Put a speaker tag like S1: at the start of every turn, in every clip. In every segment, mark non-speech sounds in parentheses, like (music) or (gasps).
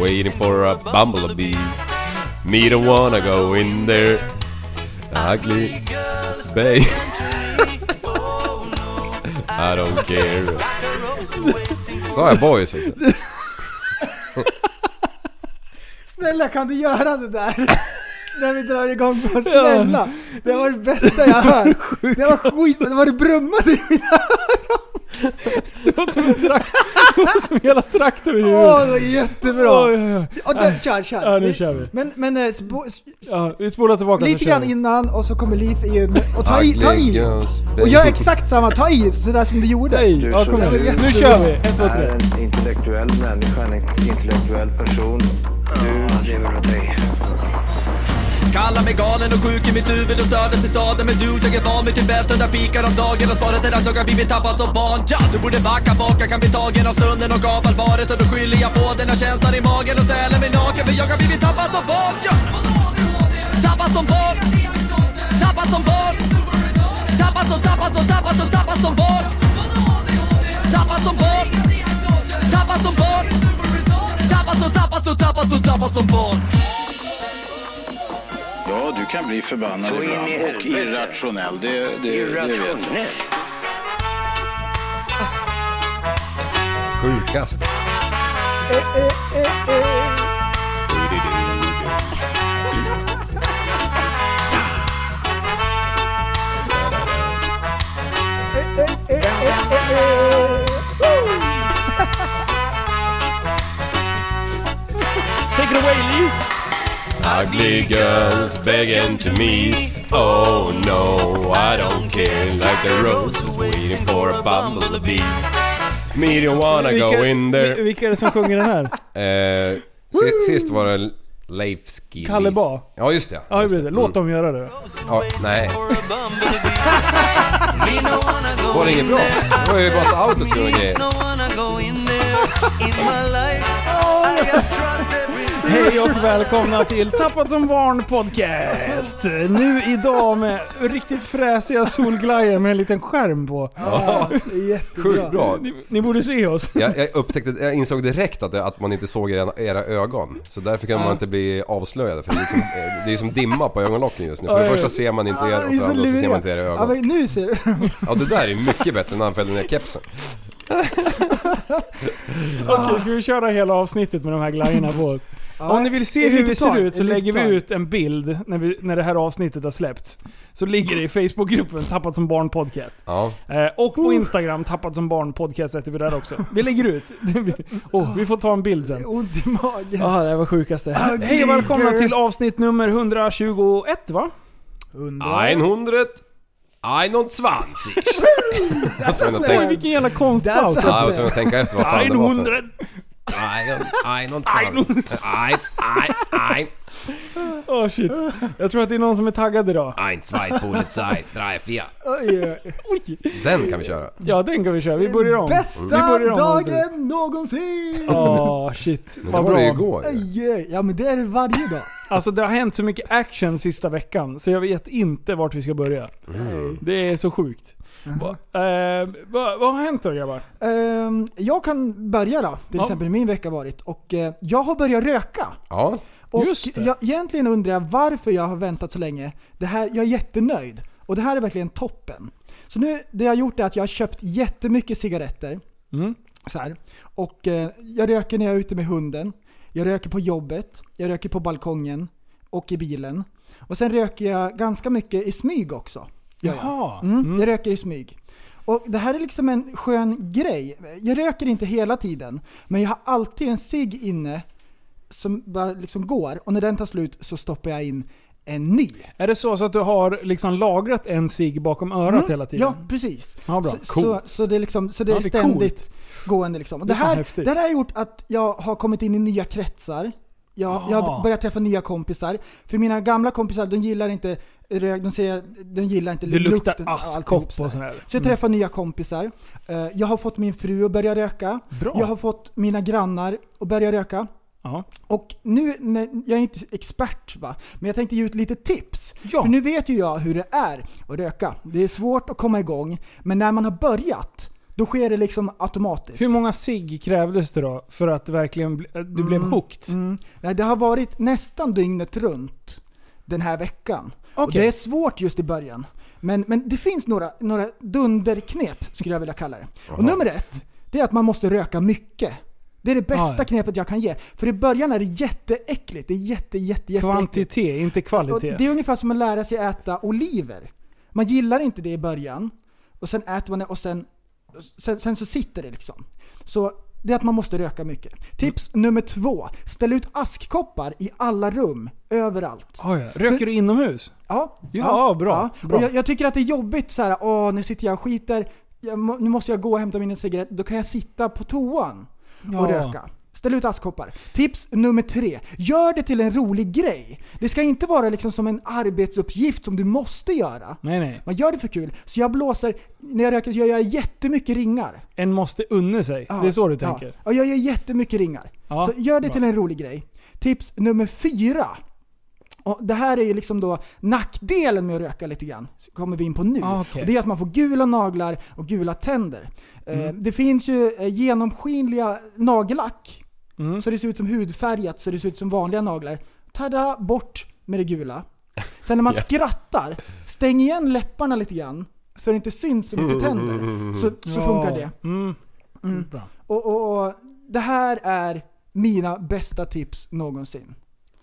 S1: waiting for a bumblebee. Me don't wanna go in there. Ugly space. (laughs) I don't care. Sa jag boys också?
S2: Snälla kan du göra det
S3: (laughs)
S2: där? När vi drar igång på snälla. Det var det bästa jag
S3: (laughs)
S2: hört. Det var skit, det var det brummade i mina
S3: Det var som, en trakt, det var som (laughs) hela traktorn i
S2: Åh,
S3: huvudet.
S2: det var jättebra!
S3: Oj, oj, oj.
S2: Och där, kör, kör.
S3: Ja, nu kör vi.
S2: Men, men eh, spo- s-
S3: Ja, vi spolar tillbaka
S2: lite
S3: så kör
S2: grann
S3: vi.
S2: innan och så kommer Leaf in och ta i, ta
S1: Ugly
S2: i!
S1: girls, baby.
S2: Och gör exakt samma, ta i sådär som du gjorde.
S3: Nej, ja, kom
S2: Det var
S3: igen.
S2: jättebra.
S3: Nu kör vi. Ett, två,
S4: är
S3: tre.
S4: en intellektuell människa, en intellektuell person. Du lever åt dig.
S5: Kallar mig galen och sjuk i mitt huvud och stördes i staden Men du, jag är van vid Tibet och där fikar om dagen Och svaret är att jag har blivit tappad som barn ja, Du borde backa bak, jag kan bli tagen av stunden och av allvaret Och då skyller jag på den här känslan i magen och ställer mig naken För jag har blivit tappad som barn ja. Tappad som barn Tappad som barn Tappad som, tappad som, tappad som, tappad som barn Tappad som barn Tappad som barn Tappad som, tappad som, tappad som, tappad som barn
S6: Ja, du kan bli förbannad
S4: Så in i
S6: ibland och
S4: helvete.
S6: irrationell. Det, det, det vet jag.
S4: Irrationell.
S1: Sjukast.
S3: Take it away, Leaf.
S1: Ugly girls begging to me. Oh no, I don't care. Like the roses waiting for a bumblebee. Me don't wanna go in
S3: vi-
S1: there.
S3: vilka är det som sjunger den här?
S1: (laughs) Eh, si- sist var det Leif Ski.
S3: Kalle Ba.
S1: Ja just det.
S3: Ja,
S1: just
S3: just det. Mm. Låt dem göra det.
S1: Ja, nej. Var det inget bra? Det var ju bara så autotune och grejer.
S3: Hej och välkomna till Tappat som barn podcast. Nu idag med riktigt fräsiga solglajjor med en liten skärm på.
S2: Ja, det är
S1: Sjukt
S2: jättebra.
S1: bra.
S3: Ni, ni borde se oss.
S1: Jag, jag upptäckte, jag insåg direkt att, det, att man inte såg era, era ögon. Så därför kan man inte bli avslöjad. För det, är liksom, eh, det är som dimma på ögonlocken just nu. För
S3: Ja,
S1: det
S3: ja,
S1: första
S3: ja.
S1: ser man inte
S2: Ja,
S1: er och
S2: vi är
S1: för det andra så ser man inte era
S2: luriga. Ja,
S1: ögon.
S2: men nu ser du.
S1: Ja det där är mycket bättre än när han fällde ner kepsen.
S3: Okej, ska vi köra hela avsnittet med de här glajjorna på oss?
S2: Ja,
S3: Om ni vill se
S2: ett
S3: hur vi
S2: litet tag,
S3: ser ut så
S2: ett litet
S3: lägger vi
S2: tag.
S3: ut en bild när, vi, när det här avsnittet har släppts. Så ligger det i Facebookgruppen Tappat som barn podcast.
S1: Ja.
S3: Eh, och
S2: Oh.
S3: på Instagram Tappat som barn podcast heter vi där också. Vi lägger ut. (laughs) oh, vi får ta en bild sen.
S2: Ont i magen.
S3: Ja, det här var sjukaste.
S2: Ugly
S3: Hej och välkomna
S2: girl.
S3: till avsnitt nummer 121 va?
S1: 100, 120. Jag var tvungen att
S3: Oj,
S1: tänka-
S3: vilken jävla konstpaus.
S1: Ja, jag var tvungen att tänka efter vad fan det var för...
S3: 100.
S1: 120. 1, 1,
S3: Åh Oh, shit. Jag tror att det är någon som är taggad idag.
S1: 1, 2, Polizei, 3, 4.
S2: Oj, oj, oj.
S1: Den kan vi köra.
S3: Ja, den kan vi köra. Vi börjar om. vi
S2: Bästa
S3: börjar om alltid.
S2: dagen någonsin!
S3: Åh shit.
S1: Men det
S3: Vad
S1: var
S3: bra.
S1: det ju igår.
S2: Oj, oj. Ja men det är det varje dag.
S3: Alltså det har hänt så mycket action sista veckan så jag vet inte vart vi ska börja.
S1: Mm.
S3: Det är så sjukt.
S2: Mm.
S3: Va, eh, va, vad har hänt då grabbar?
S2: Ehm, jag kan börja då, till
S3: Ja.
S2: exempel hur min vecka varit. Och eh, jag har börjat röka.
S1: Ja.
S2: Och
S3: Just det.
S2: Jag, egentligen undrar jag varför jag har väntat så länge. Det här, jag är jättenöjd. Och det här är verkligen toppen. Så nu, det jag har gjort är att jag har köpt jättemycket cigaretter.
S3: Mm.
S2: Så här. Och eh, jag röker när jag är ute med hunden. Jag röker på jobbet. Jag röker på balkongen. Och i bilen. Och sen röker jag ganska mycket i smyg också. Gör jag.
S3: Jaha.
S2: Mm, Jag röker i smyg. Och det här är liksom en skön grej. Jag röker inte hela tiden, men jag har alltid en cigg inne som bara liksom går och när den tar slut så stoppar jag in en ny.
S3: Är det så, så att du har liksom lagrat en cigg bakom örat hela tiden?
S2: Mm. Ja, precis.
S3: Ja, bra.
S2: Så, så,
S3: Coolt.
S2: så det är, liksom, så det är
S3: Ja, det är
S2: ständigt gående. Liksom. Och det,
S3: Det är fan
S2: här,
S3: häftigt.
S2: det här har gjort att jag har kommit in i nya kretsar. Jag, jag har
S3: Ah.
S2: börjat träffa nya kompisar. För mina gamla kompisar, de gillar inte rök, de, säger, de gillar inte
S3: Det luktar
S2: lukten av alltihop
S3: askkopp
S2: sådär.
S3: och sådär. Mm.
S2: Så jag träffar nya kompisar. Eh, Jag har fått min fru att börja röka.
S3: Bra.
S2: Jag har fått mina grannar att börja röka.
S3: Ja.
S2: Och nu, när- jag är inte expert va, men jag tänkte ge ut lite tips.
S3: Ja.
S2: För nu vet ju jag hur det är att röka. Det är svårt att komma igång, men när man har börjat, Då sker det liksom automatiskt.
S3: Hur många sig krävdes det då för att verkligen bli- att du blev
S2: Mm.
S3: hooked?
S2: Mm. Nej, det har varit nästan dygnet runt den här veckan. Och
S3: Okej.
S2: det är svårt just i början. Men, men det finns några, några dunderknep skulle jag vilja kalla det. Och nummer ett, det är att man måste röka mycket. Det är det bästa
S3: Ja.
S2: knepet jag kan ge. För i början är det jätteäckligt. Det är jätte, jätte, jätteäckligt.
S3: Kvantitet, inte
S2: Och
S3: kvalitet.
S2: det är ungefär som att lära sig äta oliver. Man gillar inte det i början, och sen äter man det och sen, sen, sen så sitter det liksom. Så det är att man måste röka mycket. Tips nummer två. Ställ ut askkoppar i alla rum, överallt.
S3: Ah, ja. Röker du inomhus?
S2: Ja,
S3: Ja, bra, bra.
S2: Och jag, jag tycker att det är jobbigt så här. åh nu sitter jag och skiter, jag, må- nu måste jag gå och hämta min cigarett, då kan jag sitta på toan och
S3: Ja.
S2: röka. Ställ ut askkoppar. Tips nummer tre. Gör det till en rolig grej. Det ska inte vara liksom som en arbetsuppgift som du måste göra.
S3: Nej, nej.
S2: Man gör det för kul. Så jag blåser, när jag röker så gör jag jättemycket ringar.
S3: En måste unna sig.
S2: Ja,
S3: det är så du
S2: ja.
S3: tänker?
S2: Ja, jag gör jättemycket ringar.
S3: Ja,
S2: så gör det
S3: bra.
S2: till en rolig grej. Tips nummer fyra. Och det här är ju liksom då nackdelen med att röka lite grann. Så kommer vi in på nu.
S3: Ah, okej.
S2: och det är att man får gula naglar och gula tänder. Eh,
S3: Mm.
S2: Det finns ju eh, genomskinliga nagellack.
S3: Mm.
S2: Så det ser ut som hudfärgat, så det ser ut som vanliga naglar. Tada, bort med det gula. Sen när
S3: (laughs)
S2: man skrattar, stäng igen läpparna lite grann. Så det inte syns så mycket tänder. Så, så
S3: Ja.
S2: funkar det.
S3: Mm.
S2: Mm.
S3: Bra.
S2: Och, och, och det här är mina bästa tips någonsin.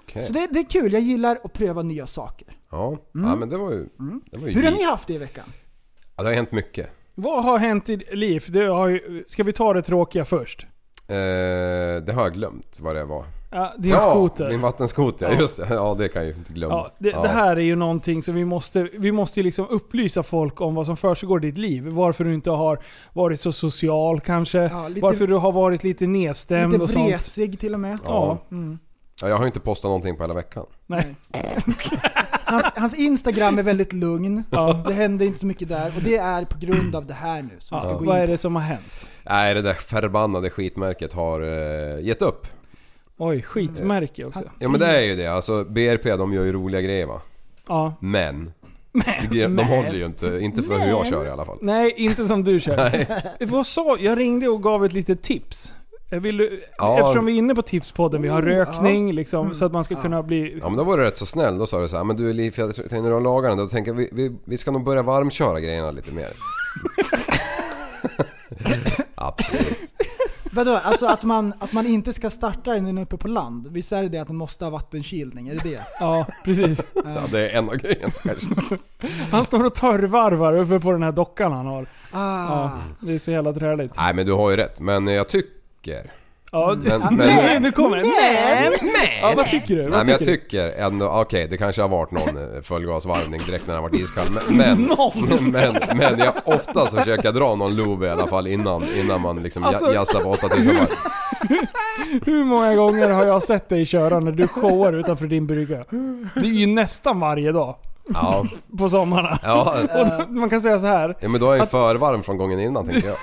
S1: Okej.
S2: Så det, det är kul, jag gillar att pröva nya saker.
S1: Ja.
S3: Mm.
S1: ja, men det var ju... Det, var ju
S2: Hur har ni haft det i veckan?
S1: ja, det har hänt mycket.
S3: Vad har hänt i ditt liv? Det har ju, ska vi ta det tråkiga först?
S1: Eh, det har jag glömt vad det var.
S3: Ja, din
S1: ja,
S3: skoter.
S1: min vattenskoter.
S3: Ja.
S1: Just det. Ja, det kan jag ju inte glömma.
S3: Ja, det, det här är ju någonting som vi måste, vi måste ju liksom upplysa folk om vad som försiggår i ditt liv. Varför du inte har varit så social kanske.
S2: Ja, lite-
S3: varför du har varit lite nedstämd
S2: Lite
S3: och sånt.
S2: vresig till och med.
S1: Ja.
S2: Mm.
S1: Ja, jag har ju inte postat någonting på hela veckan.
S3: Nej.
S2: (laughs) Hans, hans Instagram är väldigt lugn.
S3: Ja.
S2: Det händer inte så mycket där och det är på grund av det här nu som vi ska
S3: Ja,
S2: gå
S3: vad är
S2: in på.
S3: det som har hänt?
S1: Nej, det där förbannade skitmärket har eh, gett upp.
S3: Oj, skitmärke också.
S2: Eh,
S1: Ja men det är ju det. Alltså BRP de gör ju roliga grejer va.
S3: Ja.
S1: Men. de, de
S3: men.
S1: håller ju inte. Inte för hur jag kör i alla fall.
S3: Nej, inte som du kör. (laughs) Vad sa, jag ringde och gav ett litet tips. Jag Vill du,
S1: Ja.
S3: Eftersom vi är inne på tipspodden, vi
S2: Oh,
S3: har rökning liksom,
S2: Mm.
S3: så att man ska kunna bli...
S1: Ja men då var du rätt så snäll. Då sa du så här, men du Liv, jag tänkte när de lagar den då tänker jag, vi, vi, vi ska nog börja varmköra grejerna lite mer. (laughs) Absolut.
S2: Vadå, alltså att man, att man inte ska starta den när den är uppe på land? Visst är det det att den måste ha vattenkylning? Är det det?
S3: Ja, precis.
S1: Ja, det är en av grejerna kanske.
S3: Han står och torrvarvar uppe på den här dockan han har.
S2: Ah.
S3: Ja, det är så jävla träligt.
S1: Nej men du har ju rätt. Men jag tycker.
S3: Ja,
S1: Men, men,
S3: Nej, nu kommer det. Men! Ja, vad tycker du? Vad
S1: Nej men jag
S3: tycker
S1: tycker ändå, okej det kanske har varit någon eh, fullgasvarvning direkt när den har varit iskall.
S3: (laughs)
S1: Men, men, men, men jag oftast försöker jag dra någon lov i alla fall innan, innan man liksom
S3: Alltså-
S1: alltså, jassar på 8000 varv.
S3: du? Hur många gånger har jag sett dig köra när du showar utanför din brygga? Det är ju nästan varje dag
S1: Ja,
S3: på sommarna.
S1: ja,
S3: Och då, man kan säga så här.
S1: ja, men då är jag ju förvarm från gången innan tänker jag.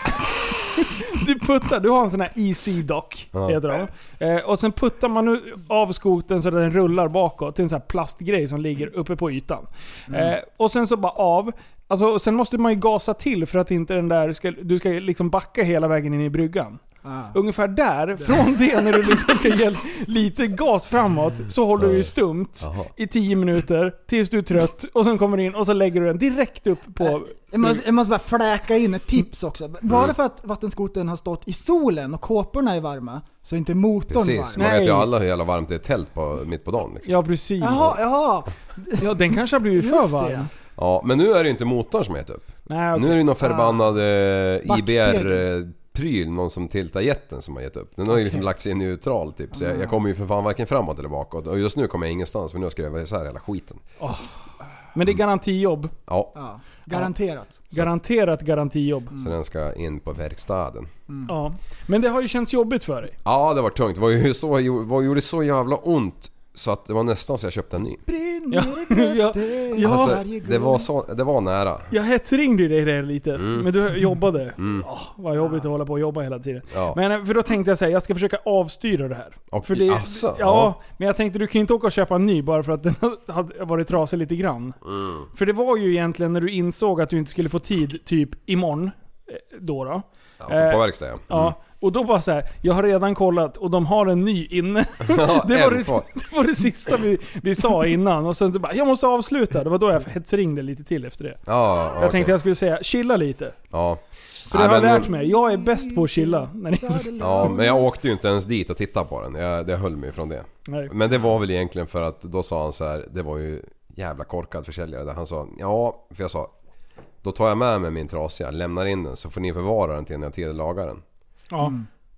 S3: Du puttar, du har en sån här EC-dock,
S1: Ja.
S3: heter de. Eh, och sen puttar man nu av skotern så den rullar bakåt till en sån här plastgrej som ligger uppe på ytan.
S1: Mm.
S3: Eh, och sen så bara av. Alltså, och sen måste man ju gasa till för att inte den där ska, du ska liksom backa hela vägen in i bryggan.
S2: Ah.
S3: Ungefär där, från det när du liksom ska ge lite gas framåt, så håller du ju stumt
S1: Jaha.
S3: i 10 minuter tills du är trött och sen kommer du in och så lägger du den direkt upp
S1: Äh.
S3: på...
S2: Jag måste, jag måste bara fläka in ett tips också.
S3: Mm.
S2: Bara för att vattenskotern har stått i solen och kåporna är varma, så är inte motorn
S1: Precis,
S2: varm.
S1: man vet ju
S3: Nej.
S1: alla hur jävla varmt det är i tält på, mitt på dagen liksom.
S3: Ja precis.
S2: Jaha, jaha.
S3: Ja, den kanske har blivit för
S2: Just
S3: varm.
S2: det.
S1: Ja, men nu är det ju inte motorn som är ett upp.
S3: Nej, okej.
S1: Nu är det ju någon förbannad eh,
S2: Ah.
S1: IBR-pryl, någon som tiltar jätten som har gett upp. Den har ju liksom lagt sig i neutral typ. Så
S3: Ah.
S1: jag, jag kommer ju för fan varken framåt eller bakåt. Och just nu kommer jag ingenstans för nu har jag skruvat isär hela skiten.
S3: Men det är garantijobb.
S1: Ja,
S2: Ja, garanterat.
S3: Garanterat garantijobb.
S1: så den ska in på verkstaden.
S2: Mm.
S3: Ja. Men det har ju känts jobbigt för dig.
S1: Ja, det var tungt. Det var ju så, det gjorde så jävla ont så att det var nästan så jag köpte en ny.
S2: Brinner
S3: (laughs) Ja,
S2: i bröstet
S3: ja.
S1: Alltså,
S2: varje gång.
S1: det var, så, det var nära.
S3: Jag hetsringde ju dig där lite,
S1: Mm.
S3: men du jobbade. Åh, vad jobbigt att hålla på och jobba hela tiden.
S1: Ja.
S3: Men eh, för då tänkte jag säga, jag ska försöka avstyra det här.
S1: Och-
S3: för det,
S1: asså,
S3: ja,
S1: ja.
S3: men jag tänkte du kan ju inte åka och köpa en ny bara för att den hade varit trasig lite grann.
S1: Mm.
S3: För det var ju egentligen när du insåg att du inte skulle få tid typ imorgon. eh, Då då.
S1: Ja, fotbollsverkstad ja.
S3: Ja, och då bara så här, jag har redan kollat och de har en ny
S1: (laughs)
S3: inne. (laughs) det, var
S1: en
S3: det,
S1: kvar.
S3: det var det sista vi, vi sa innan. Och sen så bara, jag måste avsluta. Det var då jag hetsringde lite till efter det.
S1: Ja,
S3: Jag
S1: okej.
S3: tänkte jag skulle säga, chilla lite.
S1: Ja.
S3: För
S1: Nej,
S3: det har
S1: men-
S3: jag lärt mig. Jag är bäst på att chilla. När ni,
S1: Ja, men jag åkte ju inte ens dit och tittade på den. Jag, det höll mig från det.
S3: Nej.
S1: Men det var väl egentligen för att då sa han så här, det var ju jävla korkad försäljare. Där han sa, ja, för jag sa, då tar jag med mig min trasiga, lämnar in den så får ni förvara den till när jag tidelagar den.
S3: (laughs) ja.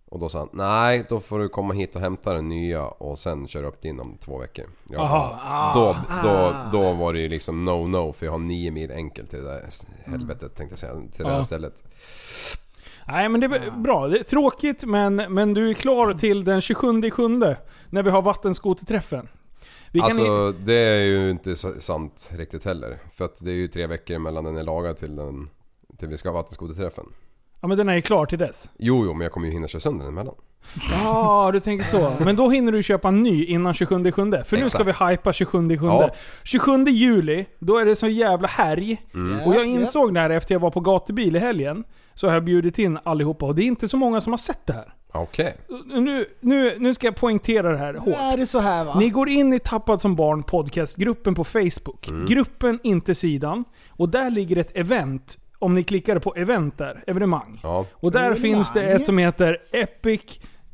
S1: Och då sa han, nej då får du komma hit och hämta den nya och sen köra upp din om två veckor. Jag
S3: Aha, Ah.
S1: bara, då, då, då var det ju liksom no-no för jag har nio mil enkelt till det där s- helvetet tänkte jag säga, till det
S3: Ja.
S1: här stället.
S3: Nej men det är bra. Det är tråkigt men, men du är klar till den 27 sjunde När vi har vattenskoterträffen. Vi kan
S1: Alltså det är ju inte så- sant riktigt heller. För att det är ju tre veckor mellan den är lagad till den till vi ska ha vattenskoterträffen.
S3: Ja men den är ju klar till dess.
S1: Jo, jo, men jag kommer ju hinna köra sönder den emellan.
S3: Ja, Ah, du tänker så. Men då hinner du köpa en ny innan 27 sjunde För nu ska vi
S1: Exakt.
S3: hypa 27 sjunde
S1: Ja.
S3: 27 juli, då är det så jävla härj.
S1: Mm.
S3: Och jag insåg det här efter jag var på gatubil i helgen. Så har jag bjudit in allihopa och det är inte så många som har sett det här.
S1: Ah, Okej.
S3: Nu, nu, nu ska jag poängtera det här
S2: Nu
S3: hårt.
S2: är det så här va?
S3: Ni går in i Tappad som barn podcastgruppen på Facebook.
S1: Mm.
S3: Gruppen, inte sidan. Och där ligger ett event. Om ni klickar på event där, evenemang.
S1: Ja,
S3: Och där
S2: Evenemang.
S3: finns det ett som heter Epic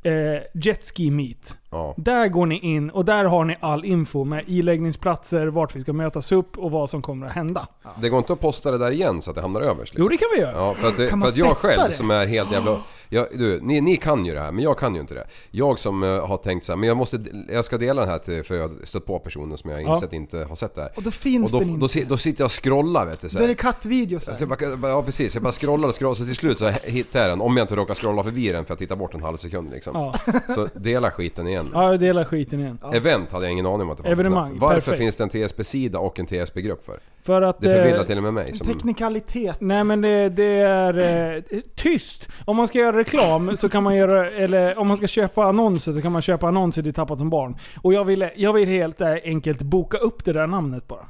S3: eh, Jetski Meet.
S1: ja.
S3: Där går ni in och där har ni all info med iläggningsplatser, vart vi ska mötas upp och vad som kommer att hända.
S1: Det går inte att posta det där igen så att det hamnar överst liksom.
S3: Jo det kan vi göra.
S1: Ja, för att, det,
S2: Kan
S1: för
S2: man
S1: att jag
S2: fästa
S1: själv
S2: det?
S1: som är helt jävla... Jag, du, ni, ni kan ju det här men jag kan ju inte det. Jag som eh, har tänkt så här, men jag måste... Jag ska dela den här till, för jag har stött på personer som jag har
S3: Ja.
S1: insett inte har sett det här.
S2: Och då finns
S1: och då,
S2: den inte.
S1: Då, si- då sitter jag och scrollar vet du. Så
S2: Då är
S1: här.
S2: det kattvideos
S3: Alltså,
S2: här.
S1: Så Alltså, jag bara, ja precis, jag bara scrollar och scrollar så till slut så hittar jag den. Om jag inte råkar scrolla förbi den för jag tittar bort en halv sekund liksom.
S3: Ja.
S1: (laughs) Så dela skiten igen.
S3: Ja, jag delar skiten igen.
S1: Event hade jag ingen aning om att det fanns.
S3: Evenemang,
S1: Varför
S3: perfekt.
S1: finns det en TSB-sida och en TSB-grupp för?
S3: För att...
S1: Det förvillar
S3: eh,
S1: till och med mig. Som,
S2: Teknikalitet.
S3: Nej men det, det är eh, tyst. Om man ska göra reklam så kan man göra, eller om man ska köpa annonser så kan man köpa annonser till Tappat som barn. Och jag vill, jag vill helt eh, enkelt boka upp det där namnet bara.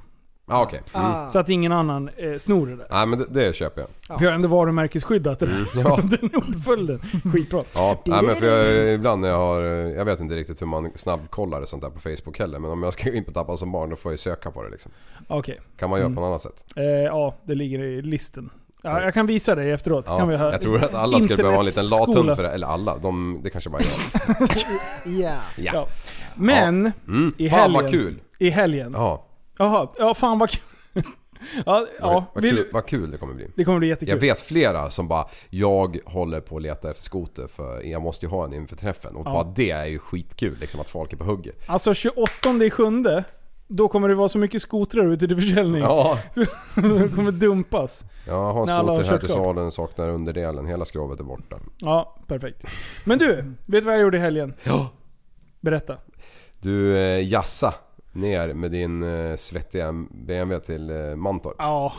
S1: ah, okej. Mm.
S2: Ah.
S3: Så att ingen annan eh, snor det där.
S1: Nej men det, det köper jag.
S3: För jag har ändå varumärkesskyddat det (laughs) där.
S1: Mm, Ja.
S3: Den uppföljden. Skitbra.
S1: Ja, nej, men för jag, ibland när jag har... Jag vet inte riktigt hur man snabbkollar sånt där på Facebook heller. Men om jag ska in på Tappa som barn då får jag ju söka på det liksom.
S3: Okej.
S1: Kan man göra på något annat sätt?
S3: Eh, ja, det ligger i listen. Ja, jag kan visa dig efteråt.
S1: Ja,
S3: kan vi ha,
S1: jag tror att alla skulle behöva ha en liten
S3: Internetskola.
S1: lathund för det. Eller alla, de, det kanske bara är jag.
S2: Yeah.
S1: Ja.
S3: (laughs) Ja. Men,
S1: Mm.
S3: i helgen.
S1: Fan vad kul!
S3: I helgen.
S1: Ja.
S3: Jaha, ja fan vad kul. (laughs) Ja, ja.
S1: Vad, vad,
S3: vill,
S1: kul, vad kul det kommer bli.
S3: Det kommer bli
S1: Jag
S3: jättekul.
S1: vet flera som bara, jag håller på att leta efter skoter för jag måste ju ha en inför träffen. Och bara det är ju skitkul liksom att folk är på hugget.
S3: Alltså 28 i sjunde, då kommer det vara så mycket skotrar ute till försäljning. (laughs)
S1: Ja,
S3: De kommer dumpas.
S1: jag har en
S3: När alla har
S1: skoter här
S3: kört
S1: till
S3: klart.
S1: salen, saknar underdelen, hela skrovet är borta.
S3: Ja, perfekt. Men du, vet du vad jag gjorde i helgen? Ja. Berätta.
S1: Du, eh, jassa ner med din eh, svettiga BMW till eh, Mantorp.
S3: Ja.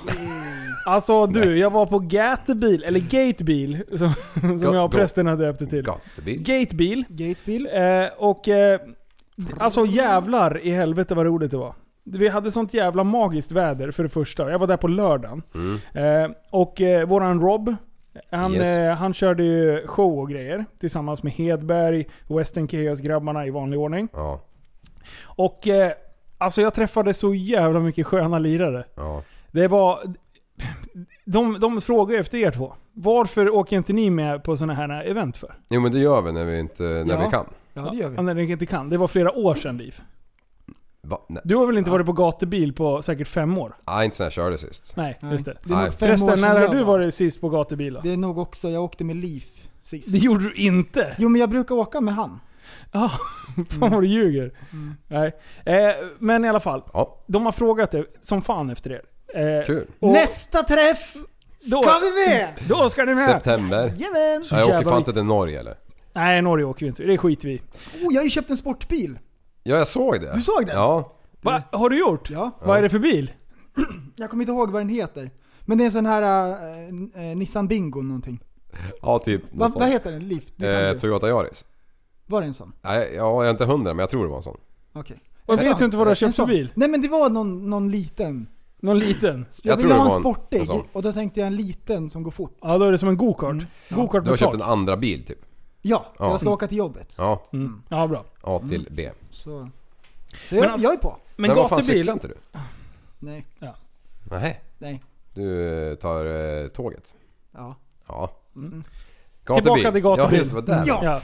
S3: Alltså du, jag var på Gatebil, eller Gatebil, som, som jag och prästen hade döpt det till.
S1: Gatebil.
S3: Gatebil.
S2: Gatebil.
S3: Eh, och... Eh, alltså jävlar i helvete vad roligt det var. Vi hade sånt jävla magiskt väder för det första. Jag var där på lördagen. Eh, och eh, våran Rob, han,
S1: Yes.
S3: eh, han körde ju show och grejer. Tillsammans med Hedberg, Western Chaos grabbarna i vanlig ordning.
S1: Ja,
S3: Och eh, alltså jag träffade så jävla mycket sköna lirare.
S1: ja.
S3: Det var... De, de frågade efter er två. Varför åker inte ni med på sådana här event för?
S1: Jo men det gör vi när vi inte, när
S2: Ja.
S1: vi kan.
S2: Ja det gör vi.
S3: Ja, när ni inte kan. Det var flera år sedan Liv.
S1: Va? Nej,
S3: Du har väl inte varit på gatubil på säkert fem år?
S1: Nej, inte sen jag körde sist.
S3: Nej,
S2: Nej.
S3: just det.
S2: är nog
S1: Nej.
S2: fem år
S3: Förresten,
S2: sedan
S3: när
S2: jag
S3: har du
S2: var.
S3: varit sist på gatubil då?
S2: Det är nog också, jag åkte med Leaf sist.
S3: Det gjorde du inte!
S2: (laughs) Jo men jag brukar åka med han.
S3: Fan vad du ljuger.
S2: Mm.
S3: Nej. Eh, men i alla fall.
S1: Ja,
S3: De har frågat er som fan efter er. Eh,
S1: kul.
S3: och
S2: Nästa träff!
S3: då,
S2: Ska vi med?
S3: Då ska ni med!
S1: September.
S2: Jajamän!
S3: Så
S1: Ja, jag åker
S3: jävla
S1: fan inte till Norge eller?
S3: Nej, Norge åker vi inte. Det skiter vi i.
S2: Oh, jag har ju köpt en sportbil.
S1: Ja, jag såg det.
S2: Du såg den?
S1: Ja.
S3: Va? Har du gjort?
S2: Ja.
S3: Vad är det för bil?
S2: Jag kommer inte ihåg vad den heter. Men det är en sån här eh, n- eh, Nissan Bingo någonting.
S1: Ja, typ.
S2: Va,
S1: något
S2: vad
S1: sånt.
S2: heter den? Leaf? Du kan
S1: Eh,
S2: ju.
S1: Toyota Yaris.
S2: Var det en sån?
S1: Nej, ja, jag är inte hundra men jag tror det var en sån.
S2: Okej.
S3: Och
S2: En
S3: vet
S2: sån.
S3: du inte vad du har
S2: En
S3: köpt för
S2: sån.
S3: bil?
S2: Nej men det var någon, någon liten.
S3: Någon liten?
S2: Jag,
S1: Jag
S2: ville
S1: tror det
S2: ha en
S1: var en-
S2: sportig
S1: en sån.
S2: och då tänkte jag en liten som går fort.
S3: Ja, då är det som en go-kart.
S2: Mm.
S3: Go-kart
S1: Du har
S3: med
S1: köpt
S3: tak.
S1: en andra bil typ?
S2: Ja,
S1: Ja.
S2: jag ska åka till jobbet.
S1: Ja,
S3: Mm. Ja, bra.
S1: A till B.
S2: Så, så jag,
S3: Men alltså-
S2: jag är på.
S3: Men,
S1: vad fan
S3: gatubil...
S1: cyklar inte du?
S2: Nej,
S1: Nej.
S2: nej,
S1: Du eh, tar eh, tåget?
S2: ja.
S1: Ja.
S2: Mm.
S1: Gatubil.
S3: Tillbaka till gatubil.
S1: Ja, just det, var där.
S2: Ja.
S3: Ja.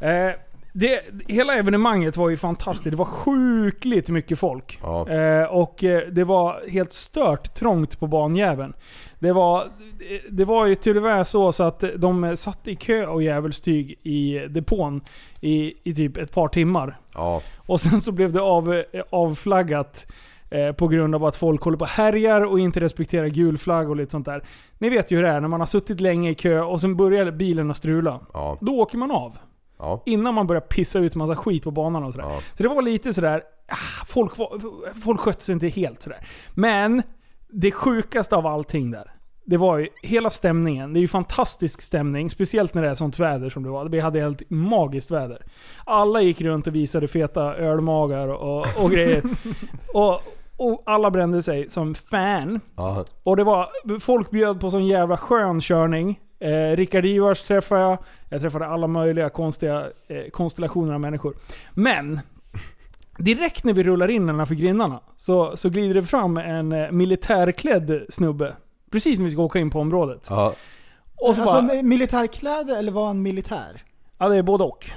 S1: Ja.
S3: Eh, det, hela evenemanget var ju fantastiskt. Det var sjukligt mycket folk.
S1: Ja.
S3: Eh, och eh, det var helt stört trångt på banjäveln. Det var, det var ju till och med så, så att de satt i kö och djävulstyg i depån i, i typ ett par timmar.
S1: ja.
S3: Och sen så blev det av, avflaggat eh, på grund av att folk håller på och härjar och inte respekterar gul flagg och lite sånt där. Ni vet ju hur det är när man har suttit länge i kö och sen börjar bilen att strula.
S1: Ja.
S3: Då åker man av.
S1: Ja.
S3: Innan man börjar pissa ut massa skit på banan och sådär.
S1: Ja.
S3: Så det var lite sådär, ah, folk, var, folk skötte sig inte helt sådär. Men det sjukaste av allting där, det var ju hela stämningen. Det är ju fantastisk stämning, speciellt när det är sånt väder som det var. Vi hade helt magiskt väder. Alla gick runt och visade feta ölmagar och, och grejer. och, och alla brände sig som fan.
S1: Ja.
S3: Och det var, folk bjöd på sån jävla skön körning. Eh, Rickard Ivars träffade jag. Jag träffade alla möjliga konstiga eh, konstellationer av människor. Men, direkt när vi rullar in innanför grindarna så, så glider det fram en eh, militärklädd snubbe. Precis när vi ska åka in på området.
S1: Ja.
S3: Och så
S2: alltså
S3: bara,
S2: med militärkläder eller var han militär?
S3: ja det är både och.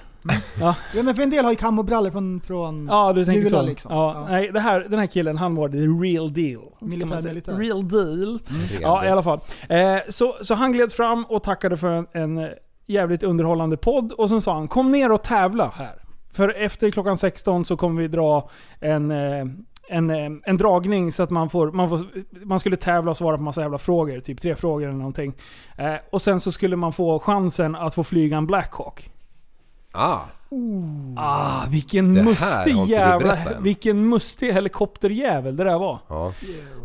S2: Ja men för en del har ju kammobrallor från... från
S3: Ja, du tänker
S2: Jula
S3: så.
S2: liksom.
S3: Ja,
S2: Ja.
S3: Nej, det här, den här killen, han var the real deal.
S2: Militär,
S3: kan man säga.
S2: militär.
S3: Real deal. Ja, i alla fall. Eh, så, så han gled fram och tackade för en, en eh, jävligt underhållande podd. Och sen sa han, kom ner och tävla här. För efter klockan 16 så kommer vi dra en, eh, en, eh, en dragning så att man får, man får... Man skulle tävla och svara på massa jävla frågor. Typ tre frågor eller någonting. Eh, och sen så skulle man få chansen att få flyga en Blackhawk.
S1: Ah,
S3: Ah, vilken
S1: Det här
S3: mustig
S1: har inte du
S3: jävla...
S1: berättat än.
S3: Vilken mustig helikopterjävel det där var.
S1: ja.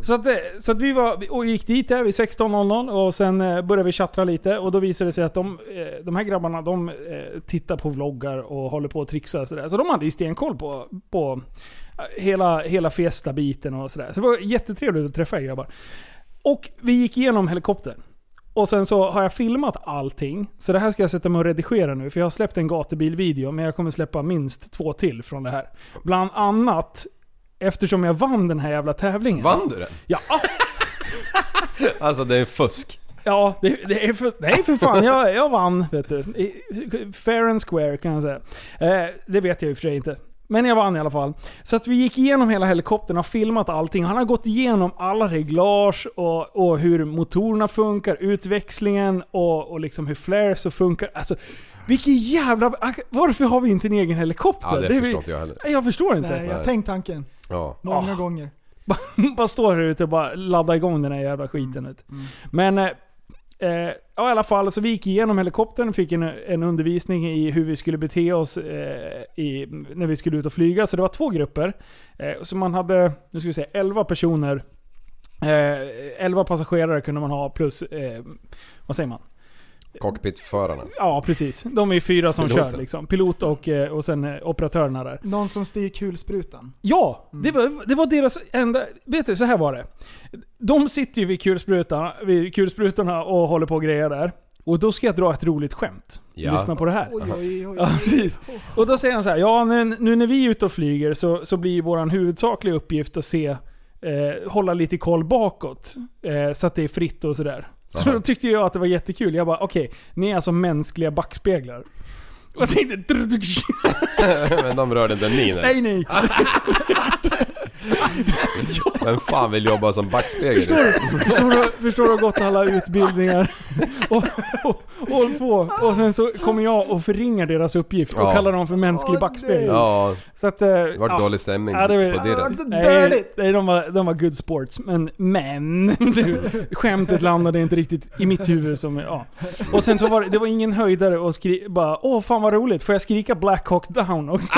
S3: Så att, eh, så att vi var, och gick dit där vid 16.00 och sen eh, började vi tjattra lite och då visade det sig att de, eh, de här grabbarna de eh, tittar på vloggar och håller på och trixar sådär. Så de hade ju stenkoll på, på eh, hela, hela Fiesta-biten och sådär. Så det var jättetrevligt att träffa er grabbar. Och vi gick igenom helikoptern. Och sen så har jag filmat allting. Så det här ska jag sätta mig och redigera nu. För jag har släppt en gatubilvideo, men jag kommer släppa minst två till från det här. Bland annat eftersom jag vann den här jävla tävlingen.
S1: Vann du den? (laughs)
S3: Ja, ah,
S1: Alltså det är fusk.
S3: ja det, det är för, nej för fan. Jag, jag vann. Vet du. I- Fair and square kan jag säga. Eh, det vet jag i och för sig inte. Men jag vann i alla fall. Så att vi gick igenom hela helikoptern och filmat allting. Han har gått igenom alla reglage och, och hur motorerna funkar, utväxlingen och, och liksom hur flares och funkar. Alltså, vilken jävla... Varför har vi inte en egen helikopter?
S1: Ja, det
S3: är
S1: förstår
S3: vi-
S1: inte jag heller.
S3: Jag förstår inte.
S2: Nej, jag
S1: Nej.
S2: tänkt tanken.
S1: Ja.
S2: Många
S3: Ah.
S2: gånger.
S3: (laughs) bara står här ute och bara laddar igång den här jävla skiten. vet du. Men eh, eh, ja, i alla fall, så vi gick igenom helikoptern och fick en, en undervisning i hur vi skulle bete oss eh, i, när vi skulle ut och flyga. Så det var två grupper. Eh, så man hade, nu ska vi se, 11 personer. Eh, 11 passagerare kunde man ha plus, eh, vad säger man?
S1: Cockpitförarna. (laughs)
S3: Ja precis. De är ju fyra som
S1: Piloten.
S3: kör liksom. Pilot och, eh, och sen eh, operatörerna där.
S2: Någon som styr kulsprutan.
S3: Ja,
S1: Mm.
S3: det, var, det var deras enda... Vet du, så här var det. De sitter ju vid kulsprutarna, vid kulsprutorna och håller på och grejer där. Och då ska jag dra ett roligt skämt.
S1: Ja.
S3: Lyssna på det här.
S2: Oj, oj, oj.
S3: Ja, precis. Och då säger han så här, ja nu, nu när vi är ute och flyger så, så blir vår huvudsakliga uppgift att se, eh, hålla lite koll bakåt. Eh, så att det är fritt och sådär. Så
S1: Aha.
S3: då tyckte jag att det var jättekul. Jag bara, okej, ni är alltså mänskliga backspeglar. Och jag tänkte...
S1: Men de rörde inte ni nej.
S3: Nej nej.
S1: Vem fan vill jobba som backspegel?
S3: Förstår du? Förstår du, förstår du har gått alla utbildningar och, och, och håll på. Och sen så kommer jag och förringar deras uppgift och
S1: Ja.
S3: kallar dem för mänsklig
S2: Åh,
S3: backspegel.
S1: Ja,
S3: Så att... eh,
S1: det vart
S3: ja.
S1: dålig stämning
S3: Ja, det var-
S1: på dirren.
S2: Så
S3: Nej,
S2: dirty!
S3: nej de, var, de var good sports, men, men (laughs) skämtet landade inte riktigt i mitt huvud. Som, ja. Och sen så var det, det var ingen höjdare
S1: (laughs)
S3: och skri, bara åh fan vad roligt, får jag skrika Black Hawk down också?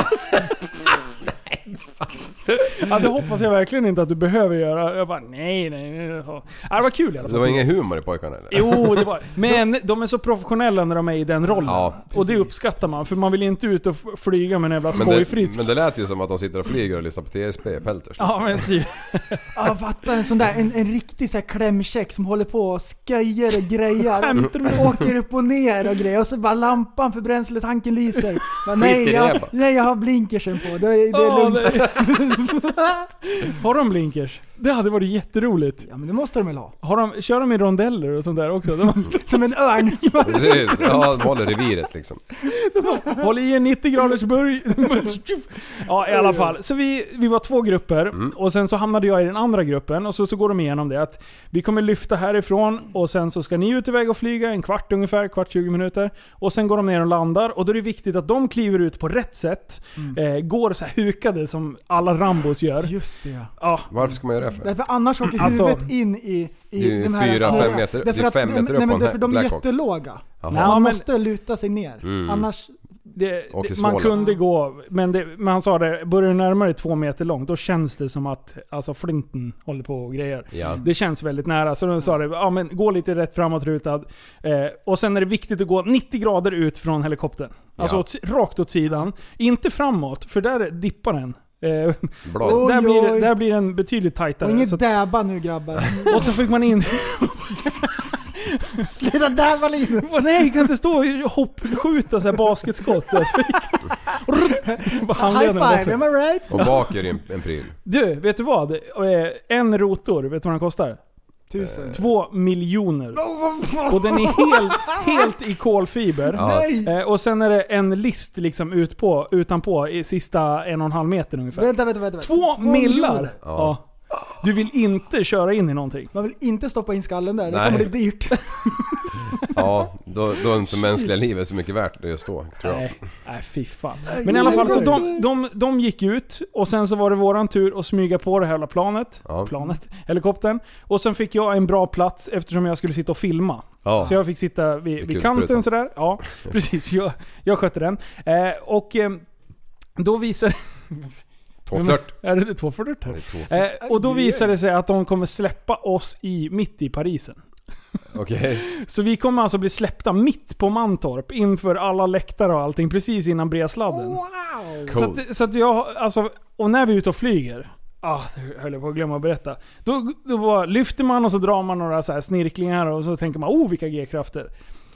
S3: Ja, det hoppas jag verkligen inte att du behöver göra. Jag bara, nej, nej, nej. Ja, det var kul i alla
S1: Det
S3: fall.
S1: var ingen humor i pojkarna eller?
S3: Jo, det var (laughs) Men de är så professionella när de är i den rollen.
S1: Ja.
S3: och det uppskattar man, för man vill inte ut och f- flyga med en jävla
S1: men, det,
S3: skojfrisk.
S1: men det lät ju som att de sitter och flyger och lyssnar på TSP, Pelters.
S3: Ja, men
S1: (laughs)
S3: typ.
S2: Ja, fattar en sån där, en, en riktig så här klämkäck som håller på och skojar och grejar.
S3: Skämtar du med-
S2: Åker upp och ner och grejer och så bara lampan för bränsletanken lyser. Men
S1: Skit
S2: nej,
S1: i det
S2: jag,
S1: bara.
S2: nej, jag har blinkersen på. Det, är- det är
S3: Ja,
S2: lugnt.
S3: nej. (laughs) Har de blinkers? Det hade varit jätteroligt.
S2: Ja men det måste de väl ha?
S3: Har de, kör de i rondeller och sånt där också? De,
S2: Som en
S1: (laughs)
S2: örn.
S1: Precis, ja de håller reviret liksom.
S3: håll i en 90 graders burg. (laughs) ja, i alla fall. Så vi, vi var två grupper
S1: Mm.
S3: och sen så hamnade jag i den andra gruppen och så, så går de igenom det att vi kommer lyfta härifrån och sen så ska ni ut iväg och flyga en kvart ungefär, kvart 20 minuter. Och sen går de ner och landar och då är det viktigt att de kliver ut på rätt sätt. Eh, går så här hukade som alla Rambos gör.
S2: Just det ja.
S3: Ja,
S1: Varför ska man göra det för?
S2: Därför annars åker
S3: Alltså,
S2: huvudet in i, i
S1: det är ju
S2: de här
S1: fyra,
S2: snurrorna.
S1: fem meter- det är
S2: Därför att
S1: fem
S2: de-
S1: meter upp
S2: Nej
S1: på
S2: men
S1: en
S2: därför de är
S1: Black Hawk.
S2: jättelåga. Så
S3: Ja,
S2: man
S3: men-
S2: måste luta sig ner.
S1: Mm.
S2: Annars,
S3: Det,
S1: Och
S3: det,
S1: i
S3: man
S1: Småland.
S3: kunde gå, men, det, men han sa det, börjar du närma dig två meter långt, då känns det som att alltså, flinten håller på och grejer.
S1: Ja.
S3: Det känns väldigt nära. Så de sa
S2: Mm.
S3: det, ja, men gå lite rätt framåtrutad. Eh, och sen är det viktigt att gå 90 grader ut från helikoptern. Alltså
S1: Ja.
S3: åt, rakt åt sidan. Inte framåt, för där dippar den. Eh,
S1: Blad.
S2: Oj,
S3: (laughs) där, blir, det-
S2: oj.
S3: där blir den betydligt
S2: och
S3: tajtare. så
S2: inget
S3: att-
S2: däba nu
S1: (laughs)
S2: grabbar.
S3: och så fick man in...
S2: (laughs)
S3: (laughs)
S2: Sluta däba Linus!
S3: Åh, nej, jag kan inte stå och hoppskjuta så här basketskott. Så här. (laughs)
S2: High
S3: Handleden borta.
S2: five, am I right?
S1: Och bak är det en, en pryl.
S3: Du, vet du vad? Eh, En rotor, vet du vad den kostar?
S2: Tusen.
S1: Eh,
S3: Två
S2: (laughs)
S3: miljoner. Och den är helt, helt i kolfiber.
S2: Nej!
S3: Eh, Och sen är det en list liksom ut på, utanpå i sista en och en halv meter ungefär.
S2: Vänta, vänta, vänta.
S3: Två, millar!
S2: miljoner.
S3: Ja. Du vill inte köra in i någonting.
S2: Man vill inte stoppa in skallen där, det
S1: Nej.
S2: kommer bli
S1: (laughs)
S2: dyrt.
S1: Ja, då, då är inte mänskliga livet så mycket värt just då, tror jag.
S3: Nej, nej fy fan. Men i alla fall, så de, de, de gick ut och sen så var det våran tur att smyga på det här jävla planet.
S1: Ja.
S3: Planet? Helikoptern. Och sen fick jag en bra plats eftersom jag skulle sitta och filma.
S1: Ja.
S3: Så jag fick sitta vid, vid
S1: kulsprutan.
S3: kanten sådär. Ja, precis. Jag, jag skötte den. Eh, och eh, då visar... (laughs)
S1: Tåflört.
S3: Är det tåflört här?
S1: Det är tåflört.
S3: Eh, och då visar det sig att de kommer släppa oss i, mitt i Parisen.
S1: Okej.
S3: Så vi kommer alltså bli släppta mitt på Mantorp inför alla läktare och allting precis innan bredsladden. Så
S1: Coolt.
S3: att, så att jag, alltså, och när vi är ute och flyger. Ah, det höll jag på att glömma att berätta. Då, då bara lyfter man och så drar man några så här snirklingar och så tänker man oh vilka G-krafter.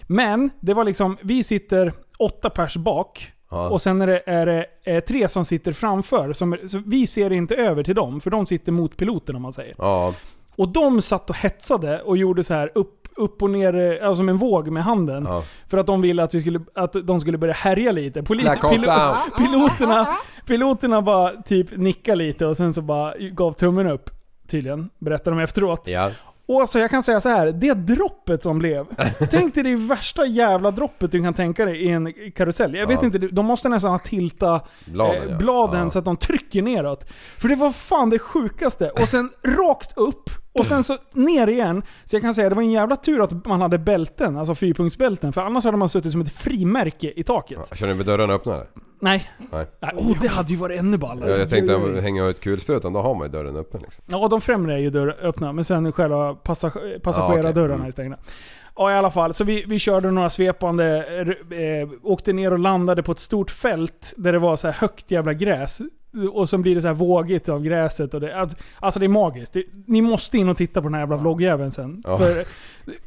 S3: Men det var liksom, vi sitter åtta pers bak.
S1: Ja.
S3: Och sen är det, är det eh, tre som sitter framför. Som, är- så vi ser inte över till dem, för de sitter mot piloten om man säger.
S1: Ja,
S3: Och de satt och hetsade och gjorde så här upp, upp och ner, eh, alltså som en våg med handen.
S1: Ja.
S3: För att de ville att, vi skulle, att de skulle börja härja lite. Poli-
S1: Black Hawk down.
S3: piloterna, piloterna bara typ nickade lite och sen så bara gav tummen upp. Tydligen, berättar de efteråt.
S1: ja.
S3: Och alltså jag kan säga så här, det droppet som
S1: (laughs)
S3: blev. Tänk dig det värsta jävla droppet du kan tänka dig i en karusell. Jag vet
S1: Ja.
S3: inte, de måste nästan ha tiltat
S1: Bladen,
S3: eh,
S1: ja.
S3: bladen
S1: Ja.
S3: så att de trycker neråt. För det var fan det sjukaste. Och sen rakt upp och sen så ner igen. Så jag kan säga, det var en jävla tur att man hade bälten, alltså fyrpunktsbälten. För annars hade man suttit som ett frimärke i taket.
S1: Känner du dörrarna öppna eller?
S3: Nej.
S1: Nej.
S3: Nej. Oh, det hade ju varit ännu
S1: Jag,
S3: ballare.
S1: jag tänkte hänga ut kulsprutan, då har man ju dörren öppen liksom.
S3: Ja, de främre är ju dörr, öppna, men sen själva passag- passagerardörrarna
S1: Ja, okej.
S3: är stängda.
S1: Mm.
S3: Ja, i alla fall. Så vi, vi körde några svepande, eh, eh, åkte ner och landade på ett stort fält där det var så här högt jävla gräs. Och så blir det så här vågigt av gräset. Och det, alltså det är magiskt. Det, ni måste in och titta på den här jävla vloggjäveln sen.
S1: Ja.
S3: För,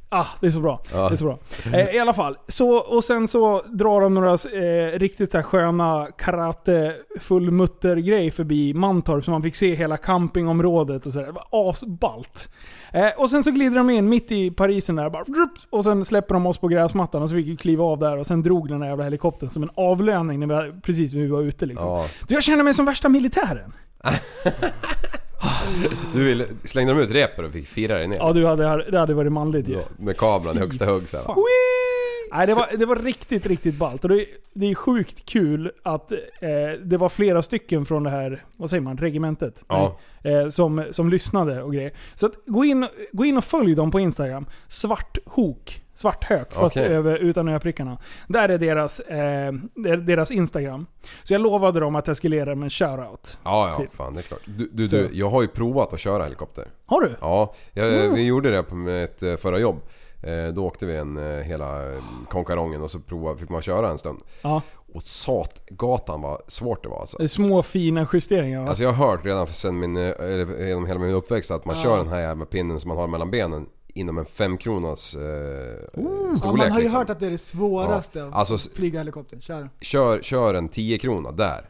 S3: ah, det är så bra.
S1: Ja.
S3: Det är så bra. Eh, I alla fall. Så, och sen så drar de några eh, riktigt så här sköna karate fullmutter förbi Mantorp så man fick se hela campingområdet och sådär. Det var asballt. Eh, och sen så glider de in mitt i Parisen där bara, drup, och sen släpper de oss på gräsmattan och så fick vi kliva av där och sen drog den där jävla helikoptern som en avlöning när vi, var- precis när vi var ute liksom.
S1: Ja.
S3: Du, jag känner mig som värsta militären.
S1: Du ville, slängde de ut repor och fick fira dig ner?
S3: Ja du, hade, det hade varit manligt ju.
S1: Ja, Med kameran i högsta hugg så här.
S3: Fan. Nej, det, var, det var riktigt, riktigt ballt. Och det, det är sjukt kul att eh, det var flera stycken från det här, vad säger man, regementet?
S1: Ja.
S3: Nej, Eh, som, som lyssnade och grejer. Så att, gå, in, gå in och följ dem på Instagram. Svarthok Svart hök, fast
S1: Okej.
S3: över, utan öprickarna. Där är deras, eh, det är deras Instagram. Så jag lovade dem att jag skulle ge dem en shoutout.
S1: Ja, ja,
S3: Typ.
S1: fan det är klart. Du, du,
S3: Så.
S1: du, jag har ju provat att köra helikopter.
S3: Har du?
S1: Ja, jag, vi gjorde det på mitt eh, förra jobb. Eh, Då åkte vi en, eh, hela eh, konkarongen och så prova, fick man köra en stund.
S3: Ja.
S1: Och satgatan vad svårt det var alltså.
S3: Det är Små fina justeringar va?
S1: Alltså jag har hört redan sen min, eh, eller genom hela min uppväxt att man kör den här jävla pinnen som man har mellan benen inom en femkronas eh, storlek.
S2: Ja, man har ju
S1: liksom.
S2: hört att det är det svåraste
S1: Ja.
S2: att
S1: Alltså, s-
S2: flyga helikopter. Kör.
S1: kör, kör en 10 krona där.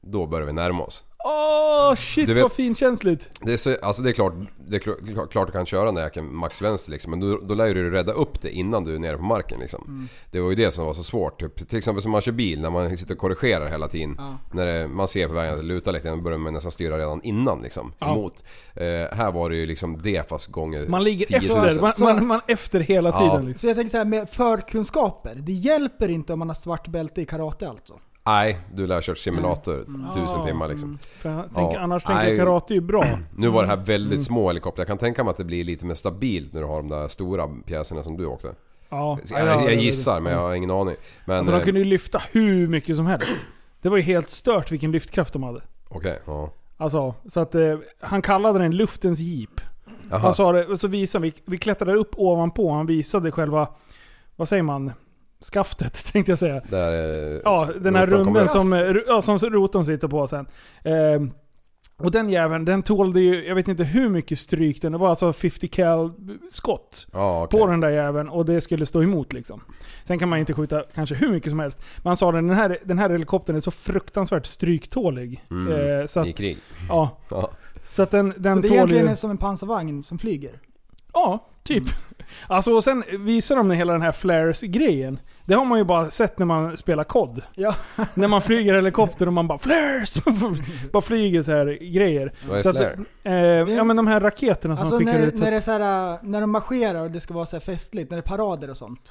S1: Då börjar vi närma oss.
S3: Åh shit
S1: Du vet-
S3: vad finkänsligt.
S1: Det är, så, alltså det är klart det är kl- klart, klart du kan köra den där jäkeln max vänster liksom, men då, då lär ju du rädda upp det innan du är nere på marken liksom.
S3: Mm.
S1: Det var ju det som var så svårt. Typ, till exempel som man kör bil när man sitter och korrigerar hela tiden. När det, man ser på vägen att det lutar lite, man börjar man nästan styra redan innan liksom. Emot. Eh, här var det ju liksom det fast gånger
S3: Man ligger
S1: 10 000.
S3: efter. Man,
S2: Så-
S3: man, man efter hela
S1: Ja.
S3: tiden liksom.
S2: Så jag tänker så här med förkunskaper. Det hjälper inte om man har svart bälte i karate alltså.
S1: Nej, du lär ha kört simulator
S3: Mm.
S1: tusen timmar liksom.
S3: För jag tänker,
S1: Ja.
S3: annars tänker
S1: Nej.
S3: jag karate är ju
S1: (clears throat)
S3: bra.
S1: Nu var det
S3: Mm.
S1: här väldigt små helikoptrar. Jag kan tänka mig att det blir lite mer stabilt när du har de där stora pjäserna som du åkte.
S3: Ja.
S1: Jag,
S3: Ja,
S1: jag
S3: det-
S1: gissar men jag har ingen aning. Men,
S3: Alltså de
S1: eh,
S3: kunde ju lyfta hur mycket som helst. Det var ju helt stört vilken lyftkraft de hade.
S1: Okej, ja.
S3: Alltså, så att eh, han kallade den luftens jeep.
S1: Jaha,
S3: Han sa det, och så visade vi, vi klättrade upp ovanpå, han visade själva, vad säger man, skaftet (laughs) tänkte jag säga.
S1: där eh, är...
S3: Ja, den här
S1: Rotorn kommer
S3: runden
S1: upp.
S3: som, eh, ru- ja, som rotorn sitter på sen. Ehm, och den jäveln, den tålde ju, jag vet inte hur mycket stryk den, det var alltså 50 cal skott
S1: ja,
S3: på
S1: okej.
S3: den där jäveln och det skulle stå emot liksom. Sen kan man ju inte skjuta kanske hur mycket som helst. Men han sa den den här, den här helikoptern är så fruktansvärt stryktålig.
S1: Mm.
S3: Eh, så, att,
S1: I krig.
S3: ja,
S1: Ja.
S3: så att den, den
S2: så det
S3: tål
S2: egentligen
S3: ju...
S2: är som en pansarvagn som flyger.
S3: Ja, typ.
S2: Mm.
S3: (laughs) Alltså och sen visar de hela den här flares-grejen. Det har man ju bara sett när man spelar kod.
S2: Ja.
S3: (laughs) När man flyger helikopter och man
S2: (laughs)
S3: bara flares! bara flyger så här grejer.
S1: Vad är
S3: Så att,
S1: flare?
S3: eh, ja men de här raketerna som
S2: Alltså
S3: skickar
S2: när,
S3: ut. så
S2: när, det är
S3: att-
S2: så här, äh, när de marscherar och det ska vara så här festligt, när det är parader och sånt.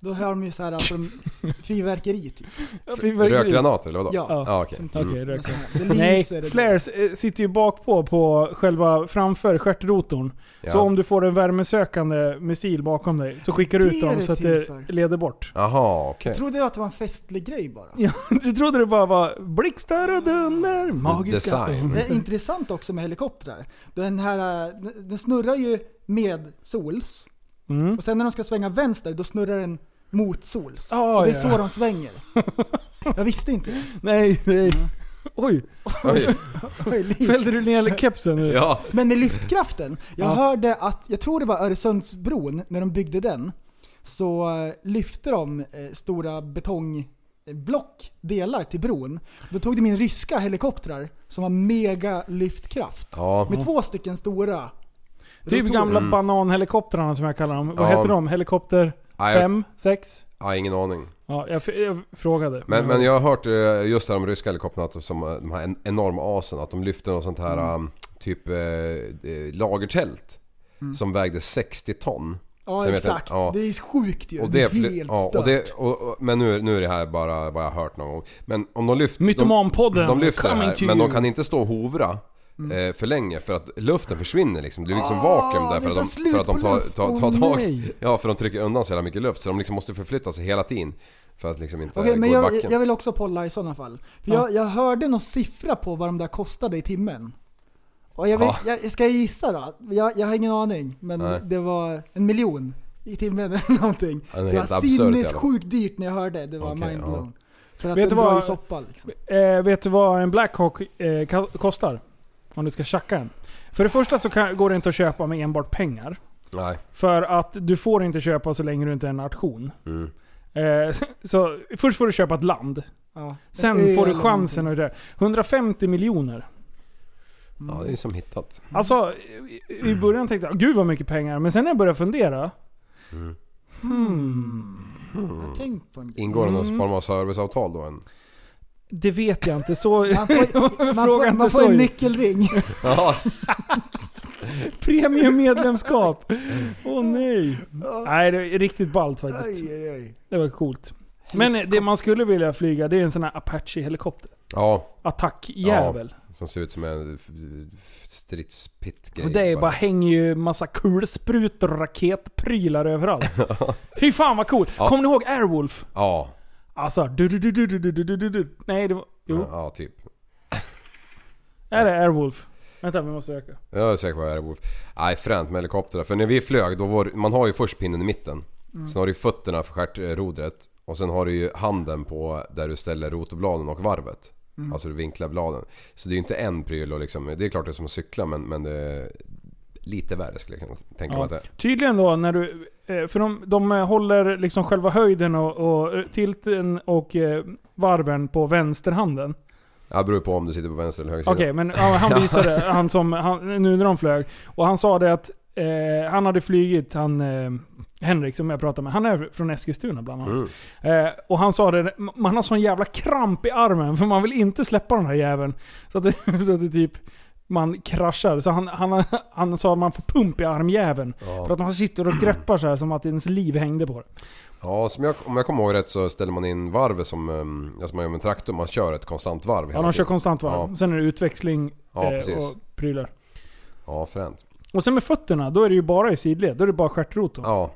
S2: Då hör de ju så här alltså,
S3: (laughs)
S2: de- fyrverkeri typ.
S3: fyrverkeri.
S1: Rökgranater eller vadå?
S2: Ja.
S1: ja okej. Mm.
S2: Som typ-
S3: Okej, rök.
S2: så här. Det
S3: Nej,
S2: lyser och-
S3: flares eh, sitter ju bakpå på själva framför stjärtrotorn.
S1: Ja.
S3: Så om du får en värmesökande missil bakom dig så skickar du
S2: Det
S3: ut
S2: är
S3: dem
S2: det
S3: så att
S2: till
S3: det
S2: för.
S3: leder bort. (laughs)
S1: Jaha, okej.
S2: Jag trodde ju att det var en festlig grej bara.
S3: Ja, du trodde det bara var blixtar och dunder, magiska...
S1: Design.
S2: Det är intressant också med helikoptrar. Den här, äh, den snurrar ju med sols.
S3: Mm.
S2: Och sen när de ska svänga vänster, då snurrar den mot sols.
S3: Ah,
S2: och det är
S3: ja.
S2: så de svänger. Jag visste inte
S3: (laughs)
S2: det.
S3: Nej, nej.
S1: Mm.
S3: Oj,
S1: Oj.
S2: Oj, liv.
S3: fällde du ner kepsen nu?
S1: Ja.
S2: Men med lyftkraften. Jag
S3: Ja.
S2: hörde att, jag tror det var Öresundsbron, när de byggde den, så eh, lyfte de eh, stora betongblock, delar till bron. Då tog de min ryska helikoptrar som har mega lyftkraft.
S1: Ja.
S2: Med två stycken stora.
S3: Typ
S2: rotorer.
S3: gamla bananhelikoptrarna som jag kallar dem. Vad
S1: Mm. Ja.
S3: heter de? Helikopter
S1: Nej, jag-
S3: 5? 6?
S1: Ja, ingen aning.
S3: Ja, jag, f- jag frågade.
S1: Men, men jag har hört eh, just det här om ryska helikoptrarna, att som, eh, de här en- enorma asen, att de lyfte något sånt här
S2: Mm.
S1: eh, typ eh, eh, lagertält. Som vägde 60 ton.
S2: Mm. Ja
S1: Sen vet jag-
S2: exakt.
S1: ja.
S2: Det är sjukt ju.
S1: Och
S2: det,
S1: det,
S2: är helt
S1: ja, och
S2: stört.
S1: det, och, och, men nu, nu är det här bara vad jag har hört någon gång. Men om de lyfter...
S3: Mytomanpodden,
S1: De, de lyfter det
S3: coming to
S1: här, men de
S3: you.
S1: kan inte stå och hovra.
S2: Mm.
S1: eh, För länge för att luften försvinner liksom. Det blir liksom vakuum där
S2: Ah, det
S1: för
S2: är
S1: att de,
S2: slut
S1: för att de
S2: på
S1: tar,
S2: luft.
S1: tar, tar
S3: Åh,
S1: tag
S3: nej.
S1: Ja för de trycker undan så jävla mycket luft så de liksom måste förflytta sig hela tiden. För att liksom inte
S2: Okej,
S1: gå
S2: men
S1: i
S2: jag,
S1: backen.
S2: jag vill också polla i sådana fall. För jag, jag hörde någon siffra på vad de där kostade i timmen. Och jag, vill,
S1: Ja.
S2: jag Ska jag gissa då? Jag, jag har ingen aning, men
S1: Nej.
S2: det var en miljon i timmen (laughs) eller någonting.
S1: Ja, det är
S2: det
S1: helt
S2: var
S1: absurt i alla fall.
S2: sinnessjukt dyrt när jag hörde. Det var
S1: Okej,
S2: mindblown. För att
S3: Vet
S2: den
S3: du
S2: drar
S3: vad-
S2: ju soppa liksom.
S3: Eh, vet du vad en Blackhawk eh, ka- kostar? Om du ska tjacka en. För det första så kan, går det inte att köpa med enbart pengar.
S1: Nej.
S3: För att du får inte köpa så länge du inte är en nation.
S1: Mm.
S3: Eh, (laughs) så först får du köpa ett land.
S2: Ja, en ö
S3: Sen får du
S2: eller
S3: chansen
S2: någonting.
S3: att göra det. 150 miljoner.
S1: Ja det är ju som hittat.
S3: Alltså, i- i början tänkte jag gud vad mycket pengar. Men sen när jag började fundera. Hmm.
S2: Jag har tänkt på en grej.
S1: Ingår det någon
S3: Mm.
S1: form av serviceavtal då än?
S3: Det vet jag inte. Så...
S2: Man
S3: (laughs)
S2: får, man
S3: Fråga
S2: får,
S3: inte
S2: man får
S3: så.
S2: en nyckelring.
S1: Ja.
S2: (laughs)
S3: Premiummedlemskap. Åh nej. Nej, det är riktigt ballt faktiskt.
S2: Aj, aj, aj.
S3: Det var coolt. Men eh, det man skulle vilja flyga det är en sån här Apache-helikopter.
S1: Ja,
S3: attackjävel.
S1: som ser ut som en f- f- stridspitt-grej.
S3: och det är bara hänger ju massa kulsprutor och raketprylar överallt. Fy fan vad coolt!
S1: Ja.
S3: Kommer ni ihåg Airwolf?
S1: Ja,
S3: Alltså... Du, du, du, du, du, du, du, du, du. Nej, det var... Jo.
S1: ja, ja typ.
S3: Är det Airwolf? Vänta, vi måste söka.
S1: Jag är säker på att det är Wolf. Nej, fränt med helikoptrar. För när vi flög, då var, det- man har ju först pinnen i mitten.
S3: Mm.
S1: Sen har du ju fötterna för stjärtrodret. Och sen har du ju handen på där du ställer rotorbladen och varvet.
S3: Mm.
S1: Alltså du vinklar bladen. Så det är ju inte en pryl och liksom, det är klart det är som att cykla men, men det är lite värre skulle jag kunna tänka mig
S3: Ja.
S1: att det är.
S3: Tydligen då när du... eh, För de, de eh, håller liksom själva höjden och, och eh, tilten och eh, varven på vänsterhanden.
S1: Ja, det beror på om du sitter på vänster eller höger sida.
S3: Okej, men ja, han visade, han som, han, nu när de flög. Och han sa det att eh, han hade flygit, han eh, Henrik som jag pratade med, han är från Eskilstuna bland annat.
S1: Mm.
S3: Eh, och han sa det, man har sån jävla kramp i armen för man vill inte släppa den här jäveln. Så att det, (laughs) så att det typ, man kraschar. Så han, han, han sa att man får pump i armjäveln. För
S1: Ja.
S3: att man sitter och greppar så här som att ens liv hängde på det.
S1: ja, som jag, om jag kommer ihåg rätt så ställer man in varvet som, ehm, alltså man gör med en traktor, man kör ett konstant varv
S3: Ja,
S1: hela
S3: de kör
S1: tiden.
S3: konstant varv.
S1: Ja.
S3: Sen är det utväxling
S1: Ja,
S3: eh,
S1: precis.
S3: och prylar.
S1: Ja, fränt.
S3: Och sen med fötterna, då är det ju bara i sidled. Då är det bara stjärtrotor.
S1: Ja,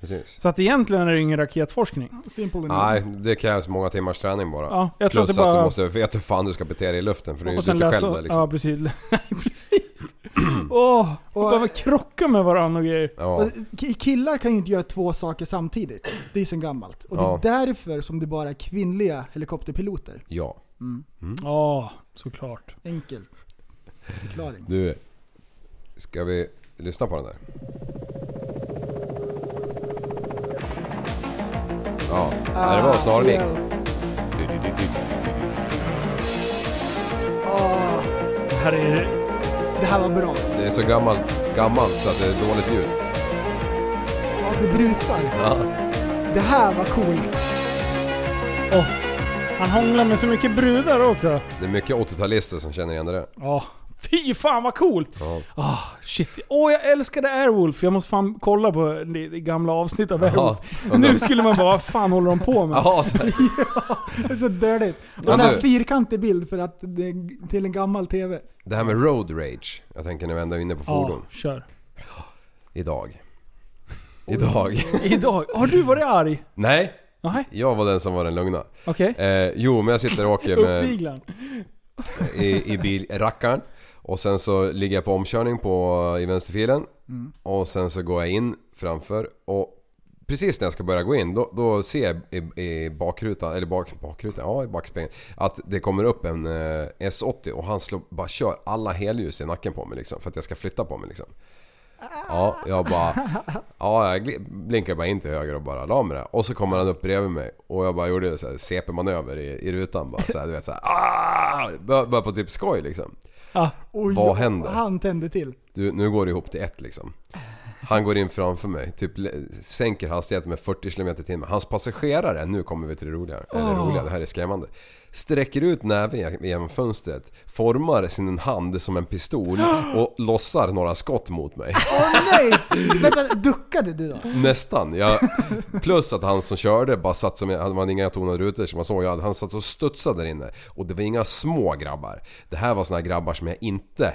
S1: precis.
S3: Så att egentligen är det ingen raketforskning.
S2: Simple enough.
S1: Nej, det krävs många timmars träning bara.
S3: Ja, jag tror att
S1: Plus att,
S3: det bara...
S1: du måste veta hur fan du ska bete dig i luften för du är ju
S3: och sen
S1: inte
S3: läsa...
S1: själv där
S3: Ja,
S1: liksom.
S3: precis. (laughs) Nej,
S1: (clears throat)
S3: precis. Åh, och
S2: Och-
S3: bara krocka med varandra och grejer.
S1: Ja.
S2: Och ki- Killar kan ju inte göra två saker samtidigt. Det är sen gammalt. Och
S1: Ja.
S2: det är därför som det bara är kvinnliga helikopterpiloter.
S1: ja. Mm.
S3: Ja, såklart.
S2: Enkel förklaring.
S1: Du, ska vi lyssna på den där? Ja, ah, det var snarlikt.
S2: Ah,
S3: Det här är...
S2: det här var bra.
S1: Det är så gammalt, gammalt så att det är dåligt ljud.
S2: Ja, det brusar. Det här var coolt.
S3: Åh. Han hånglar med så mycket brudar också.
S1: Det är mycket 80-talister som känner igen det där.
S3: Ja. Fy fan vad coolt! Ah,
S1: Ja.
S3: Shit. Åh, jag älskade Airwolf. Jag måste fan kolla på det det gamla avsnitt av Airwolf. nu skulle man bara, vad fan håller de på med?
S1: Jaha, så,
S2: Det är så dirtigt. Och
S1: Ja,
S2: så här
S1: du.
S2: fyrkantig bild för att det är till en gammal TV.
S1: det här med road rage. Jag tänker när vi ändå är inne på
S3: Ja,
S1: fordon.
S3: kör.
S1: Idag. Idag. (laughs)
S3: Idag. Har du varit arg?
S1: Nej,
S3: Nej,
S1: jag var den som var den lugna.
S3: okej.
S1: Eh, jo, men jag sitter och åker med...
S3: Uppviglan.
S1: i, i bilrackaren. Och sen så ligger jag på omkörning på, i vänsterfilen. Och sen så går jag in framför och precis när jag ska börja gå in då, då ser jag i, i bakrutan, eller bak, bakrutan, ja i backspegeln. Att det kommer upp en eh, S80 och han slår, bara kör alla helljus i nacken på mig liksom. För att jag ska flytta på mig liksom. Ja, jag bara... Ja, jag gl- blinkade bara in till höger och bara la mig där. Och så kommer han upp bredvid mig och jag bara gjorde så här CP-manöver i, i rutan bara. Så här, du vet såhär... Bara, bara på typ skoj liksom.
S3: Ja.
S2: Oj,
S1: Vad händer?
S2: Han tände till.
S1: Du, nu går det ihop till ett liksom. Han går in framför mig, typ le- sänker hastigheten med 40 km i timmen. Hans passagerare, nu kommer vi till det roliga, eller roliga, det här är skrämmande. Sträcker ut näven genom fönstret, formar sin hand som en pistol (gasps) och lossar några skott mot mig.
S2: Åh nej! Vänta, duckade du då?
S1: Nästan. Jag, plus att han som körde bara satt som, han var inga tonade rutor som man såg. Jag hade- Han satt och studsade där inne. Och det var inga små grabbar. Det här var såna här grabbar som jag inte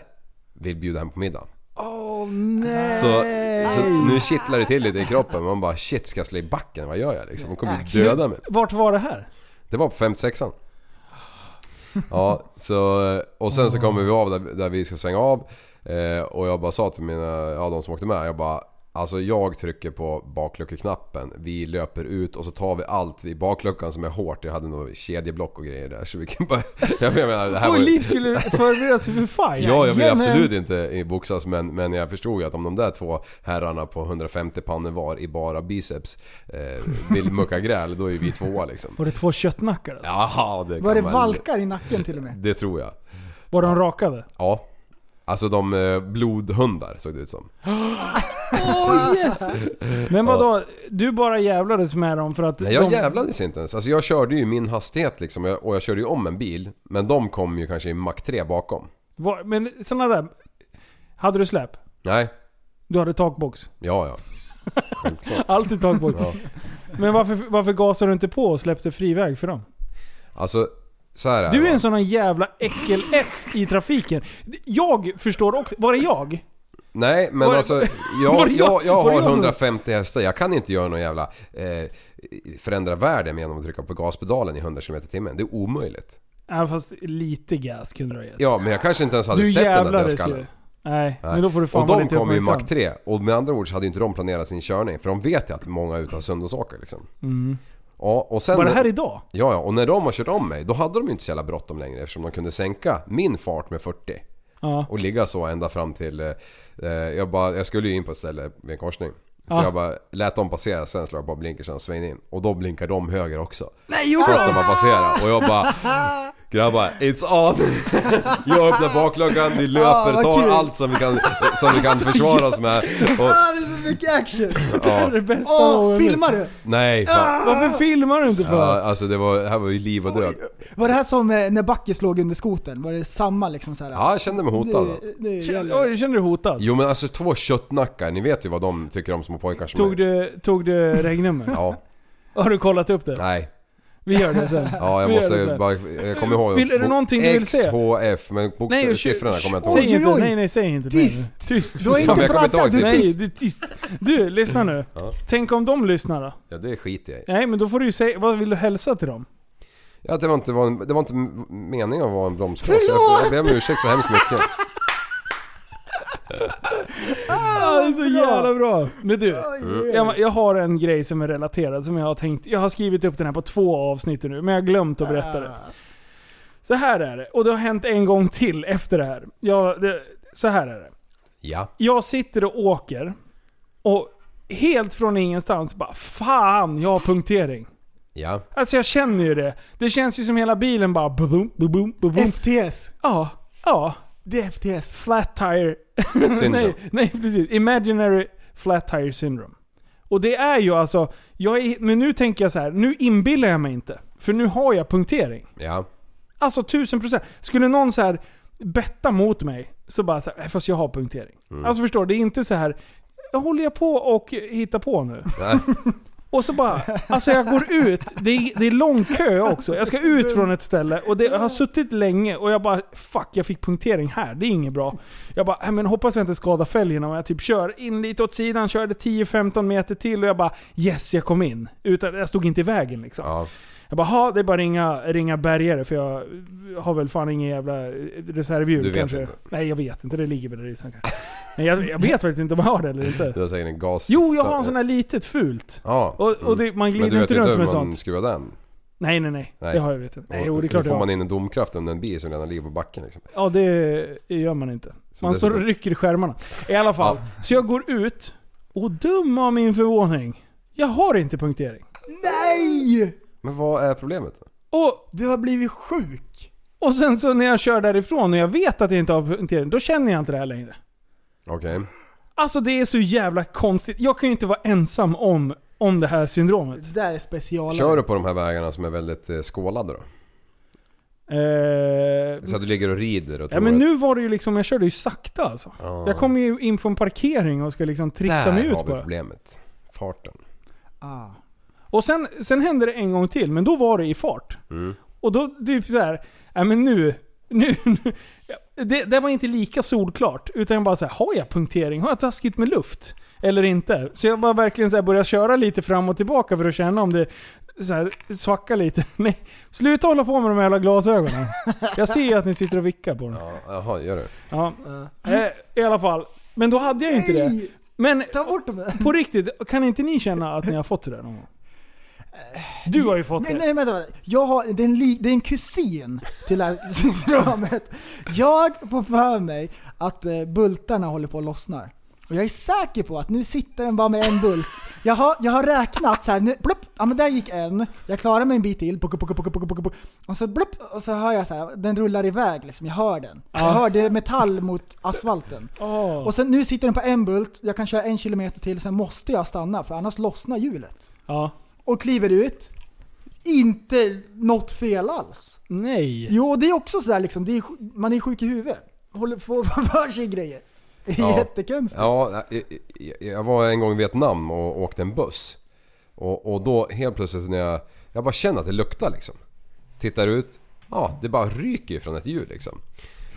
S1: vill bjuda hem på middag.
S2: Åh nej!
S1: Så, så nu kittlar det till lite i kroppen. Man bara shit, ska jag slå i backen? Vad gör jag liksom? De kommer ju döda mig.
S3: Vart var det här?
S1: Det var på 56an. Ja, så, och sen så kommer vi av där, där vi ska svänga av. Eh, och jag bara sa till mina, ja de som åkte med, jag bara Alltså jag trycker på bakluckeknappen, vi löper ut och så tar vi allt i bakluckan som är hårt. Jag hade nog kedjeblock och grejer där så vi kan bara... (laughs) Jag menar det här var
S3: Oj, Liv
S1: ju...
S3: skulle förbereda sig
S1: (laughs)
S3: för fight.
S1: Ja, jag vill
S2: Jajamän.
S1: absolut inte i- boxas men, men jag förstod ju att om de där två herrarna på 150 pannor var i bara biceps eh, vill mucka gräl, då är vi tvåa liksom.
S2: (laughs)
S3: Var det två köttnackar alltså?
S1: Jaha, det
S2: Var det
S1: kan man-
S2: valkar i nacken till och med?
S1: det tror jag.
S3: Var de
S1: (laughs)
S3: rakade?
S1: Ja. Alltså de eh, blodhundar såg det ut som.
S3: Åh yes! Men vadå? Du bara jävlades med dem för att
S1: Nej, jag
S3: de...
S1: jävlades inte ens. Alltså jag körde ju min hastighet liksom och jag, och jag körde ju om en bil. Men de kom ju kanske i Mac 3 bakom.
S3: Var, men sådana där... Hade du släp?
S1: Nej,
S3: Du hade takbox?
S1: ja ja.
S3: Alltid (laughs) takbox.
S1: Ja.
S3: Men varför, varför gasade du inte på och släppte friväg för dem?
S1: Alltså Så här är
S3: Du
S1: det,
S3: är
S1: va?
S3: en sån här jävla äckel F i trafiken. Jag förstår också. Var är jag?
S1: Nej men
S3: Var- (laughs)
S1: alltså,
S3: Var
S1: jag,
S3: jag-
S1: jag, jag
S3: var
S1: har
S3: jag som-
S1: 150 hästar, jag kan inte göra någon jävla... Eh, förändra världen genom att trycka på gaspedalen i 100 km i timmen. Det är omöjligt.
S3: Ja, fast lite gas kunde du ha gett.
S1: Ja men jag kanske inte ens hade
S3: Du
S1: sett den där
S3: jävlades
S1: dödskallen.
S3: ju. Nej,
S1: Nej.
S3: men då får du fan
S1: och
S3: vara
S1: de
S3: lite
S1: kom ju i
S3: uppmärksam.
S1: Mac 3 och med andra ord så hade ju inte de planerat sin körning för de vet ju att många är ute och söndagsåker liksom. Ja, och sen...
S3: Mm. Var det här idag?
S1: Ja, ja, och när de har kört om mig då hade de ju inte så jävla bråttom längre eftersom de kunde sänka min fart med 40
S3: Ja.
S1: och ligga så ända fram till... eh, Eh, jag, bara, jag skulle ju in på ett ställe vid en korsning. Så
S3: Ja.
S1: jag bara lät dem passera, sen slog jag på blinkersen och svängde in. Och då blinkar de höger också.
S3: Nej, gjorde (laughs)
S1: Fast de har passerat. Och jag bara... Grabbar, it's on! Jag öppnar bakluckan, vi
S2: Ah,
S1: löper,
S2: vad
S1: tar
S2: kul.
S1: allt som vi kan, som vi kan försvara oss med. Och,
S2: Ah, det är så mycket action!
S3: Det här är det bästa jag
S2: Åh,
S3: vet.
S2: filmar du?
S1: nej fan.
S3: Varför filmar du inte för?
S1: Ja, alltså det var, det här var ju liv och död.
S2: Var det här som eh, när Backe slog under skoten? Var det samma liksom såhär?
S1: Ja, jag kände mig hotad.
S2: Det, det
S3: Känner,
S2: gäller.
S3: oj, känner du dig hotad?
S1: Jo men alltså två köttnackar, ni vet ju vad de tycker om små pojkar som
S3: Tog
S1: mig.
S3: du, tog du regnummer?
S1: Ja,
S3: Har du kollat upp det?
S1: nej.
S3: Vi gör det sen.
S1: Ja, jag
S3: Vi gör
S1: måste
S3: det
S1: ju
S3: sen.
S1: bara... Jag kommer ihåg...
S3: Vill- är det någonting du vill se?
S1: XHF, men
S3: Nej,
S1: bokstäver,
S3: och-
S1: siffrorna kommer jag inte
S2: Oj,
S1: ihåg.
S3: Säg inte,
S2: oj.
S3: nej nej säg inte.
S2: Tyst.
S3: Nej. Tyst.
S2: Du har
S1: Fan,
S2: inte
S1: jag kommer inte ihåg
S2: drabbats, du är
S3: Nej,
S2: tyst.
S3: du tyst. Du, lyssna nu.
S1: Ja.
S3: Tänk om de lyssnar då?
S1: Ja, det skiter jag i.
S3: Nej men då får du ju säga, vad vill du hälsa till dem?
S1: Ja, det var inte, var en, det var inte m- meningen att vara en bromskloss. Jag, jag ber om ursäkt så hemskt mycket.
S3: Ah, det är så jävla bra! Men du,
S1: Mm.
S3: jag, jag har en grej som är relaterad som jag har tänkt, jag har skrivit upp den här på två avsnitt nu, men jag har glömt att berätta det. Så här är det, och det har hänt en gång till efter det här. Jag, det, så här är det.
S1: Ja.
S3: jag sitter och åker och helt från ingenstans bara Fan, jag har punktering.
S1: Ja.
S3: Alltså jag känner ju det. Det känns ju som hela bilen bara bubum, bubum, bubum.
S2: FTS.
S3: Ja, ja.
S2: Det är FTS.
S3: Flat tire. (clears throat) (laughs)
S1: Syndrom.
S3: nej, nej, precis. Imaginary flat tire syndrome. Och det är ju alltså, jag är, men nu tänker jag så här, nu inbillar jag mig inte. För nu har jag punktering.
S1: Ja.
S3: Alltså 1000%. Skulle någon så här betta mot mig, så bara så här, "Nej, fast jag har punktering. Alltså förstår du, det är inte så här håller jag på och hittar på nu?
S1: Nej.
S3: Och så bara, alltså jag går ut, det är, det är lång kö också. Jag ska ut från ett ställe och det, jag har suttit länge och jag bara fuck, jag fick punktering här, det är inget bra. Jag bara, "Äh, men hoppas jag inte skadar fälgarna. Och jag typ kör in lite åt sidan, körde 10-15 meter till och jag bara yes, jag kom in. Utan, jag stod inte i vägen liksom.
S1: Ja.
S3: Jag bara, ha det är bara ringa, ringa bärgare för jag har väl fan ingen jävla reservhjul
S1: Du vet
S3: kanske.
S1: inte.
S3: Nej jag vet inte, det ligger väl där i sen kanske. Nej, jag, jag vet faktiskt inte om jag har det eller inte.
S1: (laughs) Du har säkert en gas...
S3: Jo, jag har en sån här litet fult.
S1: Ja.
S3: Och, och det, man
S1: Mm. Men du
S3: glider
S1: vet
S3: inte
S1: ju
S3: runt
S1: inte hur
S3: med
S1: man
S3: sånt.
S1: skruvar den?
S3: Nej, nej, nej.
S1: Nej.
S3: Det har jag vet inte. Nej, jo, det är
S1: Hur
S3: klart jag
S1: får man
S3: har.
S1: in en domkraft under en bil som redan ligger på backen liksom?
S3: Ja, det gör man inte.
S1: Som
S3: Man står och
S1: dessutom-
S3: rycker i skärmarna. I alla fall. Så jag går ut och dum av min förvåning. Jag har inte punktering.
S2: Nej!
S1: Men vad är problemet?
S3: Och,
S2: Du har blivit sjuk.
S3: och sen så när jag kör därifrån och jag vet att jag inte har punktering, då känner jag inte det här längre.
S1: Okej.
S3: Alltså det är så jävla konstigt. Jag kan ju inte vara ensam om, om det här syndromet.
S2: Det där är specialare.
S1: Kör du på de här vägarna som är väldigt eh, skålade då?
S3: Eh,
S1: Så att du ligger och rider och
S3: Ja
S1: tror
S3: men
S1: att-
S3: nu var det ju liksom, jag körde ju sakta alltså.
S1: Ja.
S3: Jag kom ju in från parkering och skulle liksom trixa mig
S1: Där
S3: ut
S1: har vi
S3: bara.
S1: problemet. Farten.
S2: Ah.
S3: Och sen, sen hände det en gång till, men då var det i fart. Och då typ såhär, nej men nu, nu, (laughs) Ja, det, det var inte lika solklart. Utan jag bara såhär, har jag punktering? Har jag taskigt med luft? Eller inte? Så jag bara verkligen så här började köra lite fram och tillbaka för att känna om det så här, svackar lite. (laughs) Nej, sluta hålla på med de här jävla glasögonen. Jag ser ju att ni sitter och vickar på dem.
S1: Ja, jaha, gör du?
S3: Ja. Eh, I alla fall. Men då hade jag ju inte det.
S2: Nej!
S3: Men
S2: Ta bort dem.
S3: på riktigt, kan inte ni känna att ni har fått det där någon gång? Du har ju fått
S2: Eh, Nej,
S3: det.
S2: nej vänta, vänta. Jag har, det, är en li, det är en kusin till det här (laughs) syndromet. Jag får för mig att eh, bultarna håller på att lossna. Och jag är säker på att nu sitter den bara med en bult. Jag har, jag har räknat så här, nu, plupp, ja men där gick en, jag klarar mig en bit till, pucka, pucka, pucka, pucka, pucka, pucka. och så plupp, och så hör jag så här, den rullar iväg liksom, jag hör den. Jag hör, det är metall mot asfalten.
S3: Åh.
S2: Och sen nu sitter den på en bult, jag kan köra en kilometer till, sen måste jag stanna för annars lossnar hjulet
S3: Ja.
S2: och kliver ut. Inte något fel alls.
S3: Nej.
S2: Jo, det är också sådär liksom, det är, sj- man är sjuk i huvudet. Håller på att för sig grejer. Det är
S1: Ja.
S2: jättekonstigt.
S1: Ja, jag- jag- jag var en gång i Vietnam och åkte en buss. Och, och då helt plötsligt när jag... Jag bara känner att det luktar liksom. Tittar ut, Ja, det bara ryker från ett hjul liksom.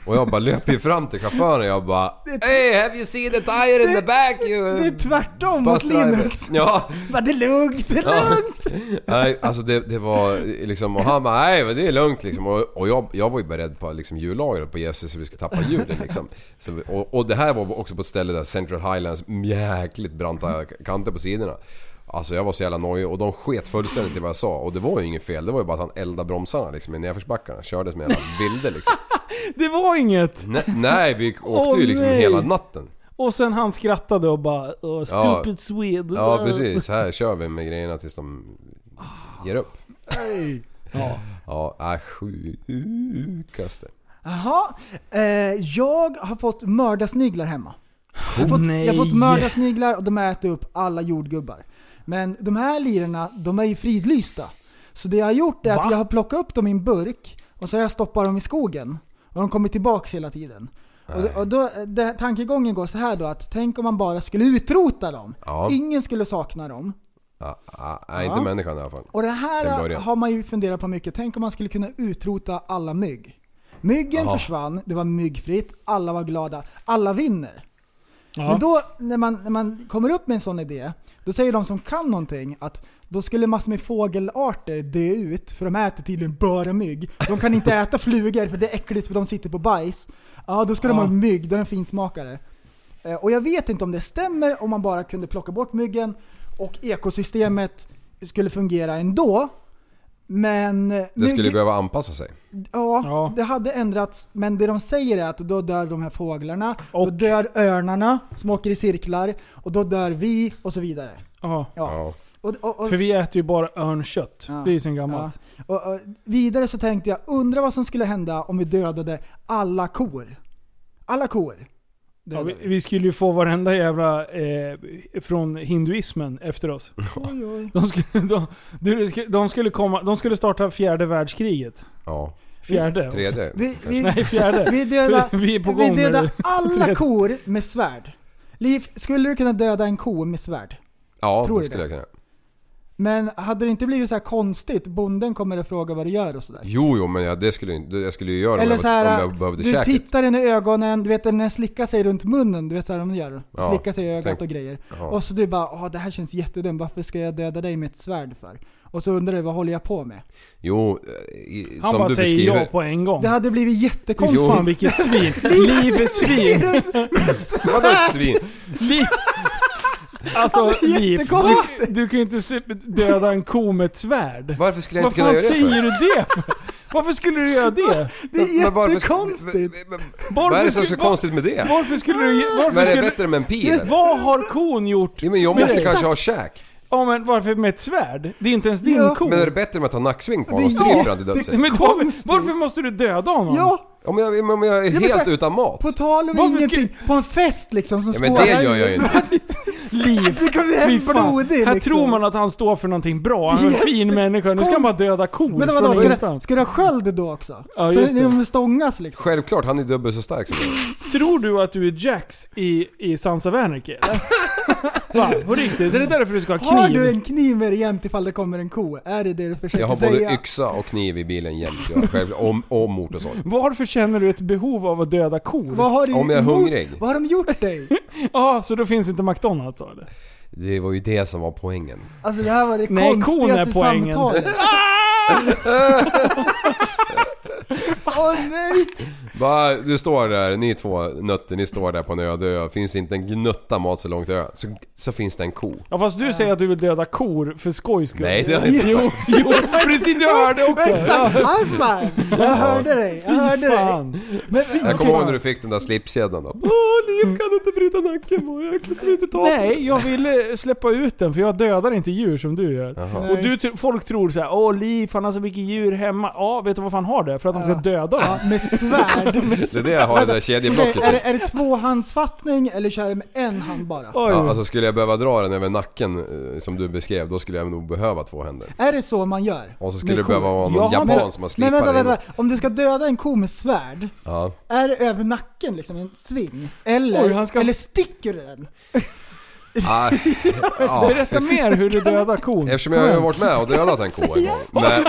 S1: Och jag bara löper ju fram till chauffören och jag bara Hey, have you seen the tire in the back you...
S2: Det är tvärtom mot
S1: bus driver?"
S2: Linus.
S1: Ja,
S2: Bara, det är lugnt, det är
S1: Ja.
S2: lugnt.
S1: (laughs) Nej, alltså det, det var liksom, och han bara nej men det är lugnt liksom. Och, och jag, jag var ju beredd på liksom jullagret på Jesus så vi ska tappa hjulen
S2: (laughs)
S1: liksom. Så, vi- och, och det här var också på ett ställe där Central Highlands jäkligt branta kanter på sidorna. Alltså jag var så jävla nojig och de sket fullständigt i vad jag sa och det var ju inget fel. Det var ju bara att han eldade bromsarna liksom i nedförsbackarna. Körde som en jävla vilde
S2: (laughs)
S1: liksom.
S3: Det var inget!
S1: Nej, nej vi åkte ju
S3: Åh,
S1: liksom
S3: nej.
S1: hela natten.
S3: Och sen han skrattade och bara "Åh,
S1: Ja.
S3: stupid Swede.
S1: Ja precis, här kör vi med grejerna tills de ger upp.
S3: Ja.
S1: Ja, äh, sjukaste.
S2: Jaha, eh, jag har fått mördarsniglar hemma. Jag har
S3: Oh,
S2: fått,
S3: nej.
S2: jag har fått mördarsniglar och de äter upp alla jordgubbar. Men de här lirarna, de är ju fridlysta. Så det jag har gjort är
S3: Va?
S2: att jag har plockat upp dem i en burk och så har jag stoppat dem i skogen. Och de kommer tillbaks hela tiden. Och, och då, det, tankegången går så här då att tänk om man bara skulle utrota dem.
S1: Ja.
S2: Ingen skulle sakna dem.
S1: Ja, ja, nej, inte
S2: Ja.
S1: människan i alla fall.
S2: Och det
S1: Till en
S2: här
S1: början.
S2: har man ju funderat på mycket. Tänk om man skulle kunna utrota alla mygg. Myggen
S1: Ja.
S2: försvann, det var myggfritt, alla var glada, alla vinner.
S3: Ja.
S2: Men då när man, när man kommer upp med en sån idé, då säger de som kan någonting att då skulle massor med fågelarter dö ut för de äter tydligen bara mygg. De kan inte äta flugor för det är äckligt för de sitter på bajs. Ja, då ska de
S3: Ja.
S2: ha mygg, då är det en finsmakare. Eh, Och jag vet inte om det stämmer om man bara kunde plocka bort myggen och ekosystemet skulle fungera ändå. Men... eh,
S1: Det skulle behöva anpassa sig.
S2: Ja,
S3: Ja.
S2: det hade ändrats. Men det de säger är att då dör de här fåglarna, då
S3: Och-
S2: dör örnarna som åker i cirklar, och då dör vi och så vidare.
S3: Ja.
S2: Ja.
S1: Ja.
S2: Och, och, och,
S3: För vi äter ju bara örnkött.
S2: Ja.
S3: Det är ju sen
S2: ja.
S3: gammalt.
S2: och, och, vidare så tänkte jag, undra vad som skulle hända om vi dödade alla kor? Alla kor.
S3: Ja,
S2: Dödade
S3: vi,
S2: vi.
S3: vi skulle ju få varenda jävla eh, från hinduismen efter
S1: (laughs)
S3: oss.
S2: Oj, oj.
S3: De skulle, de, du, de, skulle komma, de skulle starta fjärde världskriget.
S1: Ja.
S3: Fjärde?
S1: Tredje.
S2: Vi, vi,
S3: Nej, fjärde.
S2: vi dödar
S3: (laughs) Vi är på
S2: vi
S3: gång med
S2: dödar
S3: det.
S2: alla kor med svärd. Liv, skulle du kunna döda en ko med svärd?
S1: Ja,
S2: Tror
S1: det
S2: du
S1: skulle jag
S2: det?
S1: kunna.
S2: Men hade det inte blivit så här konstigt? Bonden kommer att fråga vad du gör och sådär.
S1: Jo, jo, men jag, det skulle, ju inte- jag skulle ju göra det om
S2: Eller
S1: jag,
S2: så
S1: om
S2: här,
S1: jag behövde
S2: du
S1: käket.
S2: tittar in i ögonen, du vet när den slickar sig runt munnen, du vet så här de gör.
S1: Ja,
S2: slickar sig i ögat
S1: tänk-
S2: och grejer.
S1: Ja.
S2: Och så du bara Åh, det här känns jättedumt, varför ska jag döda dig med ett svärd för?” Och så undrar du vad håller jag på med?
S1: Jo, eh, i,
S3: Han
S1: som
S3: bara
S1: du
S3: säger
S1: beskriver.
S3: ja på en gång.
S2: Det hade blivit
S3: Fy
S2: jättekonstigt.
S3: fan vilket svin. Livet svin.
S1: (laughs) Vadå ett svin?
S3: Liv. Alltså
S2: Det är
S3: Liv, du,
S2: jättekonstigt.
S3: du kan ju inte se- döda en ko med ett svärd.
S1: Varför skulle jag
S3: Vad
S1: inte kunna
S3: fan
S1: göra det
S3: säger
S1: för?
S3: du det för? Varför skulle du göra det?
S2: Det är
S1: Men varför sk-
S2: jättekonstigt.
S1: men- men-
S3: Varför
S1: Vad är det som är så
S3: skulle- var-
S1: konstigt med det?
S3: Varför skulle du... ge- Varför
S1: Vad är det
S3: skulle,
S1: bättre med en pil? eller?
S3: vad har kon gjort?
S1: Jo, men jag måste kanske ha käk.
S3: Ja men varför med ett svärd? Det är inte ens din
S2: Ja.
S3: ko.
S1: Men är det bättre med att ta nacksving på honom och
S2: Det- ja,
S1: stryper han till
S2: det-
S1: döds?
S3: Nej, men
S2: Konstigt.
S3: varför, varför måste du döda honom?
S2: Ja,
S1: Om jag, om jag är
S2: men
S1: helt
S2: så här-
S1: utan mat?
S2: på tal om
S3: Varför
S2: ingenting. På en fest liksom som
S1: Ja, men det
S2: skådar-
S1: gör jag ju inte.
S3: Liv.
S2: Det kommer
S3: Fy
S2: hem
S3: fan.
S2: blodig
S3: Här
S2: liksom.
S3: tror man att han står för någonting bra, han är en
S2: Jätte-
S3: fin människa. Nu ska han bara döda kor
S2: (laughs) Men
S3: från
S2: vadå, ska det,
S3: ingenstans.
S2: ska det ha sköld då också?
S3: Ja,
S2: så
S3: just
S2: det.
S3: det.
S2: de stångas liksom?
S1: Självklart, han är dubbelt så stark som jag.
S3: Tror du att du är Jax i, i Sons of Anarchy eller? Va? På riktigt? Är det därför du ska ha kniv?
S2: Har du en kniv med dig jämt ifall det kommer en ko? Är det det du försöker (laughs)
S1: Jag har
S2: säga?
S1: både yxa och kniv i bilen jämt. Jag har själv, om, om motorsåg.
S3: Varför känner du ett behov av att döda kor?
S2: Vad har du
S1: Om jag är
S2: emot-
S1: hungrig.
S2: Vad har de gjort dig?
S3: Ja, så då finns inte McDonalds då eller?
S1: Det var ju det som var poängen.
S2: Alltså det här var det
S3: Nej, kon är
S2: konstigaste
S3: poängen. (laughs)
S2: samtalet. Ah! Åh nej!
S1: Va, du står där, ni två nötter, ni står där på en öde ö. Finns inte en gnutta mat så långt ö. Så, så finns det en ko.
S3: Ja fast du säger att du vill döda kor för skojs skull.
S1: Nej det har jag inte sagt.
S3: Jo, precis du hörde också!
S2: Exakt! High five! Jag hörde dig, jag hörde dig.
S3: Fan.
S2: Men,
S1: Jag kommer ihåg när du fick den där slipkedjan då.
S3: Liv kan inte bryta nacken på jag klättrar inte taket. Nej, jag ville släppa ut den för jag dödar inte djur som du gör. Och du, tr- folk tror såhär, åh Liv, han har så mycket djur hemma. Ja, vet du varför han har det? För att han ska
S2: Ja.
S3: döda dem.
S2: Ja, med svärd.
S1: Det är det jag har det där kedjeblocket.
S2: Är det, är det tvåhandsfattning eller kör du med en hand bara?
S3: Oj.
S1: Ja, alltså skulle jag behöva dra den över nacken eh, som du beskrev, då skulle jag nog behöva två händer.
S2: Är det så man gör?
S1: Och så skulle
S2: Med
S1: det behöva
S2: kor?
S1: vara
S3: Jag
S1: någon
S3: har-
S1: japan som
S2: Men
S1: har slipat
S2: vänta,
S1: in.
S2: vänta. Om du ska döda en ko med svärd,
S1: Ja.
S2: är det över nacken liksom? En sving? Eller,
S3: Oj, han ska-
S2: eller sticker du den?
S1: Ah,
S3: (laughs)
S1: ja.
S3: Berätta mer hur du dödar kon.
S1: Eftersom jag har varit med och dödat en ko en gång. Nej.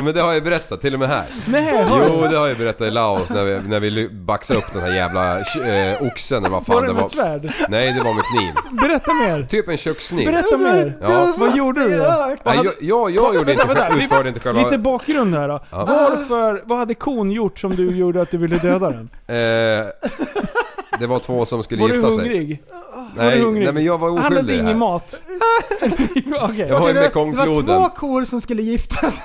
S1: Men (laughs) det har jag berättat, till och med här.
S3: Nej, har
S1: Jo, det har jag berättat i Laos när vi, när vi ly- baxade upp den här jävla eh, oxen eller vad fan
S3: Var det
S1: det
S3: med
S1: var.
S3: svärd?
S1: Nej, det var med kniv.
S3: Berätta mer!
S1: Typ en kökskniv.
S3: Berätta mer!
S1: Ja.
S3: Vad gjorde du då?
S1: Nej, jag, jag, jag gjorde inte,
S3: Vänta, vi-
S1: utförde inte själva...
S3: Lite bakgrund här då. Varför, vad hade kon gjort som du gjorde att du ville döda den?
S1: Eh, det var två som skulle
S3: Var du
S1: gifta sig.
S3: hungrig? Var
S1: Nej,
S3: du hungrig?
S1: nej, men jag var
S3: Han
S1: oskyldig
S3: hade
S1: i det här.
S3: ingen mat. (laughs) Okej.
S1: Jag var ju
S2: det,
S1: med
S2: det var
S1: Mekongfloden.
S2: två kor som skulle gifta sig.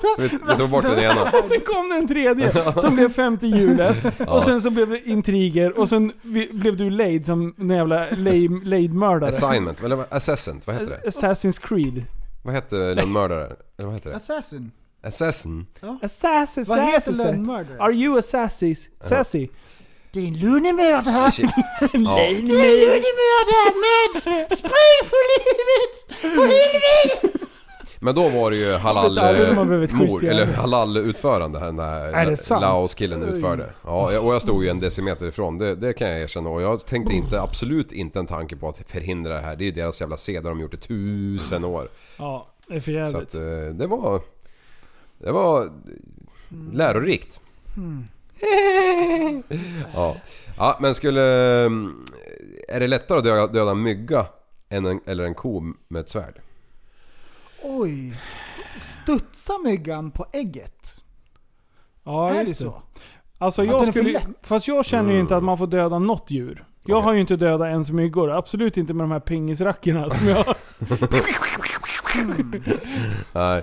S1: Så vi, vi tog
S3: (laughs)
S1: bort den ena.
S3: Och sen kom det en tredje som blev femte hjulet. Och sen så blev det intriger och sen vi- blev du lejd som en jävla lame- lejdmördare.
S1: Assignment, eller vad- assessant, vad heter det?
S3: Assassin's Creed.
S1: Vad hette lönnmördaren? Eller vad heter det?
S2: Assassin.
S1: Assassin?
S3: Assassin,
S2: Vad heter
S3: assassin.
S2: lönnmördare?
S3: Are you assassin? Sassy?
S2: Det är en lunemördare.
S1: Shit.
S3: Nej,
S2: Det är en lunemördare med spring för livet! På helvete!
S1: Men då var det ju halal
S3: Vet aldrig om man behöver ett
S1: eh,
S3: schysst
S1: mord,
S3: jävla.
S1: eller halal utförande här den
S3: Är det
S1: där
S3: sant?
S1: Laos-killen utförde. Ja, jag- och jag stod ju en decimeter ifrån, det, det kan jag erkänna. Och jag tänkte inte, absolut inte en tanke på att förhindra det här. Det är ju deras jävla seder, de har gjort i tusen år.
S3: Ja, det är för
S1: Så
S3: jävligt.
S1: att eh, det var... Det var lärorikt. (laughs) ja. ja, men skulle... eh, Är det lättare att döda, döda en mygga än en, eller en ko med ett svärd?
S2: Oj. Studsa myggan på ägget?
S3: Ja,
S2: är det
S3: just det.
S2: så?
S3: Alltså
S2: den är
S3: jag
S2: för
S3: skulle,
S2: lätt.
S3: fast jag känner ju inte att man får döda något djur. Jag
S1: Okej.
S3: har ju inte dödat ens myggor. Absolut inte med de här pingisrackorna som jag har.
S1: Nej.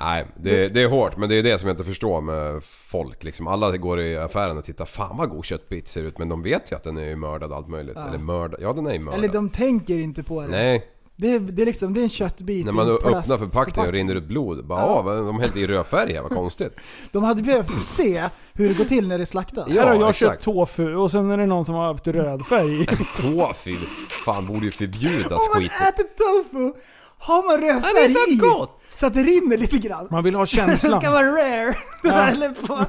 S1: Nej, det, det är hårt men det är det som jag inte förstår med folk liksom. Alla går i affären och tittar, fan vad god köttbit ser ut men de vet ju att den är ju mördad och allt möjligt. Eller mördad, ja den är ju mördad.
S2: Eller de tänker inte på det.
S1: Nej,
S2: Det, är, det, är liksom, det är en köttbit
S1: när
S2: i
S1: man
S2: en
S1: öppnar
S2: plastförpackning.
S1: förpackningen och rinner ut blod. Bara, ja. vad- de hällde i rödfärg här, vad konstigt.
S2: De hade behövt se hur det går till när det slaktas.
S1: Ja,
S3: Här har jag
S1: exakt.
S3: köpt tofu och sen är det någon som har haft röd färg.
S1: Tofu, fan borde ju förbjudas
S2: Om man
S1: skiten.
S2: äter tofu har man rödfärg
S3: (laughs)
S2: i.
S3: så gott!
S2: Så att det rinner lite grann.
S3: Man vill ha
S2: (laughs) det
S3: känslan.
S2: ska vara rare.
S3: Ja.
S2: Eller på.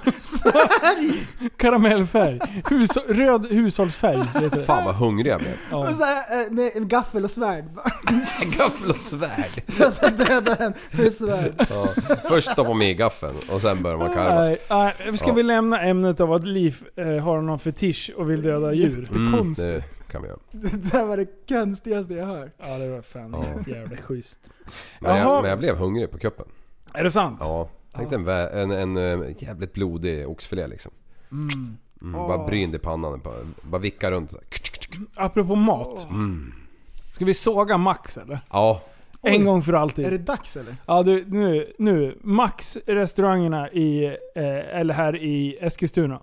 S3: Karamellfärg. Hus röd hushållsfärg heter det.
S1: (laughs) Fan vad hungrig jag blev.
S2: Och så här, eh, med en gaffel och svärd. (laughs)
S1: Gaffel och svärd.
S2: Så att jag dödar den med svärd.
S1: Ja. Först stoppar man i gaffeln och sen börjar man karva.
S3: Nej, nej, ska
S1: Ja.
S3: vi lämna ämnet av att Liv eh, har någon fetisch och vill döda djur?
S1: Mm, det kan vi göra.
S2: Det där var det konstigaste jag hört.
S3: Ja det var fan helt jävla schysst.
S1: Men
S3: Jaha.
S1: jag, men jag blev hungrig på kuppen.
S3: Är det sant?
S1: Ja, tänk dig en, vä- en, en, eh, jävligt blodig oxfilé liksom. Mm, Bara bryn i pannan, bara, bara vicka runt. så här.
S3: Apropå mat. Ska vi såga Max eller?
S1: Ja,
S3: En gång för alltid.
S2: Är det dags eller?
S3: Ja du, nu, nu. Max restaurangerna i, eh, eller här i Eskilstuna.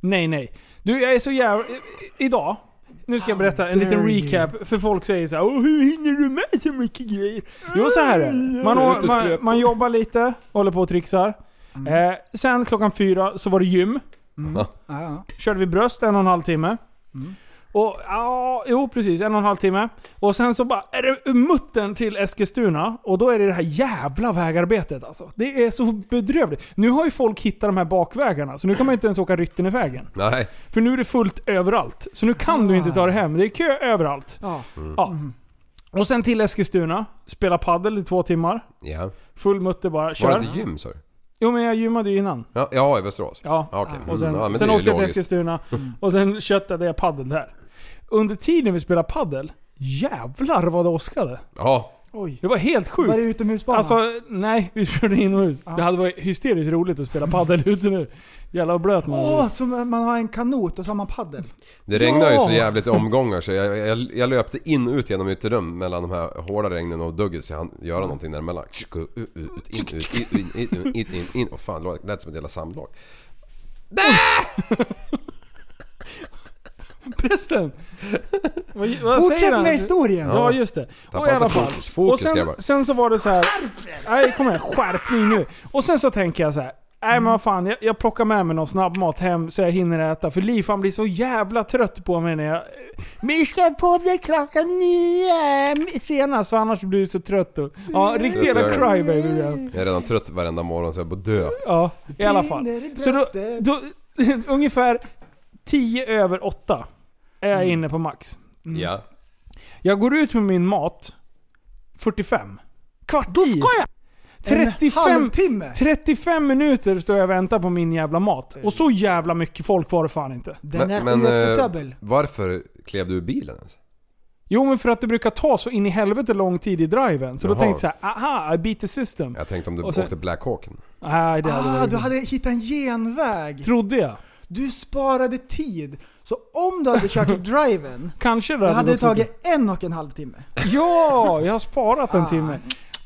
S3: Nej, nej. Du, jag är så jävla... i- Idag, nu ska jag berätta en liten
S2: dare you.
S3: recap. För folk säger så här, "Åh, hur hinner du med så mycket grejer? Jo, så här är det. Man, å- man, man jobbar lite, håller på och trixar.
S2: Mm.
S3: Eh, sen klockan fyra så var det gym.
S2: Ja.
S3: Körde vi bröst en och en halv timme.
S1: Mm.
S3: Och ja, jo precis. En och en halv timme. Och sen så bara är det muttern till Eskilstuna. Och då är det det här jävla vägarbetet alltså. Det är så bedrövligt. Nu har ju folk hittat de här bakvägarna, så nu kan man ju inte ens åka Ryttenevägen.
S1: nej.
S3: För nu är det fullt överallt. Så nu kan du inte ta dig hem. Det är kö överallt.
S2: ja.
S1: Mm.
S3: Ja. Och sen till Eskilstuna. Spela paddel i två timmar.
S1: Ja.
S3: Full mutter bara.
S1: Var
S3: Kör.
S1: det inte gym sa du?
S3: Jo men jag gymmade ju innan.
S1: Ja, ja, i Västerås.
S3: Ja.
S1: Ja, okej.
S3: Och sen,
S1: Mm, ja, men
S3: sen
S1: det är ju
S3: åkte jag till
S1: logiskt. Mm.
S3: Eskilstuna och sen köttade jag paddel där. Under tiden vi spelade paddel, jävlar vad det åskade.
S1: Ja,
S2: Oj.
S3: Det var helt
S2: Var det
S3: sjukt.
S2: utomhusbana?
S3: Alltså, nej, vi spelade inomhus. Det hade varit hysteriskt roligt att spela paddel (laughs) ute nu. Jävlar vad blöt man
S2: Åh,
S3: var.
S2: som man har en kanot och så har man paddel.
S1: det regnade ju
S3: Ja.
S1: så jävligt i omgångar så jag, jag, jag löpte in ut genom ytterdörren mellan de här hårda regnen och dugget så jag hann göra
S2: Mm.
S1: någonting däremellan. Tsk, ut, ut, in, ut, in, in, in, in, in, in. Och fan, det lät som ett jävla samlag.
S3: Prästen! Vad, vad säger
S2: Fortsätt
S3: han?
S2: med historien!
S3: Ja, just det.
S1: Tappa
S3: Och i
S1: inte
S3: alla fall.
S1: fokus. Fokus
S3: och
S1: ska jag
S3: sen,
S1: bara.
S3: sen så var det så här. Nej, kom igen. Skärpning nu. Och sen så tänker jag så här. Nej men vad fan, jag, jag plockar med mig någon snabbmat hem så jag hinner äta. För Liv han blir så jävla trött på mig när jag... Vi ska på det klockan nio senast, för annars blir du så trött. Och, ja,
S2: Mm.
S3: riktigt jävla
S1: Det är-
S3: crybaby. blir jag.
S1: Jag är redan trött varenda morgon så jag är på att dö.
S3: Ja, i alla fall.
S2: brinner i
S3: Så då,
S2: bröstet.
S3: då (laughs) ungefär tio över åtta är
S1: Mm.
S3: jag inne på max.
S2: Mm.
S1: Ja.
S3: Jag går ut med min mat 45. Kvart i.
S2: En
S3: 35,
S2: halvtimme!
S3: 35 minuter står jag och väntar på min jävla mat. Och så jävla mycket folk var det fan inte.
S2: Den är
S1: Men, men, eh,
S2: oacceptabel.
S1: varför klev du ur bilen ens?
S3: Jo men för att det brukar ta så in i helvete lång tid i driven. Så då
S1: Jaha.
S3: tänkte jag så här, aha, I beat the system.
S1: Jag tänkte om du
S3: Och sen-
S1: åkte Black Hawken.
S3: Nej det hade
S2: Ah,
S3: varit
S2: du
S3: dumt.
S2: hade hittat en genväg.
S3: Trodde jag.
S2: Du sparade tid. Så om du (laughs) hade kört i driven,
S3: Kanske
S2: då
S3: det
S2: hade det
S3: gått mycket.
S2: tagit en och en halv timme.
S3: Ja, jag har sparat
S2: Ah.
S3: en timme.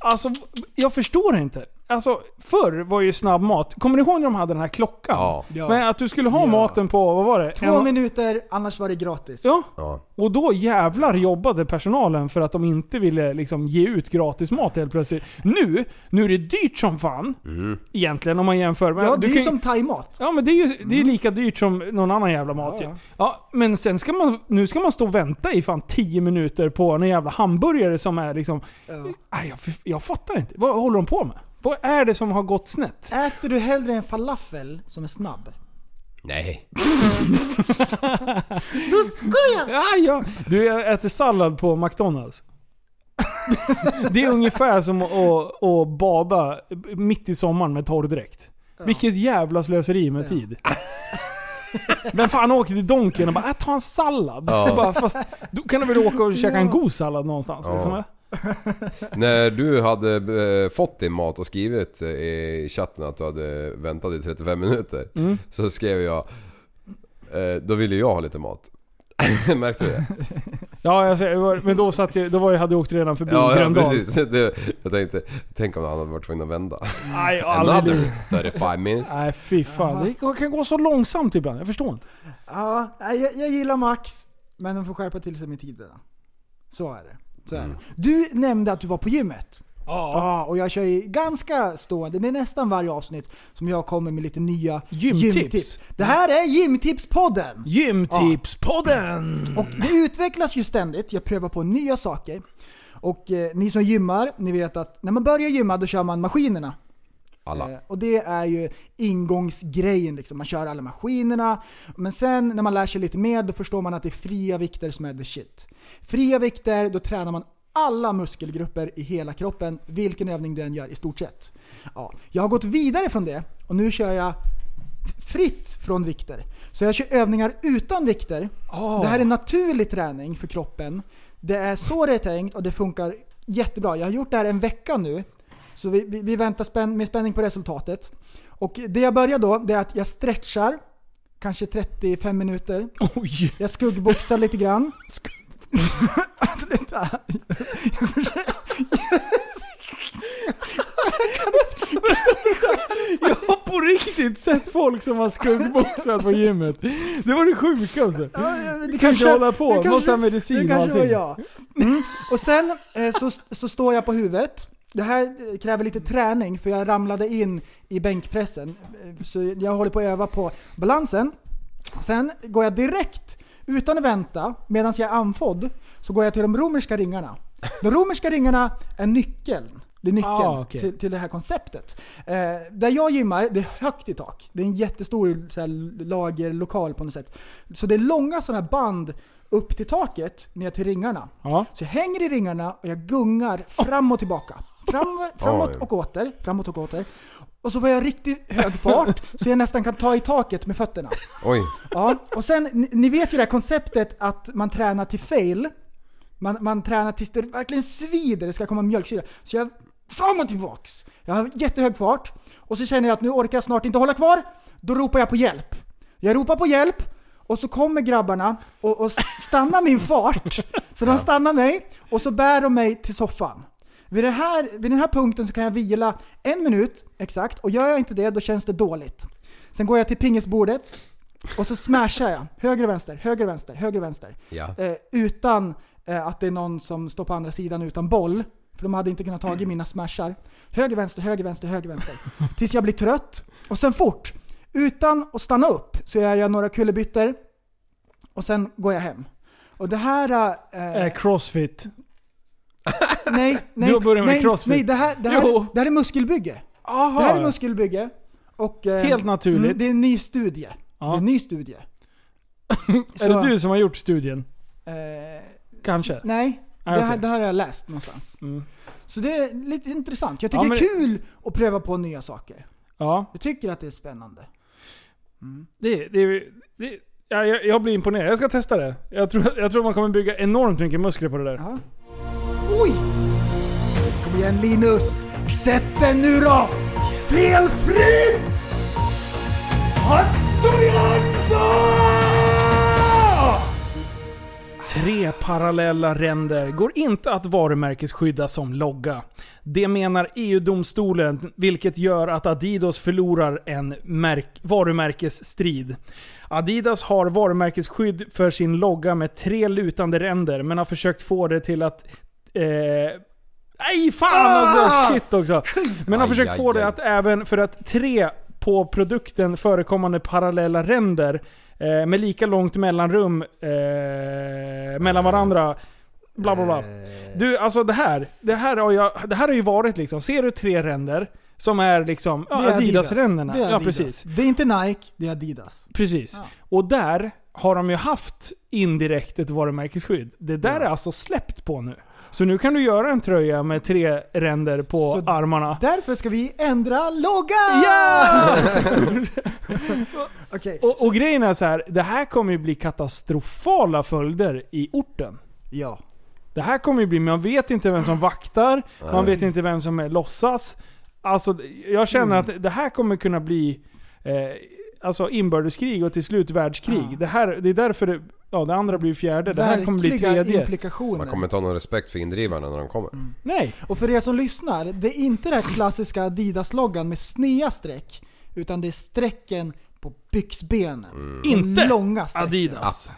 S3: Alltså, jag förstår inte. Alltså, förr var ju snabbmat. Kommer ni ihåg när de hade den här klockan?
S1: Ja.
S2: Ja.
S3: Men att du skulle ha
S2: Ja.
S3: maten på, vad var det?
S2: Två
S3: En-
S2: minuter, annars var det gratis.
S3: Ja,
S1: Ja.
S3: och då jävlar jobbade personalen för att de inte ville liksom ge ut gratis mat helt plötsligt. Nu, nu är det dyrt som fan. Egentligen om man jämför. Men
S2: Ja,
S3: du
S2: det är
S3: kan
S2: ju
S3: ju-
S2: som thaimat.
S3: Ja men det är ju det är lika dyrt som någon annan jävla mat ju.
S2: Ja, ja.
S3: ja, Men sen ska man, nu ska man stå och vänta i fan 10 minuter på en jävla hamburgare som är liksom... Nej, jag, jag fattar inte. Vad håller de på med? Vad är det som har gått snett?
S2: Äter du hellre en falafel som är snabb?
S1: Nej.
S3: Ja, ja. Du, jag äter sallad på McDonalds. (laughs) det är ungefär som att, att, att bada mitt i sommaren med torrdräkt. Vilket jävla slöseri med tid. Vem fan åker till Donken och bara äh, ta en sallad? Det är bara, fast då kan du väl åka och käka en god sallad någonstans?
S1: Ja.
S3: Liksom, eller?
S1: När du hade eh, fått din mat och skrivit eh, i chatten att du hade väntat i 35 minuter.
S3: Mm.
S1: Så skrev jag... Eh, då ville jag ha lite mat. (laughs) Märkte du det?
S3: ja jag ser, det var- men då, satt jag, då var jag, hade jag åkt redan förbi
S1: Ja, ja
S3: Gröndal.
S1: precis. Det, jag tänkte, tänk om han hade varit tvungen att vända. (laughs)
S3: Nej, jag har aldrig...
S1: Another 35 minutes.
S3: Nej fy fan. Det kan gå så långsamt ibland. Jag förstår inte.
S2: Ja, nej, jag, jag gillar Max, men de får skärpa till sig med tiderna. Så är det. Så är det. Mm. Du nämnde att du var på gymmet.
S3: Ja.
S2: Ja, och jag kör ju ganska stående, det är nästan varje avsnitt som jag kommer med lite nya
S3: Gymtips.
S2: Det här är gymtipspodden!
S3: Gymtipspodden!
S2: Och det utvecklas ju ständigt, jag prövar på nya saker. Och eh, ni som gymmar, ni vet att när man börjar gymma då kör man maskinerna.
S1: Alla.
S2: Eh, Och det är ju ingångsgrejen liksom. Man kör alla maskinerna. Men sen när man lär sig lite mer då förstår man att det är fria vikter som är the shit. Fria vikter, då tränar man alla muskelgrupper i hela kroppen, vilken övning du än gör i stort sett. Ja, jag har gått vidare från det och nu kör jag fritt från vikter. Så jag kör övningar utan vikter.
S3: Ah.
S2: Det här är naturlig träning för kroppen. Det är så det är tänkt och det funkar jättebra. Jag har gjort det här en vecka nu. Så vi, vi, vi väntar spänn, med spänning på resultatet. Och det jag börjar då, det är att jag stretchar. Kanske 35 minuter.
S3: Oj!
S2: Jag skuggboxar lite grann. (laughs) alltså det där.
S3: Jag har på riktigt sett folk som har skuggboxat på gymmet. Det var det sjukaste.
S2: Du
S3: kan inte hålla på. Måste ha medicin
S2: Det
S3: och
S2: kanske var
S3: allting.
S2: jag. Mm. Och sen eh, så, så står jag på huvudet. Det här eh, kräver lite träning för jag ramlade in i bänkpressen. Eh, Så jag håller på att öva på balansen. Sen går jag direkt, utan att vänta, medan jag är andfådd, så går jag till de romerska ringarna. De romerska ringarna är nyckeln. Det är nyckeln
S3: Ah, okej.
S2: till, till det här konceptet. Eh, där jag gymmar, det är högt i tak. Det är en jättestor så här, lagerlokal på något sätt. Så det är långa sådana här band upp till taket, ner till ringarna.
S3: Ja.
S2: Så jag hänger i ringarna och jag gungar fram och tillbaka. Fram, framåt och åter, framåt och åter. Och så var jag riktigt hög fart så jag nästan kan ta i taket med fötterna.
S1: Oj.
S2: Ja, och sen, ni, ni vet ju det här konceptet att man tränar till fail. Man, man tränar tills det verkligen svider, det ska komma mjölksyra. Så jag, fram och tillbaks! Jag har jättehög fart. Och så känner jag att nu orkar jag snart inte hålla kvar. Då ropar jag på hjälp. Jag ropar på hjälp. Och så kommer grabbarna och, och stannar min fart. Så de stannar mig och så bär de mig till soffan. Vid, det här, vid den här punkten så kan jag vila en minut exakt och gör jag inte det då känns det dåligt. Sen går jag till pingisbordet och så smashar jag. Höger, vänster, höger, vänster, höger, vänster.
S3: Mm.
S1: Ja.
S2: Eh, utan eh, att det är någon som står på andra sidan utan boll. För de hade inte kunnat ta i mina smashar. Höger, vänster, höger, vänster, höger, vänster. Tills jag blir trött. Och sen fort. Utan att stanna upp så jag gör några kullerbyttor. Och sen går jag hem. Och det här... eh,
S3: Eh, crossfit.
S2: nej, nej,
S3: har börjat med
S2: nej,
S3: crossfit.
S2: nej det, här, det, här,
S3: Jo.
S2: det här är muskelbygge.
S3: Aha.
S2: Det här är muskelbygge. Och, eh,
S3: Helt naturligt.
S2: mm, Det är en ny studie.
S3: Ja.
S2: Det är en ny
S3: (laughs)
S2: studie.
S3: är det du som har gjort studien?
S2: Eh,
S3: Kanske?
S2: nej,
S3: Ah,
S2: Det, här,
S3: okej.
S2: det här har jag läst någonstans.
S3: Mm.
S2: Så det är lite intressant. Jag
S3: Ja,
S2: tycker det är
S3: men-
S2: kul att pröva på nya saker.
S3: Ja,
S2: Jag tycker att det är spännande.
S3: det, det, det ja, jag, jag blir imponerad. Jag ska testa det. Jag tror, jag tror man kommer bygga enormt mycket muskler på det där.
S2: Ja. Oj! Kom igen Linus! Sätt den nu då! Felfritt! Anton Jansson!
S3: Tre parallella ränder går inte att varumärkesskydda som logga. Det menar EU-domstolen, vilket gör att Adidas förlorar en märk- varumärkesstrid. Adidas har varumärkesskydd för sin logga med tre lutande ränder, men har försökt få det till att... Eh, nej, fan alltså! Shit också! Men har
S1: Aj,
S3: försökt
S1: aj,
S3: få det
S1: aj.
S3: att även för att tre på produkten förekommande parallella ränder eh, med lika långt mellanrum eh, mellan varandra. Bla bla bla.
S2: eh.
S3: Du, alltså det här. Det här har, jag, det här har ju varit liksom. Ser du tre ränder som är liksom
S2: Det är
S3: ja, Adidas-ränderna?
S2: Det är
S3: ja,
S2: Adidas.
S3: precis.
S2: Det är inte Nike, det är Adidas.
S3: precis. Och där har de ju haft indirekt ett varumärkesskydd. Det där är alltså släppt på nu. Så nu kan du göra en tröja med tre ränder på
S2: Så
S3: armarna.
S2: Därför ska vi ändra logga!
S3: Ja!
S2: Okej,
S3: Och, och grejen är så här, det här kommer ju bli katastrofala följder i orten.
S2: ja.
S3: Det här kommer ju bli, man vet inte vem som vaktar, man vet inte vem som är låtsas. Alltså jag
S2: Mm.
S3: känner att det här kommer kunna bli eh, alltså inbördeskrig och till slut världskrig.
S2: Ja.
S3: Det, här, det är därför det, ja, det andra blir fjärde, det här kommer bli
S2: Verkliga
S3: tredje.
S2: implikationer.
S1: Man kommer inte ha någon respekt för indrivarna när de kommer.
S3: Nej,
S2: Och för er som lyssnar, det är inte den här klassiska Adidas-loggan med snea streck. Utan det är strecken på byxbenen.
S1: Mm.
S3: inte
S2: Långa strecken.
S3: Adidas.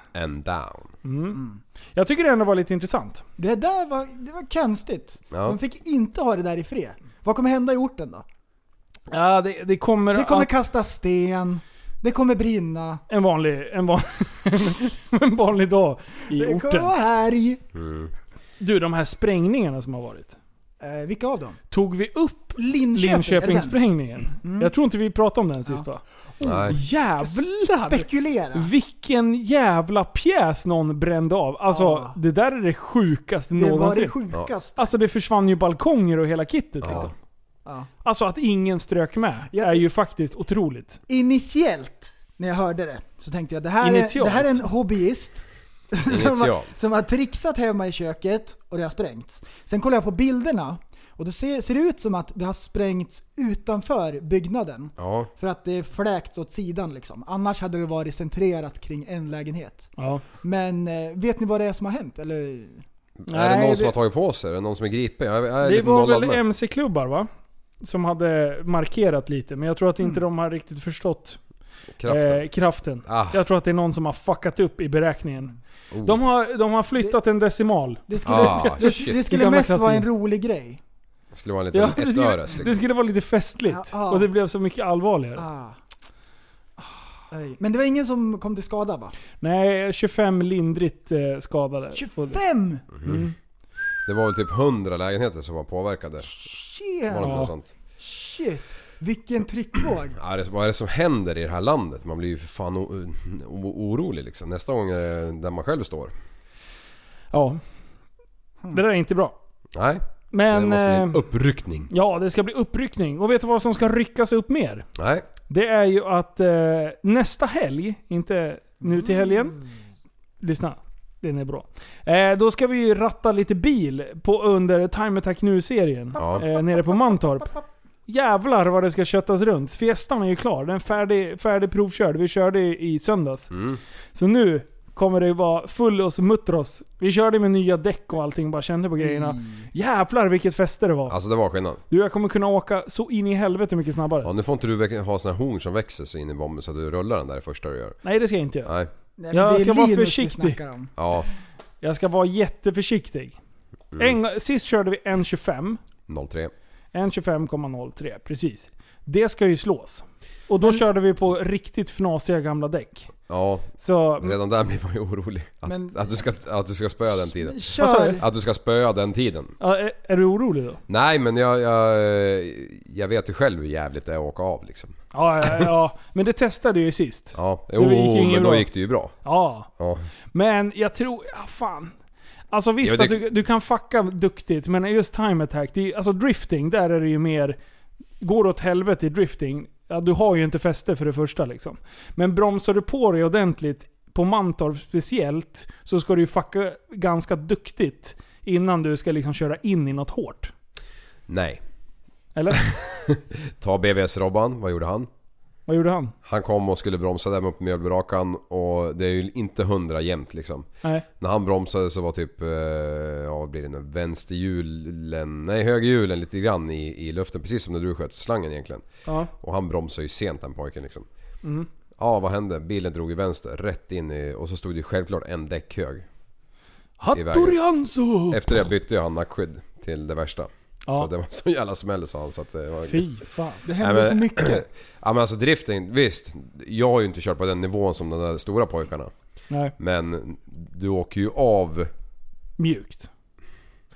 S3: (laughs)
S1: And down.
S3: Mm.
S2: Mm.
S3: Jag tycker det ändå var lite intressant.
S2: Det där var, det var konstigt.
S1: Ja.
S2: De fick inte ha det där i fred. Vad kommer hända i orten då?
S3: Ja, det, det kommer,
S2: Det kommer
S3: att-
S2: kasta sten, det kommer brinna,
S3: en, vanlig, en, van, (laughs) en vanlig dag i
S2: det kommer
S3: orten.
S2: vara härj.
S3: Du, de här sprängningarna som har varit.
S2: Eh, vilka av dem?
S3: Tog vi upp
S2: Linköping, är det den?
S3: Linköpingssprängningen? Jag tror inte vi pratade om den sist
S2: Ja.
S3: va?
S1: Nej.
S3: Oh, Jävlar!
S2: Spekulera.
S3: Vilken jävla pjäs någon brände av. Alltså,
S2: Ja.
S3: det där är det sjukaste
S2: Det var
S3: någonsin.
S2: det sjukaste.
S3: Alltså det försvann ju balkonger och hela kittet liksom.
S2: Ja.
S3: Alltså att ingen strök med
S2: Ja.
S3: är ju faktiskt otroligt.
S2: Initiellt, när jag hörde det, så tänkte jag det här, är,
S3: Initialt.
S2: det här är en hobbyist. (laughs) som, har,
S1: Initialt.
S2: som har trixat hemma i köket och det har sprängts. Sen kollar jag på bilderna och då ser, ser det ut som att det har sprängts utanför byggnaden.
S1: Ja.
S2: För att det är fläkts åt sidan liksom. Annars hade det varit centrerat kring en lägenhet.
S3: Ja.
S2: Men eh, vet ni vad det är som har hänt? Eller?
S1: är det
S3: Nej,
S1: någon
S3: det-
S1: som har tagit på sig? Är det någon som är gripen? Jag, jag är
S3: Det
S1: lite
S3: var
S1: nollad
S3: väl
S1: med.
S3: MC-klubbar va? Som hade markerat lite, men jag tror att inte de har riktigt förstått
S1: Kraften.
S3: Eh, kraften.
S1: Ah.
S3: Jag tror att det är någon som har fuckat upp i beräkningen.
S1: Oh.
S3: De, har, de har flyttat en decimal.
S2: Det skulle,
S1: Ah,
S2: det,
S1: shit.
S2: det skulle
S3: Gamla
S2: mest vara en
S3: klassiker.
S2: rolig grej.
S1: Det skulle vara en
S3: Ja,
S1: liten
S3: det, skulle,
S1: ettöres
S3: det
S1: liksom.
S3: skulle vara lite festligt.
S2: Ja, ja.
S3: Och det blev så mycket allvarligare.
S2: Ah. Oj. Men det var ingen som kom till skada va?
S3: Nej, 25 lindrigt eh, skadade. Och det-
S2: 25!
S3: Mm.
S1: Det var väl typ 100 lägenheter som var påverkade. Var det
S2: Shit!
S1: inte
S3: Ja.
S1: något sånt?
S2: Shit! Vilken tryckvåg!
S1: Ja, det, vad är det som händer i det här landet? Man blir ju för fan o- o- orolig liksom. Nästa gång är det där man själv står.
S3: Ja.
S2: Hmm.
S3: Det där är inte bra.
S1: Nej, det
S3: Men...
S1: måste bli
S3: Eh,
S1: en uppryckning.
S3: ja, det ska bli uppryckning. Och vet du vad som ska ryckas upp mer?
S1: Nej,
S3: Det är ju att eh, nästa helg, inte nu till helgen.
S1: Mm.
S3: Lyssna, den är bra. Eh, då ska vi ju ratta lite bil på, under Time Attack Nu-serien.
S1: Ja.
S3: Eh, nere på Mantorp. Jävlar vad det ska köttas runt. Fiestan är ju klar. Den är färdig, färdig provkörd. Vi körde i söndags.
S1: Mm.
S3: Så nu kommer det ju vara full och muttros. Vi körde med nya däck och allting. Bara kände på grejerna.
S1: Mm.
S3: Jävlar vilket fäste det var.
S1: alltså det var skillnad.
S3: Du, jag kommer kunna åka så in i helvete mycket snabbare.
S1: Ja, nu får inte du väck- ha såna här horn som växer sig in i bomben så att du rullar den där det första du gör.
S3: Nej, det ska jag inte göra.
S1: Nej,
S2: Nej, men
S3: Jag
S2: det är
S3: ska vara
S2: Linus vi
S3: försiktig.
S2: snackar om.
S1: ja,
S3: Jag ska vara jätteförsiktig. En, sist körde vi 1.25.
S1: 03.
S3: 1.25,03, precis. Det ska ju slås. Och då körde vi på riktigt fnasiga gamla däck.
S1: Ja,
S3: Så...
S1: redan där blir man ju orolig. Att,
S2: Men-
S1: att, du, ska, att du ska spöa den tiden.
S3: Vad sa
S2: Kör!
S3: du?
S1: Att du ska spöa den tiden.
S3: Ja, är, är du orolig då?
S1: Nej men jag, jag, eh, jag vet ju själv hur jävligt det är att åka av liksom.
S3: Ja, ja, ja. Men det testade jag ju sist.
S1: Ja,
S3: gick ju
S1: jo,
S3: inget
S1: men då
S3: bra.
S1: gick det ju bra.
S3: Ja.
S1: Ja.
S3: Men jag tror... Ja, fan. Alltså visst
S1: Ja, men det-
S3: att du, du kan fucka duktigt, men just time attack, det är, alltså drifting, där är det ju mer... Går det åt helvete i drifting, ja, du har ju inte fäste för det första liksom. Men bromsar du på dig ordentligt, på Mantorp speciellt, så ska du ju fucka ganska duktigt innan du ska liksom köra in i något hårt.
S1: Nej. (laughs)
S3: Eller?
S1: Ta BVS-Robban, vad gjorde han?
S3: Vad gjorde han?
S1: Han kom och skulle bromsa där med mjölbrakan och det är ju inte hundra jämnt liksom.
S3: Nej.
S1: När han bromsade så var typ, eh, ja vad blir det nu, vänsterhjulen, nej högerhjulen lite grann i, i luften. Precis som när du sköt slangen egentligen.
S3: Ja. Mm.
S1: Och han bromsade ju sent den pojken liksom. Ja vad hände? Bilen drog i vänster, rätt in i, och så stod det ju självklart en däckhög.
S3: Hattorianzo!
S1: Efter det bytte jag han nackskydd till det värsta.
S3: Ja.
S1: För det var så jävla smäll sa han så att det var...
S3: Fy fan.
S2: Det
S1: Nej,
S2: händer
S1: men-
S2: så
S3: (clears throat)
S2: mycket.
S1: (clears throat) ja men alltså drifting, visst. Jag har ju inte kört på den nivån som de där stora pojkarna.
S3: Nej.
S1: Men du åker ju av...
S3: Mjukt.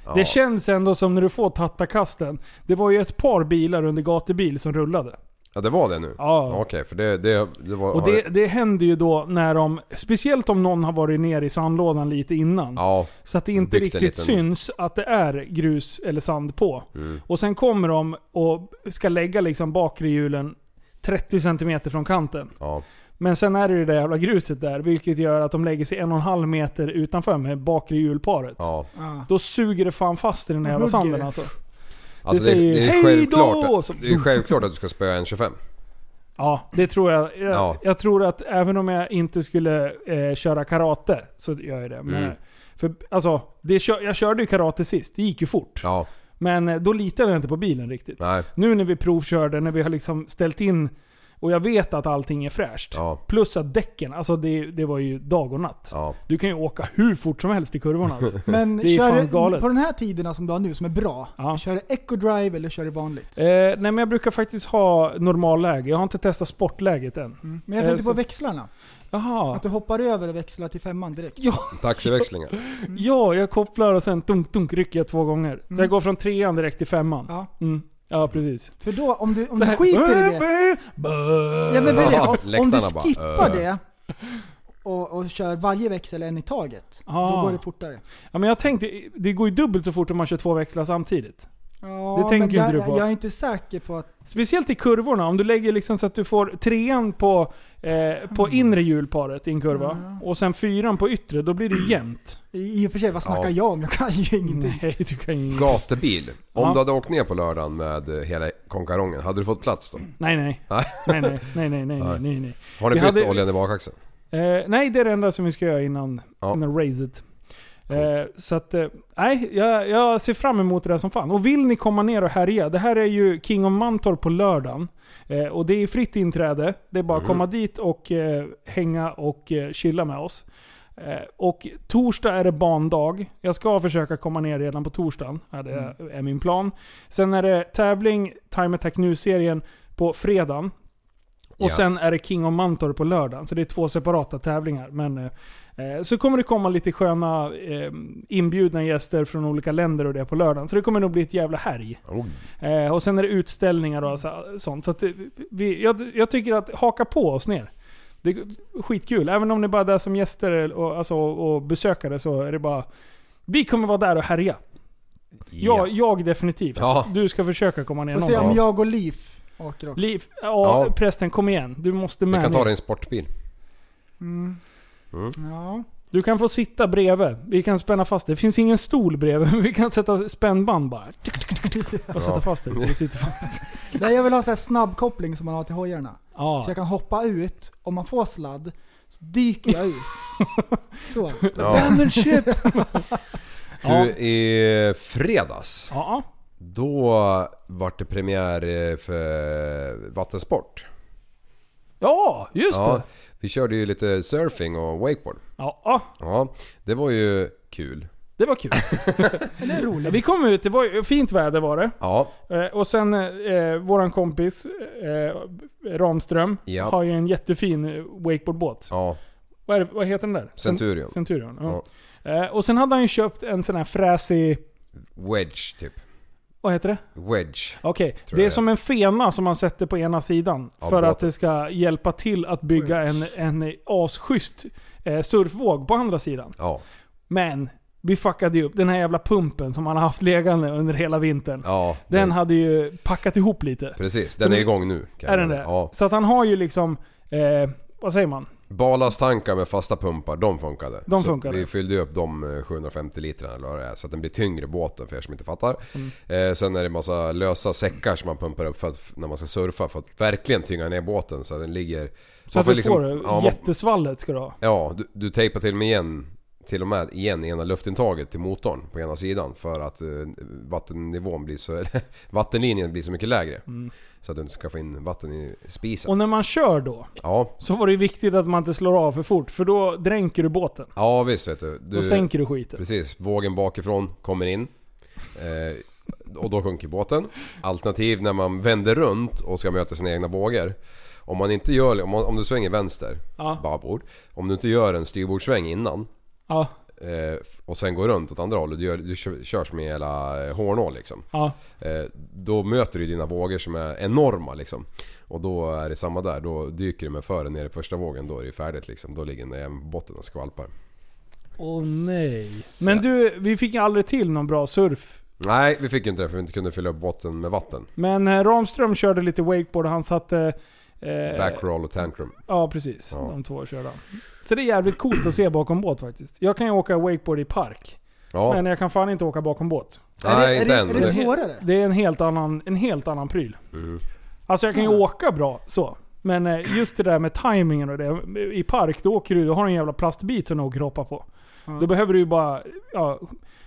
S1: Ja,
S3: Det känns ändå som när du får tattakasten. Det var ju ett par bilar under gatubil som rullade.
S1: ja det var det nu?
S3: Ja.
S1: Okej, för det, det, det var...
S3: Och
S1: har-
S3: det, det händer ju då när de, speciellt om någon har varit nere i sandlådan lite innan.
S1: Ja,
S3: Så att det inte
S1: Byggt en
S3: riktigt
S1: liten- Mm.
S3: syns att det är grus eller sand på. Och sen kommer de och ska lägga liksom bakre hjulen 30 cm från kanten.
S1: ja.
S3: Men sen är det ju det jävla gruset där, vilket gör att de lägger sig en och en halv meter utanför med bakre hjulparet.
S1: ja.
S2: Ja.
S3: Då suger det fan fast i den här jävla
S2: Hugger.
S3: sanden alltså.
S1: Alltså
S3: Det
S1: det,
S3: säger
S1: det, är
S3: hej då!
S1: självklart,
S3: Så-
S1: att- det är självklart att du ska spöa en 25.
S3: Ja, det tror jag. Jag,
S1: Ja.
S3: jag tror att även om jag inte skulle eh, köra karate så gör jag det. Men, eh,
S1: Mm.
S3: För alltså, det, kö- jag körde ju karate sist. Det gick ju fort.
S1: Ja,
S3: Men eh, då litade jag inte på bilen riktigt.
S1: nej.
S3: Nu när vi provkörde, när vi har liksom ställt in och jag vet att allting är fräscht.
S1: Ja,
S3: Plus att däcken, alltså det, det var ju dag och natt.
S1: ja.
S3: Du kan ju åka hur fort som helst i kurvorna
S1: (laughs)
S3: alltså.
S2: Men
S3: Det är
S2: kör
S3: fan
S2: du-
S3: galet.
S2: på den här tiderna som du har nu, som är bra,
S3: Ja.
S2: kör du eco-drive eller kör du vanligt?
S3: eh, nej men jag brukar faktiskt ha normalläge. Jag har inte testat sportläget än.
S2: Mm. Men jag
S3: eh,
S2: tänkte på
S3: så-
S2: växlarna.
S3: Jaha.
S2: Att du hoppar över och växlar till femman direkt.
S3: Ja,
S1: Taxiväxlingar.
S3: Mm. Ja, jag kopplar och sen dunk, dunk rycker jag två gånger. Så
S2: Mm.
S3: jag går från trean direkt till femman. Ja,
S2: Ja,
S3: mm. ja precis.
S2: för då, om du, om du
S3: Så här,
S2: skiter
S3: (laughs)
S2: i det.
S3: bä,
S2: Ja, men
S1: Ja,
S2: precis, om, om du
S1: läktarna bara,
S2: skippar
S1: "Äh."
S2: det och, och kör varje växel en i taget,
S3: Ah.
S2: då går det fortare.
S3: Ja, men jag tänkte, det går ju dubbelt så fort om man kör två växlar samtidigt.
S2: Ja,
S3: Det tänker
S2: men jag,
S3: inte du på.
S2: Jag är inte säker på att...
S3: Speciellt i kurvorna, om du lägger liksom så att du får trean på, eh,
S2: Mm.
S3: på inre hjulparet i en kurva och sen fyran på yttre, då blir det jämnt.
S2: I i och för sig, vad snackar
S1: Ja.
S2: jag om? Jag kan ju ingenting.
S3: Nej, du kan ju
S1: Gatebil. Om
S3: Ja.
S1: du hade åkt ner på lördagen med eh, hela konkarongen, hade du fått plats då?
S3: Nej, nej.
S1: Nej.
S3: Nej, nej, nej, nej, nej, nej, nej. nej.
S1: Har ni
S3: Vi
S1: bytt
S3: hade-
S1: oljan i bakaxeln?
S3: Eh, nej, det är det enda som vi ska göra innan,
S1: Ja.
S3: innan racet. Eh, så att, eh, nej, jag, jag ser fram emot det där som fan. Och vill ni komma ner och härja, det här är ju King of Mantorp på lördagen. Eh, och det är fritt inträde, det är bara att komma dit och eh, hänga och eh, chilla med oss. Eh, och torsdag är det bandag. Jag ska försöka komma ner redan på torsdagen, ja, det är, är min plan. Sen är det tävling, Time Attack Nu-serien på fredagen. Och
S1: Ja.
S3: sen är det King of Mantorp på lördagen. Så det är två separata tävlingar. Men, eh, eh, så kommer det komma lite sköna eh, inbjudna gäster från olika länder och det på lördagen. Så det kommer nog bli ett jävla härj.
S1: Oh.
S3: Eh, och sen är det utställningar och så, sånt. Så att eh, vi, jag, jag tycker att haka på oss ner. Det är skitkul. Även om ni bara är där som gäster och, alltså, och besökare så är det bara... Vi kommer vara där och härja.
S1: Ja.
S3: Jag, jag definitivt.
S1: Ja.
S3: Du ska försöka komma ner
S2: Får
S3: någon
S2: se
S3: gång.
S2: om jag och Liv åker också.
S3: Liv, ja,
S1: Ja.
S3: prästen kom igen. Du måste
S1: Vi
S3: med
S1: kan
S3: ner.
S1: ta din sportbil.
S2: Ja.
S3: Du kan få sitta bredvid. Vi kan spänna fast dig. Det finns ingen stol bredvid, (laughs) men vi kan sätta spännband bara. Och sätta fast dig så du sitter
S1: (laughs)
S3: fast.
S2: Nej, jag vill ha så här snabbkoppling som man har till hojarna.
S3: Ja.
S2: Så jag kan hoppa ut, om man får sladd, så dyker jag ut.
S3: (laughs)
S2: Så.
S1: Ja.
S3: Shit. Ja.
S1: Du, i fredags,
S3: ja.
S1: då vart det premiär eh, för vattensport.
S3: Ja, just
S1: Ja,
S3: det.
S1: vi körde ju lite surfing och wakeboard.
S3: Ja, ja,
S1: Ja, det var ju kul.
S3: det var kul.
S2: (laughs) Det är roligt.
S3: Vi kom ut, det var ju- fint väder var det.
S1: Ja,
S3: Eh, och sen eh, våran kompis eh, Ramström
S1: Ja.
S3: har ju en jättefin eh, wakeboardbåt.
S1: ja.
S3: Vad, är, det- vad heter den där? Cent-
S1: Centurion.
S3: Centurion. Ja. Eh, och sen hade han ju köpt en sån här fräsig...
S1: Wedge typ.
S3: Vad heter det?
S1: Wedge.
S3: Okej,
S1: Tror
S3: det är
S1: jag.
S3: som en fena som man sätter på ena sidan
S1: Ja,
S3: för
S1: båten.
S3: att det ska hjälpa till att bygga en, en asschysst eh, surfvåg på andra sidan.
S1: Ja.
S3: Men Vi fuckade ju upp den här jävla pumpen som han har haft liggande under hela vintern.
S1: Ja,
S3: Den
S1: det-
S3: hade ju packat ihop lite.
S1: precis.
S3: Så
S1: Den är
S3: nu-
S1: igång nu. kan
S3: Är
S1: jag
S3: den
S1: säga.
S3: det?
S1: Ja.
S3: Så att han har ju liksom... Eh, vad säger man?
S1: Ballastankar med fasta pumpar, de funkade.
S3: De
S1: så
S3: funkade.
S1: Vi fyllde ju upp de eh, 750 litrarna eller vad det är, så att den blir tyngre båten för er som inte fattar.
S3: Mm.
S1: Eh, sen är det massa lösa säckar som man pumpar upp för att, f- när man ska surfa för att verkligen tynga ner båten så att den ligger...
S3: Så
S1: man
S3: att du
S1: liksom-
S3: får det.
S1: ja, man,
S3: Jättesvallet ska du ha.
S1: ja, du, du tejpar till och med igen till och med igen ena luftintaget till motorn på ena sidan för att eh, vattennivån blir så... (laughs) eller, vattenlinjen blir så mycket lägre. Så att du inte ska få in vatten i spisen.
S3: Mm. Och när man kör då,
S1: Ja,
S3: så var det ju viktigt att man inte slår av för fort. För då dränker du båten.
S1: ja visst vet du. du
S3: Då sänker du skiten.
S1: Precis, vågen bakifrån kommer in. Eh, och då sjunker båten. Alternativ när man vänder runt och ska möta sina egna vågor. Om man inte gör, om, man, om du svänger vänster,
S3: Ja.
S1: babord. Om du inte gör en styrbordssväng innan
S3: Ja,
S1: eh, och sen går runt åt andra hållet. Du, gör, du kör, körs med hela eh, hårnål liksom.
S3: ja.
S1: Eh, då möter du dina vågor som är enorma liksom. Och då är det samma där. Då dyker du med fören ner i första vågen. Då är det färdigt liksom. Då ligger den där i botten och skvalpar.
S3: Åh nej. Men du, vi fick aldrig till någon bra surf.
S1: Nej, vi fick inte det för vi inte kunde fylla upp botten med vatten.
S3: Men eh, Ramström körde lite wakeboard och han satte... Eh,
S1: Backroll och tantrum.
S3: Ja, precis.
S1: Ja.
S3: De två körde han. Så det är jävligt coolt att se bakom båt faktiskt. Jag kan ju åka wakeboard i park.
S1: Ja,
S3: Men jag kan fan inte åka bakom båt.
S1: nej
S2: är,
S1: inte
S2: det, är,
S1: än.
S2: det, är
S1: men
S2: det
S1: det-
S2: svårare?
S3: Det är en helt annan, en helt annan pryl. Alltså jag kan ju åka bra så. Men eh, just det där med timingen och det. I park, då åker du, då har du en jävla plastbit som du åker och hoppar på. Då behöver du ju bara, ja,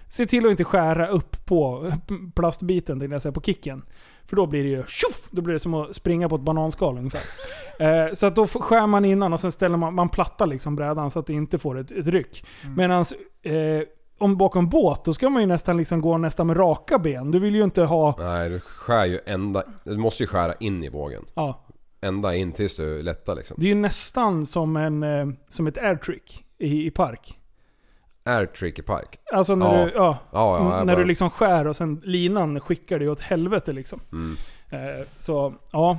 S3: se till att inte skära upp på (laughs) plastbiten, tänkte jag säga, på kicken. För då blir det ju tjoff! Då blir det som att springa på ett bananskal ungefär. (laughs) eh, så att då får- skär man innan och sen ställer man, man plattar liksom brädan så att det inte får ett, ett ryck. Medan eh, om bakom båt, då ska man ju nästan liksom gå nästan med raka ben. Du vill ju inte ha...
S1: Nej, du skär ju ända... Du måste ju skära in i vågen.
S3: Ja,
S1: Ända in tills du lättar liksom.
S3: Det är ju nästan som, en, eh, som ett airtrick i, i park.
S1: Är trick i park.
S3: Alltså när,
S1: Ja.
S3: Du, ja,
S1: Ja, ja,
S3: n- när
S1: jag bara-
S3: du liksom skär och sen linan skickar dig åt helvete liksom.
S1: Mm.
S3: Eh, så ja,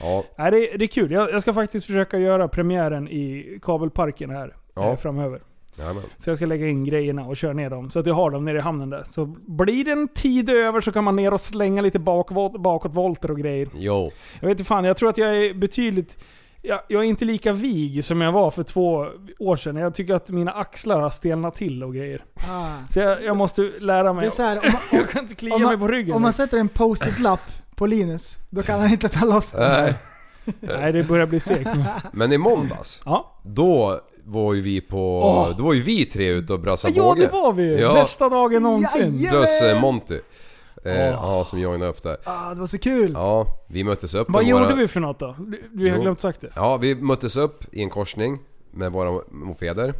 S1: Ja,
S3: Nej, det, det är kul. Jag, jag ska faktiskt försöka göra premiären i kabelparken här
S1: Ja.
S3: eh, framöver.
S1: jajamän.
S3: Så jag ska lägga in grejerna och köra ner dem. Så att jag har dem nere i hamnen där. Så blir det en tid över så kan man ner och slänga lite bakvol- bakåtvolter och grejer.
S1: Jo.
S3: (laughs) Jag vet inte fan, jag tror att jag är betydligt... Jag, jag är inte lika vig som jag var för två år sedan. Jag tycker att mina axlar har stelnat till och grejer.
S2: Ah.
S3: Så jag, jag måste lära
S2: Det är
S3: mig.
S2: så här, om, man,
S3: (laughs) Jag kan inte klia
S2: om,
S3: mig på
S2: man,
S3: ryggen.
S2: om man sätter en post-it-lapp på Linus, då kan han inte ta loss den.
S1: Nej.
S3: Nej, det börjar bli segt nu.
S1: Eh, Men i måndags,
S3: Ja,
S1: då var ju vi på...
S3: Åh.
S1: Då var ju vi tre ute och brassade
S3: ja
S1: båge.
S3: det var vi ju.
S1: Ja.
S3: Bästa dagen någonsin.
S2: Jajamän!
S1: Plus eh, Monty. Eh, Ja, som joinade upp där.
S2: Ah, det var så kul!
S1: Ja, vi möttes upp
S3: Vad
S1: med
S3: gjorde
S1: våra-
S3: vi för något då? Du- Vi har
S1: Jo.
S3: glömt sagt det.
S1: Ja, vi möttes upp i en korsning med våra mopeder.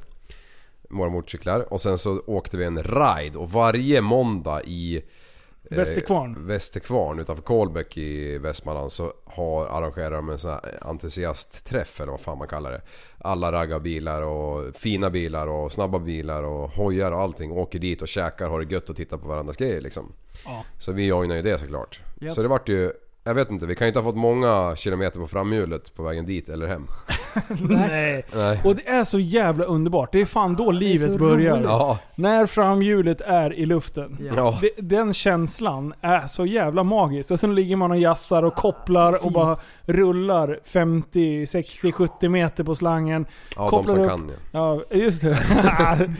S1: Våra motorcyklar. Och sen så åkte vi en ride och varje måndag i
S3: Västerkvarn.
S1: Eh, Västerkvarn utanför Kolbäck i Västmanland så har, arrangerar de en sån här entusiastträff eller vad fan man kallar det. Alla raggarbilar och fina bilar och snabba bilar och hojar och allting åker dit och käkar, har det gött och tittar på varandras grejer liksom.
S3: Ja.
S1: Så vi joinade ju det såklart. Så det vart ju, jag vet inte, vi kan ju inte ha fått många kilometer på framhjulet på vägen dit eller hem.
S3: Nej.
S1: Nej.
S3: Och det är så jävla underbart. Det är fan då livet
S2: så
S3: börjar.
S2: roligt.
S1: Ja,
S3: När framhjulet är i luften.
S1: ja.
S3: Det, den känslan är så jävla magisk. Och sen ligger man och jassar och kopplar och bara rullar 50, 60, 70 meter på slangen.
S1: ja de
S3: kopplar
S1: som
S3: upp.
S1: kan ja.
S3: Ja, just det. (laughs)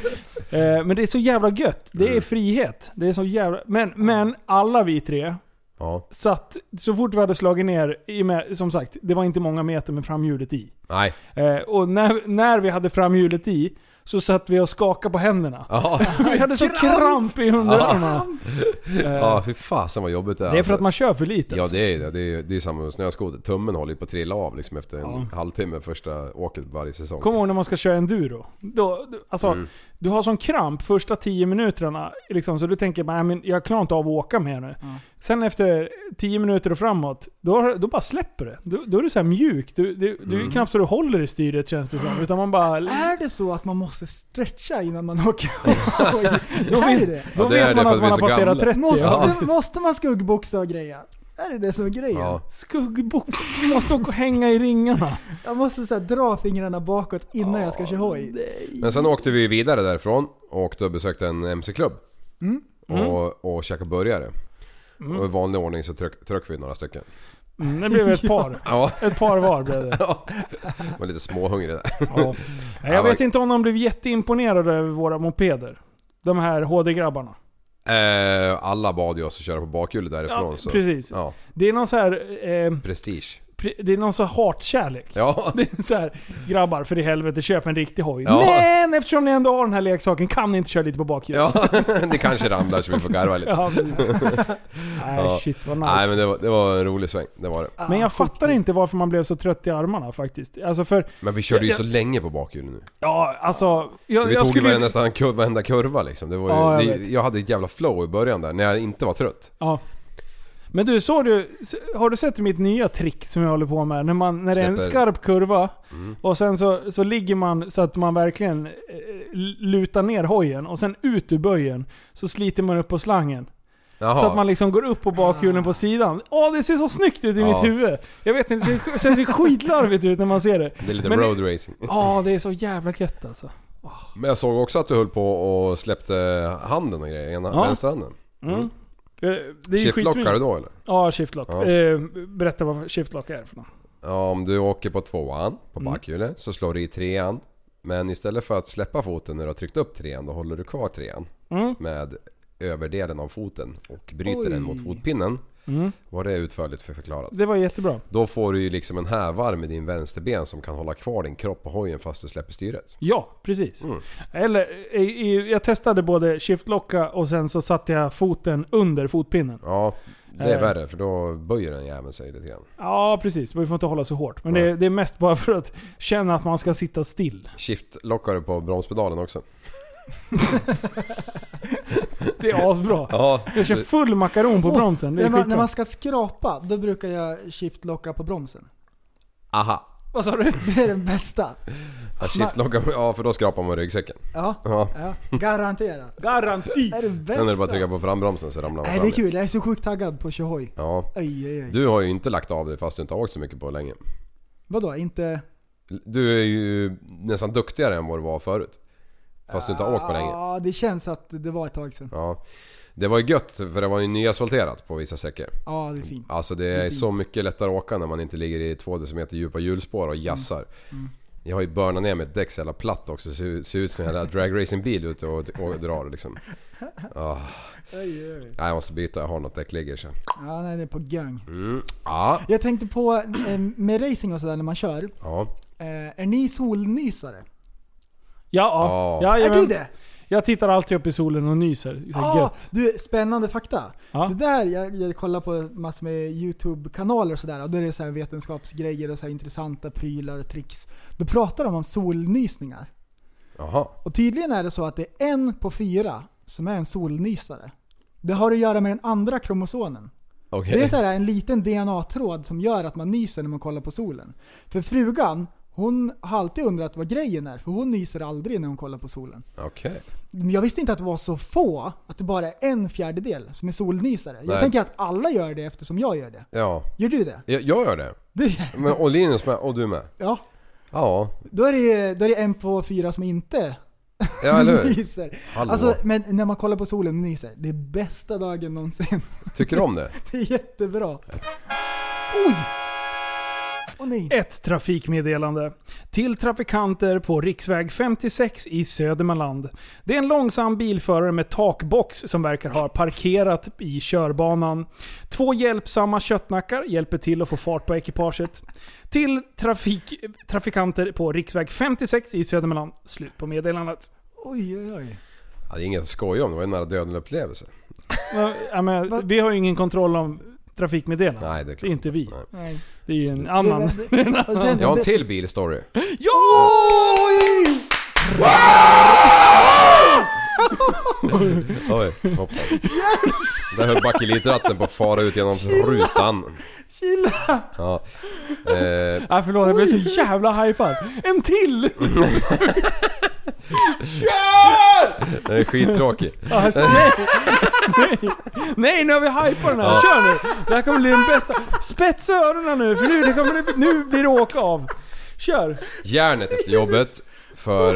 S3: Eh, men det är så jävla gött. Det är frihet. Det är så jävla... Men, men alla vi tre
S1: ja.
S3: satt, så fort vi hade slagit ner, i och med, som sagt, det var inte många meter med framhjulet i.
S1: Nej.
S3: Eh, och när, när vi hade framhjulet i, så satt vi och skakade på händerna.
S1: Ja,
S3: Vi hade så kramp i underarmarna. Eh,
S1: ja fy fasen vad jobbigt det är.
S3: det är för att
S1: alltså.
S3: man kör för lite.
S1: Ja
S3: alltså.
S1: det är det. Det är, det är samma med snöskoter. Tummen håller ju på att trilla av liksom efter en
S3: Ja.
S1: halvtimme första åket varje säsong.
S3: Kom ihåg när man ska köra enduro. Då, du- alltså,
S1: Mm.
S3: Du har sån kramp första 10 minuterna, liksom, så du tänker bara, "Nej, men jag klarar inte av att åka mer nu. Sen efter 10 minuter och framåt, då, då bara släpper det. Då, då är du så här mjuk. Du, du, du är
S1: Mm.
S3: knappt så du håller i styret känns det som. Utan man bara...
S2: Är det så att man måste stretcha innan man åker
S1: (laughs)
S2: hoj? Är det det?
S3: Då
S1: Ja, det är
S3: vet
S1: det,
S3: man
S1: för
S3: att man
S1: att vi är
S3: har
S1: så
S3: passerat
S1: gamla.
S3: 30.
S2: Måste,
S3: Ja.
S2: måste man skuggboxa och greja? Är det det som är grejen?
S1: Ja.
S3: Skuggbox. Du måste åka och hänga i ringarna.
S2: Jag måste så här, dra fingrarna bakåt innan jag ska köra hoj.
S1: Men sen åkte vi ju vidare därifrån och åkte och besökte en MC-klubb.
S3: Mm.
S1: Och, och käkade burgare. Och i vanlig ordning så tryck, tryck vi några stycken.
S3: Mm, det blev (laughs) ett par.
S1: Ja.
S3: Ett par var blev det.
S1: var lite småhungrig där.
S3: Ja. Nej, Jag vet inte om de blev jätteimponerade över våra mopeder. De här HD-grabbarna.
S1: Eh, alla bad ju oss att köra på bakhjulet därifrån.
S3: Ja,
S1: så,
S3: precis.
S1: Ja,
S3: Det är någon så här... Eh,
S1: prestige.
S3: pri- det är någon så här hatkärlek.
S1: Ja,
S3: Det är (laughs) så här, grabbar för i helvete köp en riktig hoj.
S1: Ja.
S3: Men eftersom ni ändå har den här leksaken kan ni inte köra lite på (laughs) bakhjulet.
S1: (laughs) ja. det kanske ramlar så vi får garva lite.
S3: Ja,
S1: (laughs)
S3: precis. Nej
S1: Ja.
S3: shit vad nice.
S1: Nej
S3: men,
S1: men det var, det var en rolig sväng, det var det.
S2: Ah,
S3: jag fattar inte varför man blev så trött i armarna faktiskt. Alltså för,
S1: Men vi körde ju
S3: Jag-
S1: så länge på bakhjulet nu.
S3: ja alltså. Jag, jag
S1: Vi tog ju
S3: skulle ju-
S1: varenda, nästan kur, varenda kurva liksom. Det var ju,
S3: Ja, jag
S1: jag,
S3: vet.
S1: det, jag hade ett jävla flow i början där när jag inte var trött.
S3: Ja. Men du, såg du, har du sett mitt nya trick som jag håller på med? När, man, när det är en
S1: Släpper. Mm.
S3: skarp kurva och sen så, så ligger man så att man verkligen eh, lutar ner hojen och sen ut ur böjen så sliter man upp på slangen.
S1: Jaha.
S3: Så att man liksom går upp på bakhjulen på sidan. Åh, det ser så snyggt ut i
S1: Ja.
S3: mitt huvud! Jag vet inte, det ser, ser skitlarvigt ut när man ser det.
S1: Det är lite
S3: Men-
S1: road racing.
S3: Ja, det är så jävla gött alltså.
S1: Men jag såg också att du höll på och släppte handen och grejer, ena
S3: Ja.
S1: vänsterhanden.
S3: Mm. Eh, Det är ju skitsmidigt.
S1: Shiftlockar du då eller?
S3: Ja, shiftlock.
S1: Ja.
S3: Eh, berätta vad shiftlock är för något.
S1: Ja, om du åker på tvåan på
S3: Mm.
S1: bakhjulet så slår du i trean. Men istället för att släppa foten när du har tryckt upp trean, då håller du kvar trean
S3: Mm.
S1: med överdelen av foten och bryter
S2: Oj.
S1: den mot fotpinnen.
S3: Mm.
S1: Var det utförligt för förklarat.
S3: Det var jättebra.
S1: Då får du ju liksom en hävarm i din vänsterben som kan hålla kvar din kropp på hojen fast du släpper styret.
S3: Ja, precis.
S1: Mm.
S3: Eller, i, i, jag testade både shiftlocka och sen så satte jag foten under fotpinnen.
S1: Ja, det är
S3: Eh.
S1: värre för då böjer den jäveln sig lite grann.
S3: Ja, precis. Vi får inte hålla så hårt. Men det,
S1: Nej.
S3: det är mest bara för att känna att man ska sitta still.
S1: Shift-lockar du på bromspedalen också?
S3: Det är asbra.
S1: Ja,
S3: Jag kör full makaron på bromsen. Det är
S2: När man, när
S3: skitbra.
S2: man ska skrapa, då brukar jag shiftlocka på bromsen. (laughs)
S1: aha.
S3: Vad sa du?
S2: Det är den bästa.
S1: Ja, shiftlockar, ja för då skrapar man ryggsäcken.
S2: Ja,
S1: Ja.
S2: ja garanterat.
S3: Garanti!
S2: Det är den bästa.
S1: Sen är det bara att trycka på frambromsen så ramlar man
S2: Nej,
S1: fram
S2: det är
S1: igen.
S2: kul. Jag är så sjukt taggad på att köra hoj.
S1: Ja.
S2: Aj, aj, aj.
S1: Du har ju inte lagt av dig fast du inte har åkt så mycket på länge.
S2: Vadå, inte...
S1: Du är ju nästan duktigare än vad du var förut. Fast du inte har åkt på länge.
S2: Ja, det känns att det var ett tag sedan.
S1: Ja. Det var ju gött för det var ju nyasfalterat på vissa säckor.
S2: Ja, det är fint.
S1: Alltså det
S2: Det är
S1: är
S2: fint.
S1: så mycket lättare att åka när man inte ligger i två decimeter djupa hjulspår
S2: Mm.
S1: och jassar. Jag har ju burnat ner mitt däck så jävla platt också. Det ser, ser ut som en jävla dragracingbil ute och, och drar liksom. Ah,
S2: Aj, aj, aj.
S1: nej, jag måste byta, jag har något däckligger sen.
S2: Ja, nej, det är på gang.
S1: Mm. Ja,
S2: Jag tänkte på, eh, med racing och sådär när man kör.
S1: ja.
S2: Eh, är ni solnysare?
S3: Ja,
S1: Ja.
S3: ja.
S2: är
S3: ja
S2: du det?
S3: Jag tittar alltid upp i solen och nyser. Så
S2: Ja,
S3: gött.
S2: Ah, du, spännande fakta.
S3: Ja.
S2: Det där, jag, jag kollar på massor med YouTube-kanaler och sådär, och då är det så här vetenskapsgrejer och så här intressanta prylar och tricks. Då pratar de om solnysningar.
S1: Jaha.
S2: Och tydligen är det så att det är en på fyra som är en solnysare. Det har att göra med den andra kromosomen.
S1: Okej.
S2: Det är så här en liten DNA-tråd som gör att man nyser när man kollar på solen. För frugan, hon har alltid undrat vad grejen är, för hon nyser aldrig när hon kollar på solen.
S1: Okej.
S2: Men Jag visste inte att det var så få, att det bara är en fjärdedel som är solnysare. Jag
S1: Nej.
S2: tänker att alla gör det eftersom jag gör det.
S1: Ja.
S2: Gör du det? (laughs)
S1: Jag, jag gör det.
S2: Du,
S1: Men, och Linus med, och du med.
S2: ja.
S1: Ja,
S2: Då är, det, då är det en på fyra som inte
S1: ja eller hur?
S2: nyser.
S1: Hallå.
S2: Alltså, men när man kollar på solen och nyser, det är bästa dagen någonsin. (laughs)
S1: Tycker du om det?
S2: Det är jättebra. Oj! Åh nej.
S3: Ett trafikmeddelande. Till trafikanter på riksväg 56 i Södermanland. Det är en långsam bilförare med takbox som verkar ha parkerat i körbanan. Två hjälpsamma köttnackar hjälper till att få fart på ekipaget. Till trafik, trafikanter på riksväg 56 i Södermanland. Slut på meddelandet.
S2: Oj, oj, oj.
S1: Ja, det är inget att skoja om, det var en nära döden upplevelse.
S3: Ja, men, vi har ju ingen kontroll om trafikmeddelanden.
S1: Nej, det är klart.
S3: Det är inte vi.
S1: Nej.
S2: Nej.
S3: Det är ju (laughs) en annan...
S2: Och sen,
S1: Jag har en till bilstory.
S2: Oj!
S1: Oj, hoppsan. Där höll bakelitratten på att fara ut genom rutan.
S2: Chilla!
S1: Ja. Eh,
S3: Nej förlåt, jag blev så jävla hypad. En till!
S1: Den är skittråkig.
S3: Ah, nej, nej, nu har vi hypat den här. Kör nu! Det här kommer bli den bästa. Spetsa öronen nu, för nu, det kommer, det- nu blir det åka av. Kör!
S1: Järnet efter jobbet. För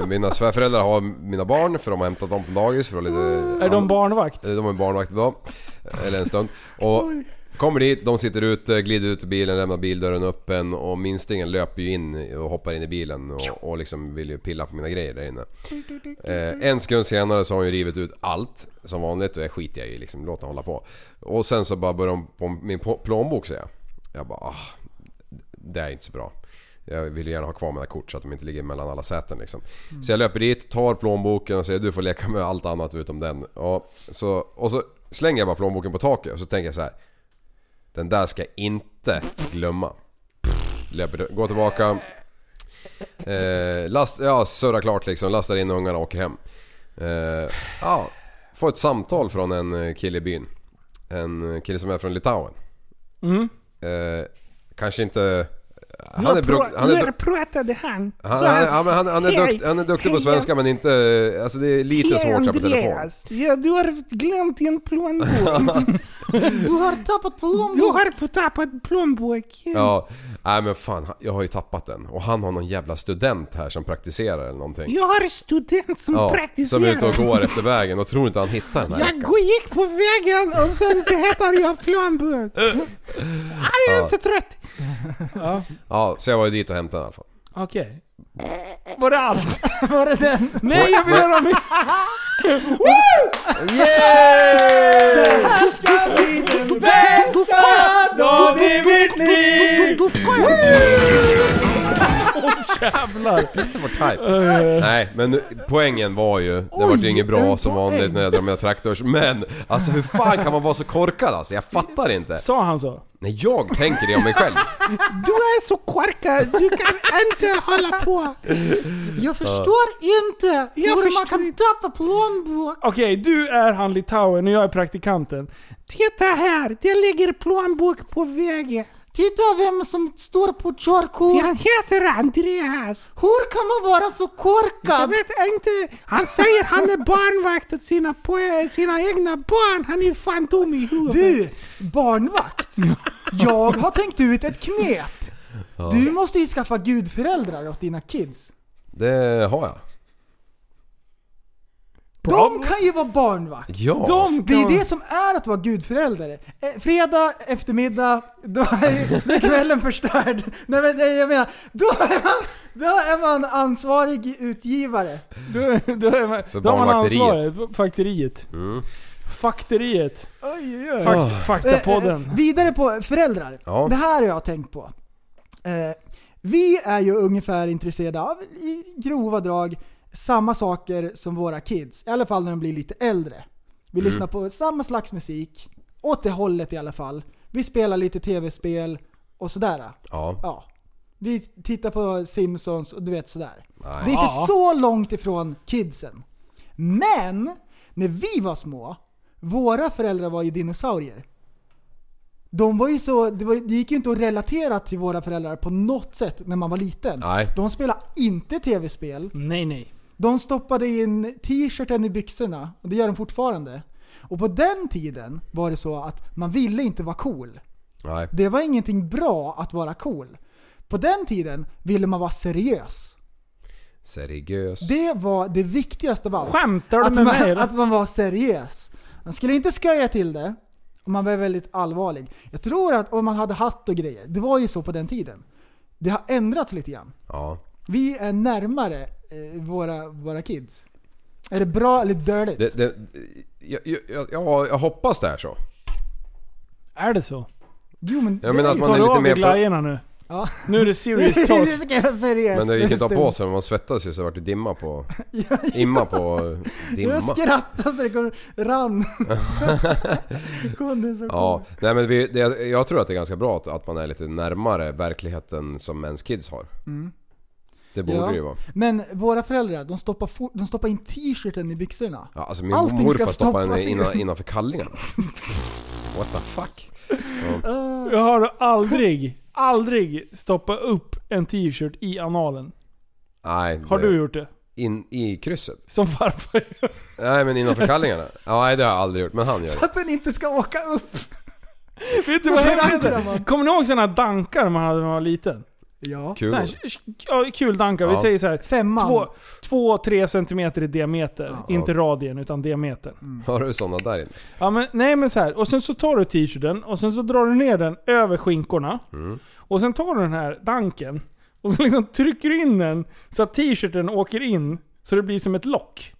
S1: eh, mina svärföräldrar har mina barn för de har hämtat dem på dagis. För att lite,
S3: Är de barnvakt?
S1: Eh, De har ju barnvakt idag. Eller en stund. Och kommer dit, de sitter ute, glider ut ur bilen, lämnar bildörren öppen och minstingen löper ju in och hoppar in i bilen och, och liksom vill ju pilla på mina grejer där inne. Eh, en sekund senare så har hon ju rivit ut allt som vanligt och det skiter jag i liksom, låt henne hålla på. Och sen så bara börjar hon på min pl- plånbok säger jag. Jag bara ah, det är inte så bra. Jag vill ju gärna ha kvar mina kort så att de inte ligger mellan alla säten liksom. Så jag löper dit, tar plånboken och säger du får leka med allt annat utom den. Och så, och så slänger jag bara plånboken på taket och så tänker jag så här. Den där ska jag inte glömma. Löper, går tillbaka. Eh, last, ja, surrar klart liksom, lastar in ungarna och åker hem. Eh, ja, får ett samtal från en eh, kille i byn. En eh, kille som är från Litauen. Eh, kanske inte... Han är, bruk, han är,
S3: pratade han.
S1: han, han, han, han, han, är dukt, han är duktig på svenska men inte... Alltså det är lite svårt så här på telefon.
S3: Ja, du har glömt din plånbok.
S2: (laughs) Du har tappat plånbok!
S3: har tappat plånboken.
S1: Ja, nej men fan han- jag har ju tappat den. Och han har någon jävla student här som praktiserar eller någonting.
S3: Jag har student som
S1: Ja, som är ute och går efter vägen och tror inte han hittar den här veckan.
S3: gick på vägen och sen så hittade jag plånbok. Jag är inte trött.
S1: Ja, så jag var ju dit och hämtade den i alla fall.
S3: Okej. Var det allt?
S2: Var det den?
S3: Nej, jag vill höra mer! Bästa dagen i mitt liv!
S1: Det var type. Nej, men poängen var ju, det var ju inget bra som vanligt när jag drar mina traktors. Men alltså hur fan kan man vara så korkad alltså? Jag fattar inte.
S3: Sa han så?
S1: Nej, jag tänker det om mig själv.
S3: Du är så korkad, du kan inte hålla på.
S2: Jag förstår inte
S3: Jag
S2: hur man
S3: förstår
S2: kan tappa plånbok!
S3: Okej, du är han Litauen och jag är praktikanten. Titta här, det ligger plånbok på vägen.
S2: Titta vem som står på körkort!
S3: Han heter Andreas.
S2: Hur kan man vara så
S3: Jag
S2: korkad?
S3: vet inte. Han säger han är barnvakt åt sina, po- sina egna barn. Han är fan dum i huvudet.
S2: Du, (laughs) barnvakt! Jag har tänkt ut ett knep! Du måste ju skaffa gudföräldrar åt dina kids.
S1: Det har jag.
S2: De kan ju vara barnvakt!
S1: Ja.
S3: De
S2: Det är
S3: kan...
S2: ju det som är att vara gudförälder. Eh, Fredag eftermiddag, då är (laughs) kvällen förstörd. Nej men nej, jag menar, då är man, då är man ansvarig utgivare.
S3: (laughs) Då, då är man,
S1: För
S3: då har man
S1: barnvakteriet.
S3: ansvaret. Fakteriet.
S1: Mm.
S3: Fakteriet.
S2: Oj, oj, oj.
S3: Fak,
S1: Ah.
S2: Eh,
S3: Faktapodden.
S2: eh, Vidare på föräldrar.
S1: Ja.
S2: Det här har jag tänkt på. Eh, vi är ju ungefär intresserade av, i grova drag, samma saker som våra kids. I alla fall när de blir lite äldre. Vi lyssnar på samma slags musik, åt det hållet i alla fall. Vi spelar lite tv-spel och sådär.
S1: Ja.
S2: Ja. Vi tittar på Simpsons och du vet sådär.
S1: Nej.
S2: Det är inte
S3: Ja.
S2: så långt ifrån kidsen. Men, när vi var små, våra föräldrar var ju dinosaurier. De var ju så, det, var, det gick ju inte att relatera till våra föräldrar på något sätt när man var liten.
S1: Nej.
S2: De spelade inte tv-spel.
S3: Nej, nej.
S2: De stoppade in t-shirten i byxorna, och det gör de fortfarande. Och på den tiden var det så att man ville inte vara cool.
S1: Nej.
S2: Det var ingenting bra att vara cool. På den tiden ville man vara seriös.
S1: Seriös.
S2: Det var det viktigaste av allt.
S3: Skämtar du
S2: att,
S3: med
S2: man,
S3: mig? eller?
S2: att man var seriös. Man skulle inte sköja till det. Och man var väldigt allvarlig. Jag tror att om man hade hatt och grejer, det var ju så på den tiden. Det har ändrats lite grann.
S1: Ja.
S2: Vi är närmare eh, våra, våra kids. Är det bra eller dåligt?
S1: Det, det, jag, jag, jag, jag hoppas det är så.
S3: Är det så?
S2: jo men...
S1: Jag menar
S2: är
S1: att
S2: ju
S1: man
S2: så.
S3: Tar
S1: är
S3: du
S1: lite
S3: av dig
S1: mer på-
S3: glajjorna nu?
S2: Ja.
S3: Nu är det serious
S2: (laughs)
S3: talk.
S2: Det ska jag vara seriös.
S1: Men det gick inte att ha på
S2: Jag
S1: sig, men man svettades ju så vart det dimma på... (laughs) Imma på... Dimma.
S2: skrattade så det kom, rann.
S3: (laughs)
S2: Kondensation.
S1: Ja, nej men vi, det, jag tror att det är ganska bra att, att man är lite närmare verkligheten som ens kids har. Det borde
S2: Mm. Ja.
S1: det ju vara.
S2: Men våra föräldrar, de stoppar, for, de stoppar in t-shirten i byxorna.
S1: Ja, alltså min
S2: Allting ska
S1: morfar stoppade den
S2: stoppas
S1: innan,
S2: in.
S1: innanför
S2: (laughs)
S1: kallingarna. What the fuck?
S3: Jag har aldrig, aldrig stoppat upp en t-shirt i analen.
S1: Nej,
S3: Har
S1: det,
S3: du gjort det?
S1: in i krysset?
S3: Som farfar
S2: (laughs)
S3: gör.
S1: Nej men innanför kallingarna? Ja, nej det har jag aldrig gjort, men han gör
S2: Så
S1: det.
S2: att den inte ska åka upp.
S3: Vet du vad
S2: Varför
S3: jag
S2: använder
S3: menar?
S2: man?
S3: Kommer ni ihåg sådana dankar man hade när man var liten?
S2: Ja.
S1: Kul.
S3: Såna här, ja, kul dankar. Vi
S1: Ja.
S3: säger så här.
S2: Femman.
S3: Två, två, tre centimeter i diameter. Inte radien, utan diametern.
S1: (laughs) Har du sådana där inne?
S3: Ja, men, nej men så här. och sen så tar du t-shirten och sen så drar du ner den över skinkorna.
S1: Mm.
S3: Och sen tar du den här danken och så liksom trycker du in den så att t-shirten åker in så det blir som ett lock.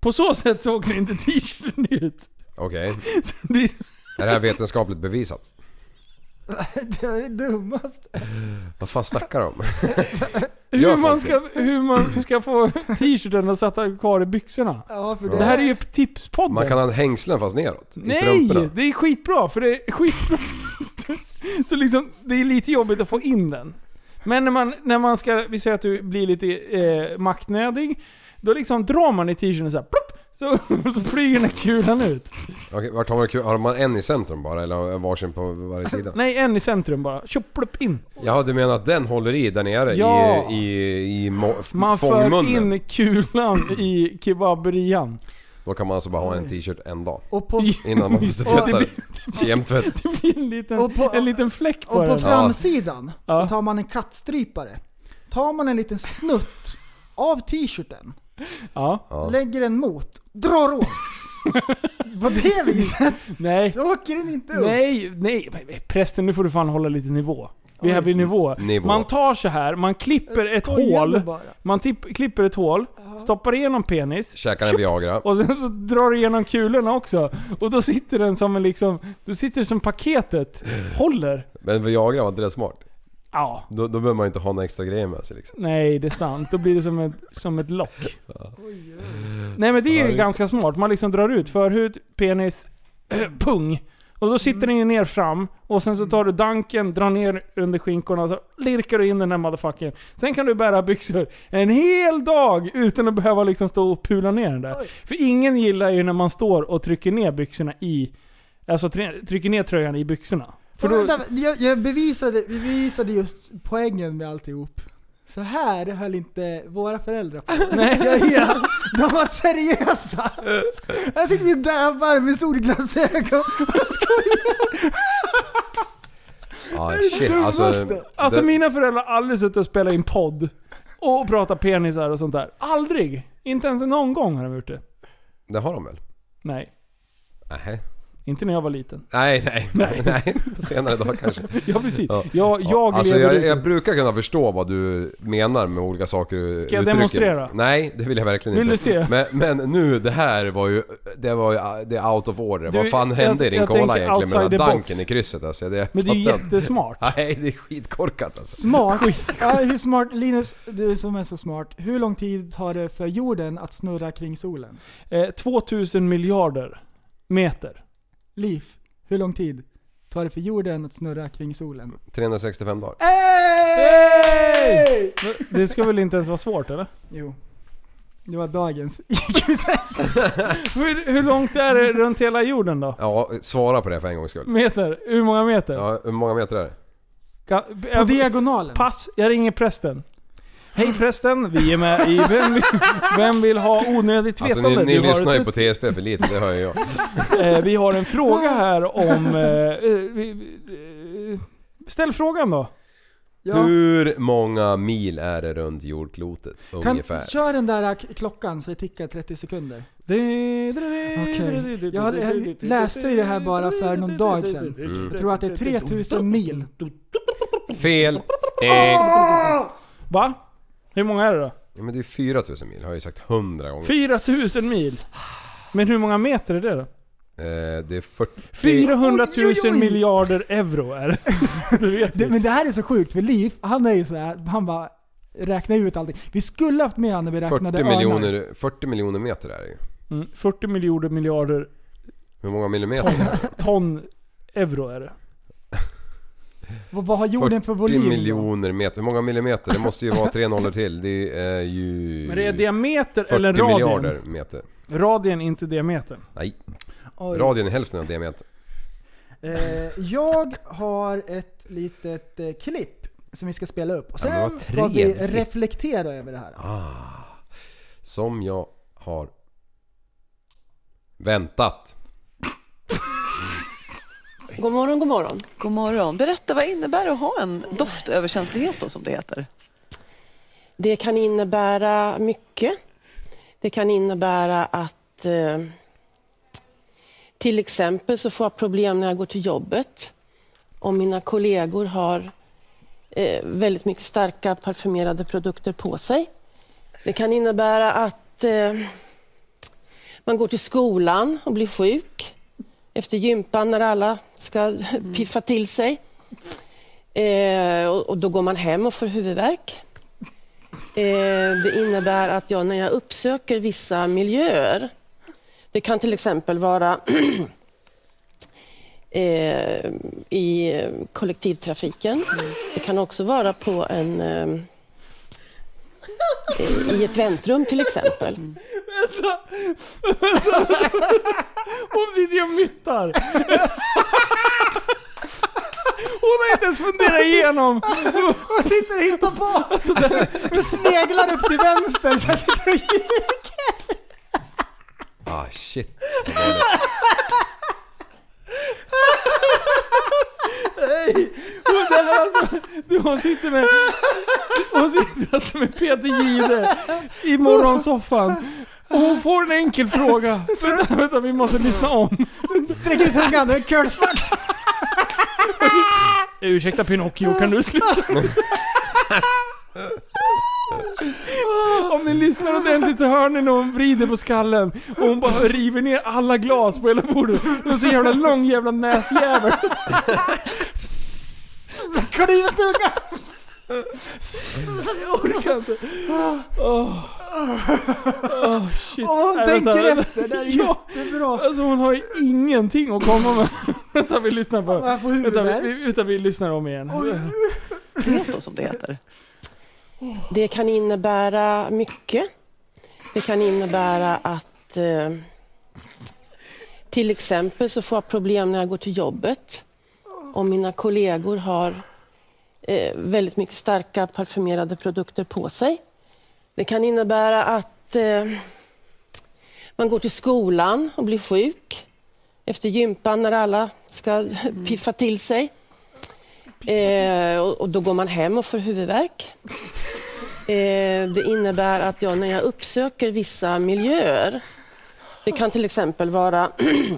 S3: På så sätt så åker inte t-shirten ut.
S1: Okej.
S3: Så det blir,
S1: Är det här vetenskapligt bevisat?
S2: (laughs) Det är det dummaste.
S1: Vad fan
S2: (laughs)
S1: snackar de om?
S3: hur,
S1: Gör
S3: man
S1: folk
S3: ska, hur man ska få t-shirten att sätta kvar i byxorna.
S2: Ja, för
S3: Det här är ju tipspodden.
S1: Man kan ha hängslen fast neråt. I
S3: Nej!
S1: strumporna.
S3: Det är skitbra, för det är skitbra. (laughs) Så liksom, det är lite jobbigt att få in den. Men när man, när man ska, vi säger att du blir lite eh, maktnödig, då liksom drar man i t-shirten såhär, plopp! Så, (laughs) så flyger den här kulan ut.
S1: Okej, vart har man kul? Har man en i centrum bara eller har man varsin på varje sida?
S3: Nej, en i centrum bara. Tjopp, plopp in.
S1: Jaha, du menar att den håller i där nere
S3: Ja.
S1: i, i, i må, f-
S3: Man för
S1: fångmunnen?
S3: in kulan i kebaberian. (laughs)
S1: Då kan man alltså bara ha en t-shirt en dag.
S2: Och på,
S1: Innan
S3: (laughs)
S1: man måste tvätta
S3: blir-
S1: den. Kemtvätt.
S3: Det blir en liten,
S2: Och på-
S3: en liten fläck på
S2: och på
S3: den.
S2: framsidan
S3: Ja.
S2: då tar man en kattstrypare. Tar man en liten snutt av t-shirten,
S3: Ja.
S2: lägger den mot, drar
S3: (laughs)
S2: åt. på det viset
S3: Nej.
S2: så åker den inte upp.
S3: Nej, nej. Prästen nu får du fan hålla lite nivå. Vi är här vid nivå.
S1: Nivå.
S3: Man tar så här, man klipper
S2: Jag
S3: ett
S2: skojade
S3: hål.
S2: bara.
S3: Man tipp, klipper ett hål, stoppar igenom penis.
S1: Käkar en Viagra.
S3: Och sen så drar du igenom kulorna också. Och då sitter den som en liksom... Då sitter det som paketet håller.
S1: Men Viagra var inte det smart?
S3: Ja.
S1: Då, då behöver man ju inte ha några extra grejer med sig liksom.
S3: Nej, det är sant. Då blir det som ett, som ett lock. Nej men det är ju
S1: Ja,
S3: ganska smart. Man liksom drar ut förhud, penis, (clears throat) pung. Och då sitter den ju ner fram. Och sen så tar du danken, drar ner under skinkorna och så lirkar du in den här motherfuckern. Sen kan du bära byxor en hel dag utan att behöva liksom stå och pula ner den där. För ingen gillar ju när man står och trycker ner byxorna i... Alltså try- trycker ner tröjan i byxorna. För
S2: Och
S3: då,
S2: vänta, jag, jag bevisade, vi bevisade just poängen med alltihop. Så här höll inte våra föräldrar på. Jag är- (laughs) De var seriösa. Här sitter vi och dabbar med solglasögon och skojar.
S1: Ah, shit. Alltså,
S3: Alltså
S1: det-
S3: mina föräldrar har aldrig suttit och spelat in podd och pratat penisar och sånt där. Aldrig! Inte ens någon gång har de gjort det.
S1: det har de väl?
S3: Nej.
S1: Nej.
S3: Inte när jag var liten.
S1: Nej, nej. (laughs) Nej. På senare dag kanske.
S3: (laughs) Ja precis.
S1: Ja.
S3: Jag, jag
S1: alltså,
S3: lever
S1: jag,
S3: ute.
S1: jag brukar kunna förstå vad du menar med olika saker du
S3: Ska jag
S1: uttrycker.
S3: demonstrera?
S1: Nej, det vill jag verkligen
S3: Vill
S1: inte.
S3: du se?
S1: Men, men nu, det här var ju... Det var ju det är out of order.
S3: Du,
S1: vad fan hände
S3: jag-
S1: i din
S3: jag
S1: cola
S3: tänker
S1: egentligen med
S3: outside
S1: den
S3: the
S1: här
S3: box.
S1: danken i krysset alltså? Det,
S3: Men det är ju
S1: fattar
S3: (laughs)
S1: inte.
S3: jättesmart.
S1: (laughs) Nej, det är skitkorkat alltså.
S2: Smart.
S3: Skit.
S2: Ja, hur smart, Linus, du som är så smart. Hur lång tid tar det för jorden att snurra kring solen?
S3: Eh, 2000 miljarder meter.
S2: Liv, hur lång tid tar det för jorden att snurra kring solen?
S1: 365 dagar.
S2: Hey!
S3: Det ska väl inte ens vara svårt eller?
S2: Jo. Det var dagens.
S3: Hur, hur långt är det runt hela jorden då?
S1: Ja, svara på det för en gångs skull.
S3: Meter? Hur många meter?
S1: Ja, hur många meter är det?
S3: Kan,
S2: På diagonalen.
S3: Pass, jag ringer prästen. Hej prästen, vi är med i Vem vill, vem vill ha onödigt
S1: Alltså
S3: vetande?
S1: ni, ni
S3: Du har typ-
S1: lyssnar ju
S3: ett-
S1: på TSP för lite, det
S3: (laughs)
S1: hör ju jag.
S3: eh, Vi har en fråga här om... Eh, eh, vi- eh, ställ frågan då.
S2: Ja.
S1: Hur många mil är det runt jordklotet?
S2: Kan,
S1: Ungefär.
S2: kör den där k- klockan så det tickar 30 sekunder.
S3: Okej.
S2: Jag har- jag läste ju det här bara för någon dag sedan.
S1: Mm.
S2: Jag tror att det är 3000 mil.
S1: Fel! Eh,
S3: Va? Hur många är det då?
S1: Ja, men det är 4000 mil, har jag ju sagt 100 gånger.
S3: 4000 mil. Men hur många meter är det då?
S1: eh, det är 40...
S3: 400
S2: Oj,
S3: 000
S2: oj, oj.
S3: miljarder euro är det. (laughs) Du vet
S2: Det,
S3: det.
S2: men det här är så sjukt för Liv, han är ju så här, han bara räknar ut allting. Vi skulle haft med han när vi räknade
S1: 40
S2: örnar.
S1: miljoner, 40 miljoner meter är det ju.
S3: Mm, 40 miljoner miljarder
S1: Hur många millimeter?
S3: ton euro är det.
S2: Vad, vad har jorden för volym? då?
S1: miljoner meter. Hur många millimeter? Det måste ju vara tre nollor till. Det är ju...
S3: Men det är diameter
S1: 40
S3: eller radien?
S1: miljarder meter.
S3: Radien, inte diametern.
S1: Nej,
S2: Oj.
S1: radien är hälften av diametern.
S2: Eh, jag har ett litet eh, klipp som vi ska spela upp. Och
S1: Ja, men
S2: sen
S1: vad
S2: ska vi
S1: trevligt.
S2: reflektera över det här.
S1: Som jag har väntat.
S7: God morgon, god morgon.
S8: God morgon. Berätta, vad innebär det att ha en doftöverkänslighet då, som det heter?
S7: Det kan innebära mycket. Det kan innebära att eh, till exempel så får jag problem när jag går till jobbet. Om mina kollegor har eh, väldigt mycket starka parfymerade produkter på sig. Det kan innebära att eh, man går till skolan och blir sjuk efter gympan när alla ska (laughs) piffa till sig. Eh, och, och då går man hem och får huvudvärk. Eh, Det innebär att jag när jag uppsöker vissa miljöer, det kan till exempel vara (clears throat) eh, i kollektivtrafiken. Det kan också vara på en... eh, eh, I ett väntrum till exempel.
S3: Hon sitter ju och myttar. Hon har inte ens funderat igenom.
S2: Jag sitter och hittar på! Jag sneglar upp till vänster så jag sitter och
S1: Ah shit.
S3: Hon, det här alltså, du, hon sitter med... Hon sitter alltså (laughs) med Peter Gide i morgonsoffan. Och hon får en
S2: (laughs)
S3: enkel fråga. Vänta, vänta vi måste lyssna om.
S2: sträcker ut tungan. Det är curlsvart.
S3: Ursäkta Pinocchio, kan du sluta? Om ni lyssnar ordentligt så hör ni när hon vrider på skallen och hon bara river ner alla glas på hela bordet. Hon har så jävla lång jävla näsjävel.
S2: Kliva tungan.
S3: Jag orkar inte. Åh, Åh, shit.
S2: Och hon
S3: Nej, vänta,
S2: tänker
S3: vänta.
S2: efter. Det är
S3: Ja.
S2: jättebra.
S3: Alltså hon har ju ingenting att komma med. Vänta vi lyssnar på.
S2: Jag får
S3: Vänta vi,
S2: huvudvärk.
S3: vi- vänta, vi lyssnar om igen.
S8: Vet då, som det heter?
S7: Det kan innebära mycket. Det kan innebära att eh, till exempel så får jag problem när jag går till jobbet. Om mina kollegor har eh, väldigt mycket starka parfymerade produkter på sig. Det kan innebära att eh, man går till skolan och blir sjuk efter gympan när alla ska (laughs) piffa till sig. Eh, och, och då går man hem och får huvudvärk. Eh, Det innebär att jag när jag uppsöker vissa miljöer, det kan till exempel vara (clears throat)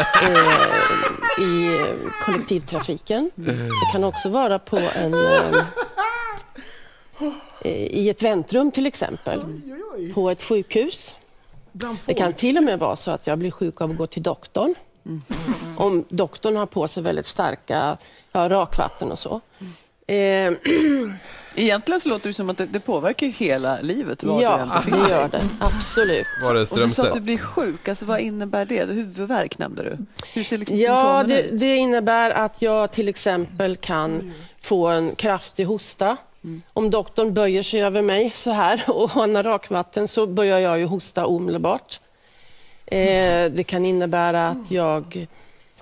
S7: eh, i kollektivtrafiken. Det kan också vara på en... eh, eh, I ett väntrum till exempel. På ett sjukhus. Det kan till och med vara så att jag blir sjuk av att gå till doktorn. Om doktorn har på sig väldigt starka ja, rakvatten och så. Eh,
S8: Egentligen så låter det som att det, det påverkar ju hela livet. vad du än
S7: Ja,
S8: befinner
S7: det
S8: dig.
S7: gör det. Absolut.
S1: Var det
S8: Och du sa att du
S1: Strömstedt?
S8: blir sjuk, alltså vad innebär det? Huvudvärk nämnde du. Hur ser liksom
S7: Ja,
S8: symptomen
S7: det,
S8: ut? Mm.
S7: det innebär att jag till exempel kan få en kraftig hosta. Om doktorn böjer sig över mig så här (laughs) och han har rakvatten så börjar jag ju hosta omedelbart. Eh, det kan innebära att jag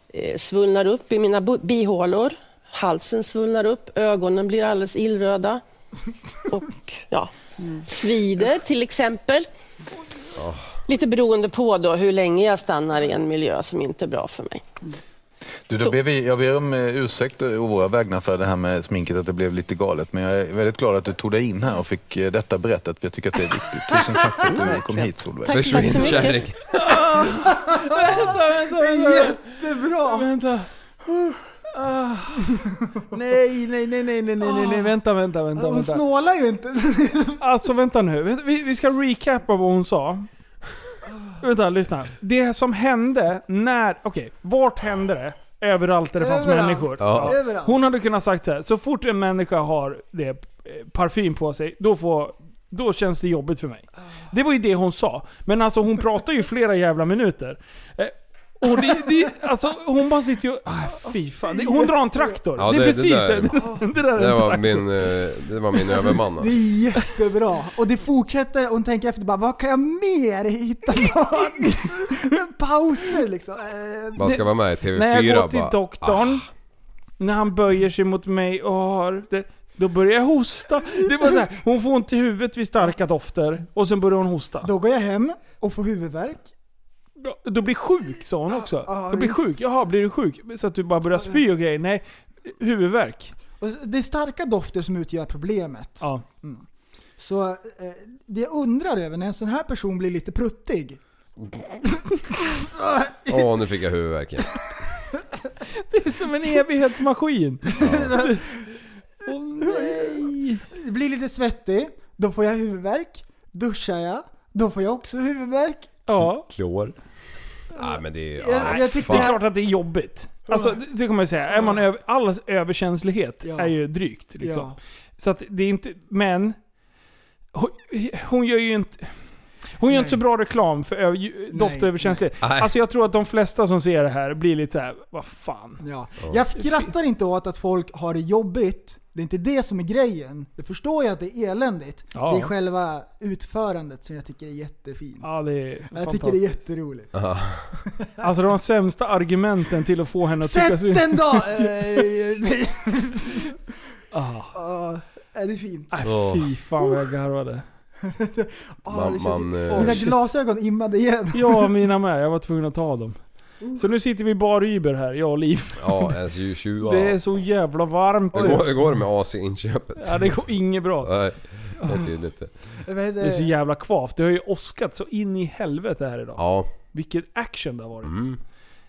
S7: eh, svullnar upp i mina bu- bihålor. Halsen svullnar upp, ögonen blir alldeles illröda. Och ja,
S8: Mm.
S7: svider till exempel.
S8: Oh.
S7: Lite beroende på då hur länge jag stannar i en miljö som inte är bra för mig.
S9: Du, då
S7: Så-
S9: ber vi, jag ber om eh, ursäkt å våra vägnar för det här med sminket, att det blev lite galet. Men jag är väldigt glad att du tog dig in här och fick eh, detta berättat, för jag tycker att det är
S4: (laughs)
S9: viktigt. Tusen tack för att du kom hit Solveig.
S7: Tack så mycket.
S1: kärring.
S2: Det är jättebra.
S3: Vänta. Ah. Nej, nej, nej, nej, nej, nej, nej, nej, vänta, vänta, vänta.
S2: Hon
S3: vänta.
S2: snålar ju inte.
S3: Alltså vänta nu. Vänta, Vi, vi ska recapa vad hon sa. (sighs) Vänta, lyssna. Det som hände när... Okej, vart hände det? Överallt där det fanns
S2: Överallt.
S3: människor.
S1: Ja.
S2: Överallt.
S3: Hon hade kunnat sagt så här. så fort en människa har det, eh, parfym på sig, då, får, då känns det jobbigt för mig. Det var ju det hon sa. Men alltså hon pratar ju flera jävla minuter. Eh, Och det, det, alltså, hon bara sitter ju och- ah, fy fan. Det, hon drar en traktor.
S1: Ja,
S3: det, är
S1: det- det
S3: precis
S1: där
S3: det. (laughs)
S1: är
S3: Det, där är
S1: Det
S3: en
S1: var
S3: traktor.
S1: min, eh, det var min överman.
S2: Det är jättebra. Och det fortsätter, hon tänker efter bara, vad kan jag mer hitta på? Pauser liksom. Eh,
S1: Man
S2: det-
S1: ska vara med i
S3: När jag går
S1: TV4
S3: till
S1: bara. "Ah."
S3: doktorn, när han böjer sig mot mig och har... Det, Då börjar jag hosta. Det var så här, hon får ont i huvudet vid starka dofter och sen börjar hon hosta.
S2: Då går jag hem och får huvudvärk.
S3: Du blir sjuk sa hon också.
S2: ja,
S3: jag blir
S2: visst.
S3: sjuk. Jaha, blir du sjuk? Så att du bara börjar spy och grejer? Nej, huvudvärk.
S2: Och det är starka dofter som utgör problemet.
S3: Ja.
S2: Mm. Så eh, det jag undrar över när en sån här person blir lite pruttig.
S1: Ah, Åh, nu fick jag huvudvärk igen.
S3: Det är (laughs) som en evighetsmaskin.
S2: Jag blir lite svettig, då får jag huvudvärk. Duschar jag, då får jag också huvudvärk.
S3: Ja.
S1: Klor. Nej men det är...
S2: Jag-
S1: Ja,
S2: jag tyckte
S3: Det är
S1: fan.
S3: klart att det är jobbigt. Alltså, det- det kan man ju säga. Är man över, allas överkänslighet
S2: Ja.
S3: är ju drygt. Liksom.
S2: Ja.
S3: Så att det är inte... Men... Hon, hon gör ju inte... Hon gör inte så bra reklam för ö- ju- doftöverkänslighet.
S1: Nej.
S3: Alltså jag tror att de flesta som ser det här blir lite så här, vad fan.
S2: Ja. Jag skrattar inte åt att folk har det jobbigt. Det är inte det som är grejen. Det förstår jag att det är eländigt.
S3: Ja.
S2: Det är själva utförandet som jag tycker är jättefint.
S3: Ja, det är
S2: jag tycker det är jätteroligt.
S3: Alltså de sämsta argumenten till att få henne att tycka
S2: Sätt
S3: synd.
S2: den då!
S3: (laughs)
S2: Eh,
S3: Ah,
S2: Ja, är det är fint?
S3: nej,
S1: Åh.
S3: fy fan vad jag
S2: (laughs)
S3: garvade.
S2: Ah, det
S1: Man,
S2: känns...
S1: man,
S3: Åh,
S1: eh,
S2: Mina
S3: shit.
S2: glasögon immade igen.
S3: Ja, mina med. Jag var tvungen att ta dem.
S2: Mm.
S3: Så nu sitter vi i bar Uber här, jag och Liv.
S1: ja, ens ju tjuva.
S3: Det är så jävla varmt
S1: Hur går-
S3: nu.
S1: hur går det med AC-inköpet?
S3: Ja, det går inget bra.
S1: Nej, det är tydligt det.
S2: Vad heter
S3: (laughs) Det är så jävla kvavt. Det har ju åskat så in i helvete här idag.
S1: Ja.
S3: Vilken action det har varit.
S1: Mm.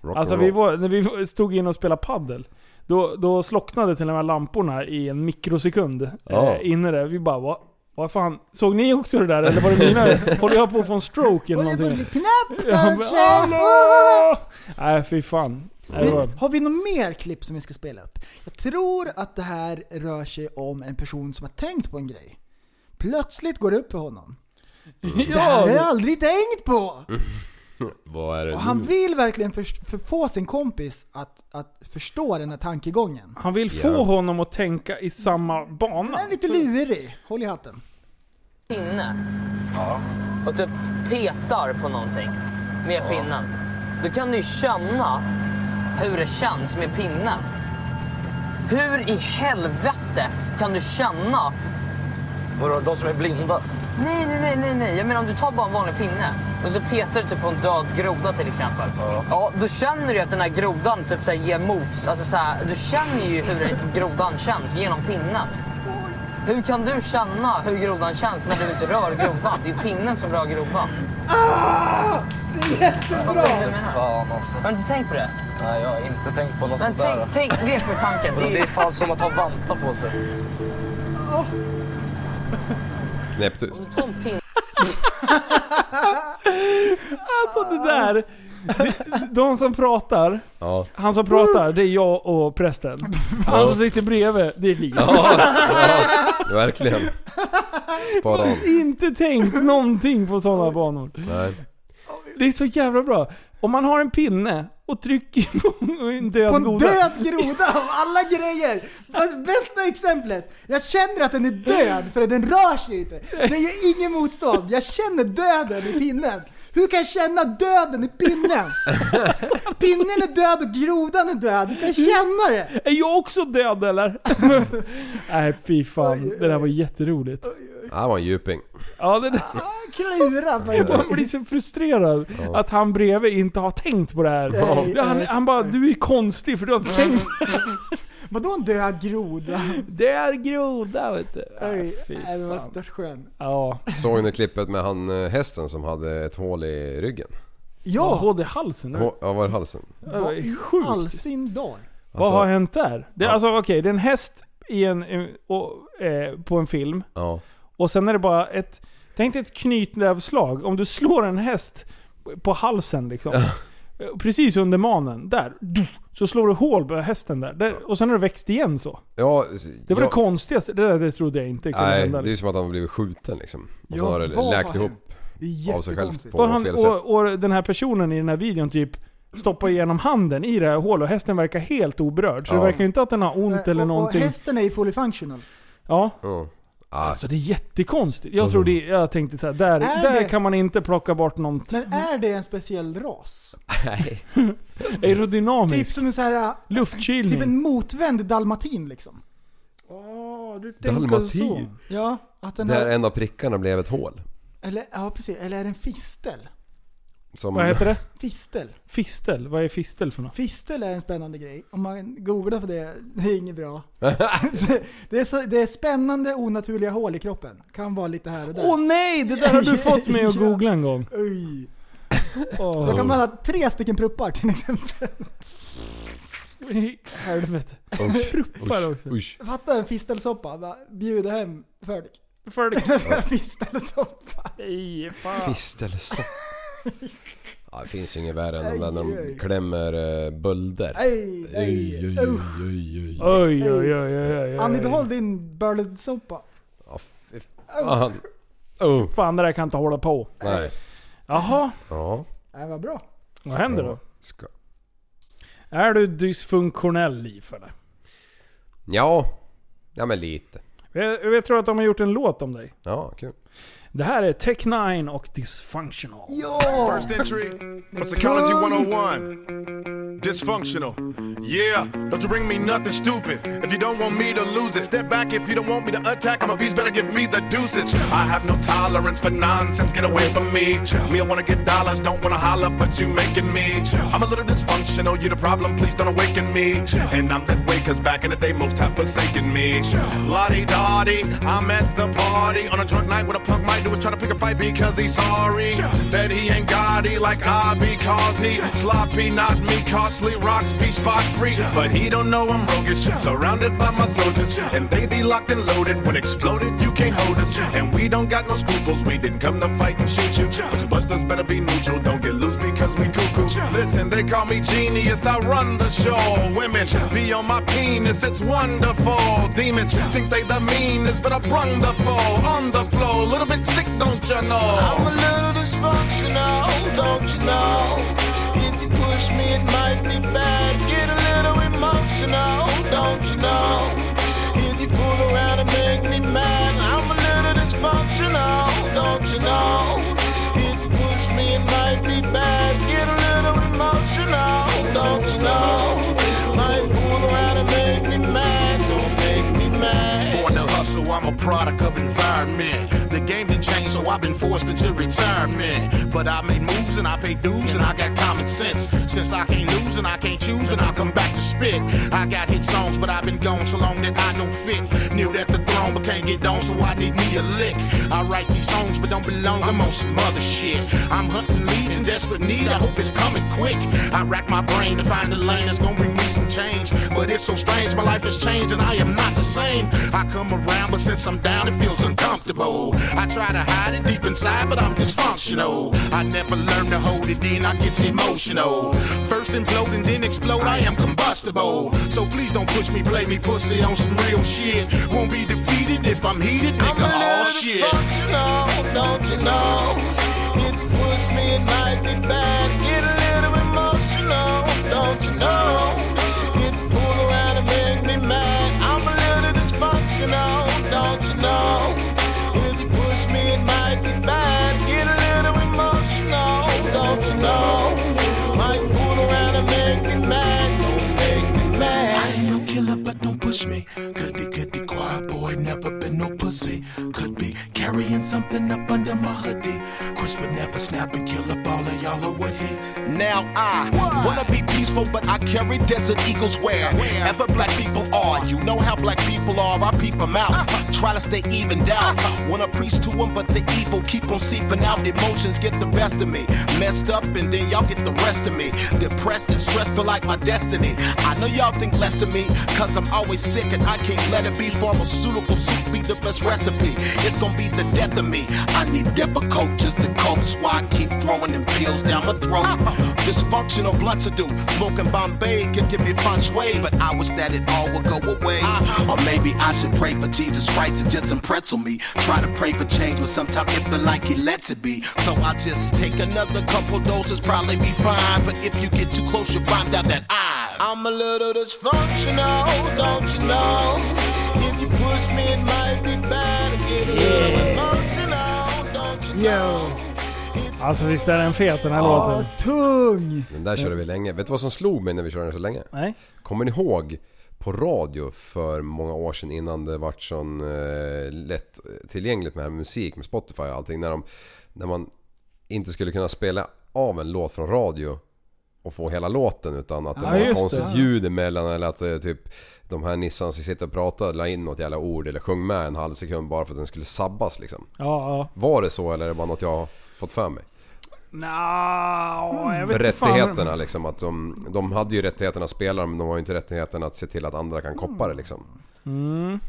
S1: Rock
S3: Alltså
S1: and
S3: vi
S1: roll.
S3: var, när vi var- stod in och spelade paddel då, då slocknade till och med lamporna i en mikrosekund
S1: Ja.
S3: eh, inne där. Vi bara vad, vad fan, såg ni också det där eller var det
S1: (laughs)
S3: mina? Håller jag på att få en stroke eller
S2: Håller på att
S3: någonting?
S2: bli knäpp
S3: (laughs) Ja, men,
S2: kanske?
S3: hallå! Nej fy fan. Nej, det
S2: Vi,
S3: var-
S2: har vi något mer klipp som vi ska spela upp? Jag tror att det här rör sig om en person som har tänkt på en grej. Plötsligt går det upp för
S3: (laughs)
S2: honom. Det här har jag
S3: Ja!
S2: aldrig tänkt på!
S1: Vad är det
S2: Och han
S1: nu?
S3: Mm.
S2: vill verkligen för, för få sin kompis att, att förstå den här tankegången.
S3: Han vill få
S1: Ja.
S3: honom att tänka i samma bana.
S2: Den är lite lurig. Håll i hatten.
S10: pinne. Och du petar på någonting med pinnen. Då kan du ju känna hur det känns med pinnen. Hur i helvete kan du känna... Vadå, de som är blinda? Nej, nej, nej, nej, nej. Jag menar om du tar bara en vanlig pinne och så petar du typ på en död groda till exempel. Ja. då känner du ju att den här grodan typ så här ger mot... Alltså så här, du känner ju hur grodan känns genom pinnen. Hur kan du känna hur grodan känns när du inte rör grodan? Det är ju pinnen som rör grodan. Ah! Det är jättebra!
S5: Fan alltså.
S10: Har du inte tänkt på det?
S5: Nej, jag har inte tänkt på något
S10: Men
S5: sånt där.
S10: tänk, tänk, lek med tanken. Det är,
S5: Det är fan som att ha vantar på sig.
S1: Knäpptyst.
S10: ju- ta en pinne.
S3: Alltså det där. det- De som pratar,
S1: Ja.
S3: han som pratar, det är jag och prästen. Han som sitter bredvid, det är Liv.
S1: Verkligen. Spot on.
S3: inte tänkt någonting på sådana banor.
S1: Nej.
S3: Det är så jävla bra. Om man har en pinne och trycker på en död
S2: På en
S3: groda.
S2: död groda av alla grejer! Fast Bästa exemplet! Jag känner att den är död för den rör sig inte. Den gör ingen motstånd. Jag känner döden i pinnen. Hur kan jag känna döden i pinnen? Pinnen är död och grodan är död. Hur kan jag känna det?
S3: Är jag också död eller?
S2: (laughs)
S3: Nej fy fan, det där var jätteroligt.
S1: Det här var en djuping.
S3: Ja, det där,
S2: Jag klurar Ah, på det.
S3: man (laughs) blir så frustrerad att han bredvid inte har tänkt på det här.
S2: Nej,
S3: Det- han,
S2: nej.
S3: han bara 'Du är konstig för du har inte tänkt
S2: Vadå en död groda?
S3: Det är groda vet du. Nej,
S2: Oj,
S3: Äh, fy
S2: nej, det var
S3: fan.
S2: störtskön.
S3: Ja,
S1: Såg ni klippet med han eh, hästen som hade ett hål i ryggen?
S3: ja.
S2: Ja,
S3: hål i halsen nu.
S1: Hå- Ja, var det halsen?
S3: Ja, det är
S2: all
S3: Sjukt.
S2: sin dag.
S3: Vad
S1: Alltså-
S3: har hänt där? Det,
S1: Ja.
S3: Alltså okej, det är en häst i en, i- och, eh, på en film.
S1: Ja.
S3: Och sen är det bara ett... Tänk dig ett knytnävslag. Om du slår en häst på halsen liksom. Eh, Precis under manen. Där. Du, Så slår du hål på hästen där. där och sen har det växt igen så.
S1: Ja,
S3: Det var
S1: ja,
S3: det konstigaste. Det där det trodde jag inte kunde
S1: Nej,
S3: hända.
S1: det är
S3: Liksom.
S1: som att han har blivit skjuten liksom. Och
S2: Ja,
S1: så har det
S2: vad
S1: läkt
S2: har
S1: ihop
S2: Det är
S1: av sig
S2: jättekonstigt.
S1: självt på
S3: Och, han,
S1: fel sätt.
S3: och, och den här personen i den här videon typ stoppar igenom handen i det här hålet och hästen verkar helt oberörd. Så
S1: Ja.
S3: det verkar ju inte att den har ont eller
S2: Äh, och, och
S3: någonting.
S2: hästen är ju fully functional.
S3: Ja.
S1: Ja. Ah,
S3: Alltså det är jättekonstigt.
S1: Mm.
S3: Jag, tror det, jag tänkte såhär, där,
S2: Är
S3: där
S2: det-
S3: kan man inte plocka bort något
S2: Men är det en speciell ras?
S3: aerodynamiskt.
S1: Mm.
S2: Typ som en så här, äh,
S3: Luftkylning.
S2: typ en motvänd dalmatin liksom.
S3: Ah,
S2: Ja, du tänker
S1: Dalmatin.
S2: så. Ja, att den
S1: Där
S2: här...
S1: en av prickarna blev ett hål.
S2: Eller, ja, precis. Eller är det en fistel?
S1: Som,
S3: Vad heter det?
S2: Fistel.
S3: Fistel? Vad är fistel för något?
S2: Fistel är en spännande grej. Om man googlar på det, (laughs) det är inget
S1: (laughs)
S2: bra. det, är så, det är spännande onaturliga hål i kroppen. Kan vara lite här och där.
S3: Åh nej! Det där har du fått mig (laughs) att
S2: Ja.
S3: googla en gång.
S2: Oj.
S3: Åh.
S2: Då kan man ha tre stycken pruppar till exempel.
S3: Helvete.
S1: (laughs)
S3: (laughs)
S1: Usch,
S3: Pruppar
S1: usch,
S3: också.
S1: usch.
S2: Fatta en fistelsoppa. bara Bjuda hem (laughs) Fölk.
S3: Fölk.
S2: fistelsoppa. (laughs)
S3: Nej,
S1: Fistelsoppa. Ja, det finns ju inget värre än de där när
S2: Aj, aj.
S1: de klämmer eh, bölder.
S2: Aj, aj,
S1: Oj, oj,
S2: usch.
S1: oj, oj, oj.
S3: Oj, oj, oj, oj, oj,
S2: Annie,
S3: oj.
S2: behåll din burledsoppa.
S1: Ja, fy fan. Oh,
S3: Fan, det där kan inte hålla på.
S1: nej.
S3: Jaha,
S1: Ja.
S2: Nej, vad bra.
S3: vad händer då?
S1: Ska.
S3: Är du dysfunktionell, Liv, eller?
S1: Ja. Ja men lite.
S3: Jag, jag tror att de har gjort en låt om dig.
S1: Ja, kul.
S3: Det här är Tech 9 och Dysfunctional.
S11: First entry for Psychology 101. Dysfunctional. Yeah, don't you bring me nothing stupid. If you don't want me to lose it, step back if you don't want me to attack. I'm a beast, better give me the deuces. I have no tolerance for nonsense, get away from me. Me, I wanna get dollars, don't wanna holler, but you making me. I'm a little dysfunctional, you the problem, please don't awaken me. And I'm that way, cause back in the day, most have forsaken me. Lottie Dottie, I'm at the party. On a drunk night, what a punk might do is try to pick a fight because he's sorry. That he ain't got it like I because he sloppy, not me. Costly rocks be spot free. But he don't know I'm roguish. Surrounded by my soldiers. And they be locked and loaded. When exploded, you can't hold us. And we don't got no scruples. We didn't come to fight and shoot you. But your busters better be neutral. Don't get loose because we cuckoo. Listen, they call me genius. I run the show. Women be on my penis. It's wonderful. Demons think they the meanest. But I brung the foe on the floor. Little bit sick, don't you know?
S12: I'm a little dysfunctional, don't you know? If you push me, it might be bad. Get a little emotional, don't you know? If you fool around and make me mad, I'm a little dysfunctional, don't you know? If you push me, it might be bad. Get a little emotional, don't you know? Might fool around and make me mad, don't make me mad.
S11: Born to hustle, I'm a product of environment. The game done changed, so I've been forced into retirement. But I made moves and I pay dues and I got common sense. Since I can't lose and I can't choose, then I come back to spit. I got hit songs, but I've been gone so long that I don't fit. Knew that the throne, but can't get on, so I need me a lick. I write these songs, but don't belong. I'm on some other shit. I'm hunting leads in desperate need. I hope it's coming quick. I rack my brain to find a lane that's gonna bring me some change. But it's so strange, my life has changed and I am not the same. I come around, but since I'm down, it feels uncomfortable. I try to hide it deep inside, but I'm dysfunctional. I never learn to hold it in, I get emotional. First implode and then explode, I am combustible. So please don't push me, play me pussy on some real shit. Won't be defeated if I'm heated, nigga, all shit.
S12: dysfunctional, don't you know? If you push me, it might be bad. Get a little emotional, don't you know? If you fool around and make me mad, I'm a little dysfunctional, don't you know? If you push me, it might be bad. Get a little emotional, don't you know? Might fool around and make me mad, don't make me mad.
S11: I ain't no killer, but don't push me. Goody, goody, quiet boy, never been no pussy. Could be carrying something up under my hoodie. Chris would never snap and kill up all of y'all, or would he?
S13: Now I wanna be peaceful, but I carry desert eagles where ever black people are. You know how black people are, I peep 'em out. Try to stay evened out. Wanna preach to 'em, but the evil keep on seeping out. Emotions get the best of me. Messed up, and then y'all get the rest of me. Depressed and stressed, feel like my destiny. I know y'all think less of me, cause I'm always sick and I can't let it be. Pharmaceutical soup be the best recipe. It's gonna be the death of me. I need Depakote just to cope. That's why I keep throwing them pills down my throat. Dysfunctional blunt to do. Smoking Bombay can give me fun sway, but I wish that it all would go away. Or maybe I should pray for Jesus Christ and just impress on me. Try to pray for change, but sometimes it feel like he lets it be. So I just take another couple doses, probably be fine. But if you get too close, you'll find out that I.
S12: I'm a little dysfunctional, don't you know? If you push me, it might be bad. I Get a little emotional, don't you know?
S3: Alltså visst är den fet den här låten?
S2: tung!
S1: Den där körde vi länge. Vet du vad som slog mig när vi körde den så länge?
S3: Nej.
S1: Kommer ni ihåg på radio för många år sedan innan det vart sån eh, lätt tillgängligt med här musik med Spotify och allting. När, de, när man inte skulle kunna spela av en låt från radio och få hela låten utan att det
S3: Ja,
S1: var
S3: just det.
S1: konstigt
S3: Ja.
S1: ljud emellan eller att eh, typ de här nissarna som sitter och pratar la in något jävla ord eller sjöng med en halv sekund bara för att den skulle sabbas liksom.
S3: Ja, ja.
S1: Var det så eller är det bara något jag har fått för mig?
S3: Nja, jag vet
S1: För
S3: inte fan vad de-
S1: rättigheterna liksom. Att de, de hade ju rättigheterna att spela men de har ju inte rättigheten att se till att andra kan koppa det liksom.
S3: Mm.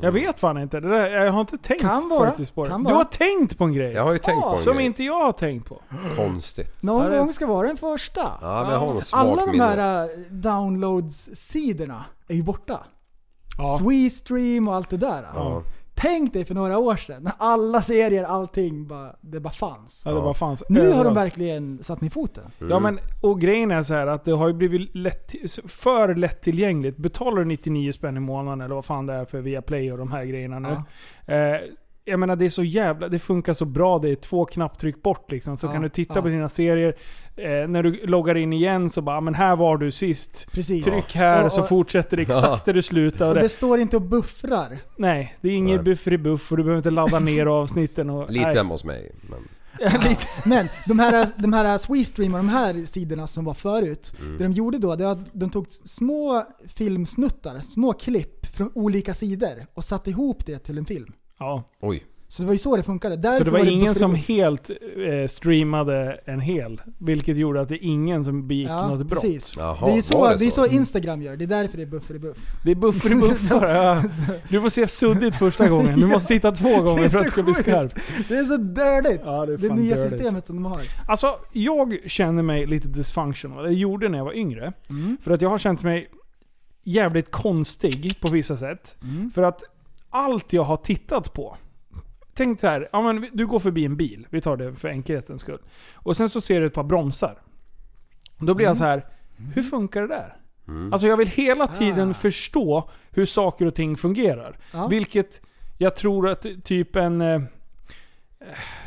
S3: Jag vet fan inte. Det där, jag har inte tänkt
S2: Kan vara,
S3: faktiskt på det.
S2: kan
S3: Du
S2: vara.
S3: har tänkt på en grej.
S1: Jag har ju tänkt på en
S3: Som
S1: grej.
S3: inte jag har tänkt på.
S1: Konstigt.
S2: Någon
S3: Ja, det-
S2: gång ska vara den första.
S1: Ja, men jag har något svagt
S2: Alla de
S1: minne.
S2: här eh, downloads-sidorna är ju borta.
S3: Ja.
S2: Swestream och allt det där.
S1: Ja.
S2: Tänk dig för några år sedan, när alla serier, allting, bara, det bara fanns.
S3: Ja, det bara fanns
S2: Nu har de
S3: överallt.
S2: verkligen satt ner foten.
S3: Ja
S1: Mm.
S3: men, och grejen är så här att det har ju blivit lätt, för lättillgängligt. Betalar du 99 spänn i månaden eller vad fan det är för Viaplay och de här grejerna nu. Eh, jag menar det är så jävla, det funkar så bra. Det är två knapptryck bort liksom. Så
S2: Ja,
S3: kan du titta
S2: ja.
S3: på dina serier. Eh, när du loggar in igen så bara, "Ah, men här var du sist.
S2: Precis.
S3: Tryck här
S2: Ja, och-
S3: så fortsätter det exakt
S2: Ja.
S3: där du slutade.
S2: Och
S3: Och det,
S2: det står inte och
S3: (laughs)
S2: buffrar.
S3: nej, det är inget
S1: Nej.
S3: bufferibuff och du behöver inte ladda ner avsnitten. (laughs) Och,
S1: Lite
S3: nej.
S1: hemma hos mig. Men...
S2: Men de här, de här Swestream och de här sidorna som var förut,
S1: Mm.
S2: det de gjorde då det var att de tog små filmsnuttar, små klipp från olika sidor och satte ihop det till en film.
S3: Ja.
S1: Oj.
S2: Så det var ju så det funkade. Därför
S3: Så det var ingen
S2: buffert-
S3: som helt eh, streamade en hel. Vilket gjorde att det är ingen som begick
S2: Ja,
S3: något brott.
S2: precis.
S1: Jaha,
S2: det är ju så,
S1: var
S2: det
S1: det
S2: är
S1: så?
S2: så Instagram gör, det är därför det är buffer i buff.
S3: (laughs) Det är buffer i
S2: (laughs)
S3: buffar. ja. Du får se suddigt första gången. Du måste
S2: (laughs)
S3: titta två gånger för att det ska bli skarpt.
S2: Det är så dirtigt!
S3: det är
S2: det
S3: fan
S2: nya
S3: dirtigt.
S2: systemet som de har.
S3: Alltså, jag känner mig lite dysfunctional. Det gjorde när jag var yngre. För att jag har känt mig jävligt konstig på vissa sätt. För att allt jag har tittat på. Tänk så här, ja, men du går förbi en bil. Vi tar det för enkelhetens skull. Och sen så ser du ett par bromsar. Då blir jag så här, hur funkar det där? Alltså jag vill hela tiden förstå hur saker och ting fungerar. Vilket jag tror att typ en... eh,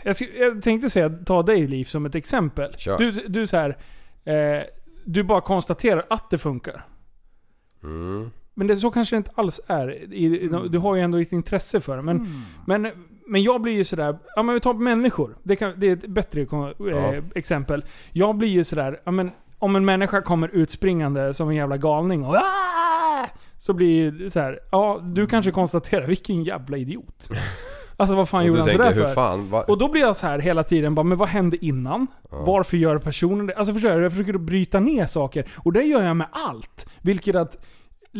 S3: Jag, sk- jag tänkte säga, ta dig Liv som ett exempel.
S1: Kör.
S3: Du, du så här, eh, du bara konstaterar att det funkar.
S1: Mm.
S3: Men det, så kanske det inte alls är. I- i- Du har ju ändå ett intresse för det. Men,
S1: Mm.
S3: men, men jag blir ju sådär, ja men vi tar människor. Det, kan, det är ett bättre kom- eh,
S1: Ja.
S3: exempel. Jag blir ju sådär, ja men om en människa kommer utspringande som en jävla galning och "Ah!" så blir ju så här, ja
S1: Mm.
S3: du kanske konstaterar vilken jävla
S1: (laughs)
S3: idiot. Alltså vad fan
S1: Och du
S3: gjorde han
S1: tänker,
S3: sådär
S1: hur
S3: för?
S1: fan, va-
S3: Och då blir jag så här hela tiden, bara, men vad hände innan? Varför gör personen det? Alltså förstår du? Jag försöker att bryta ner saker. Och det gör jag med allt. Vilket att,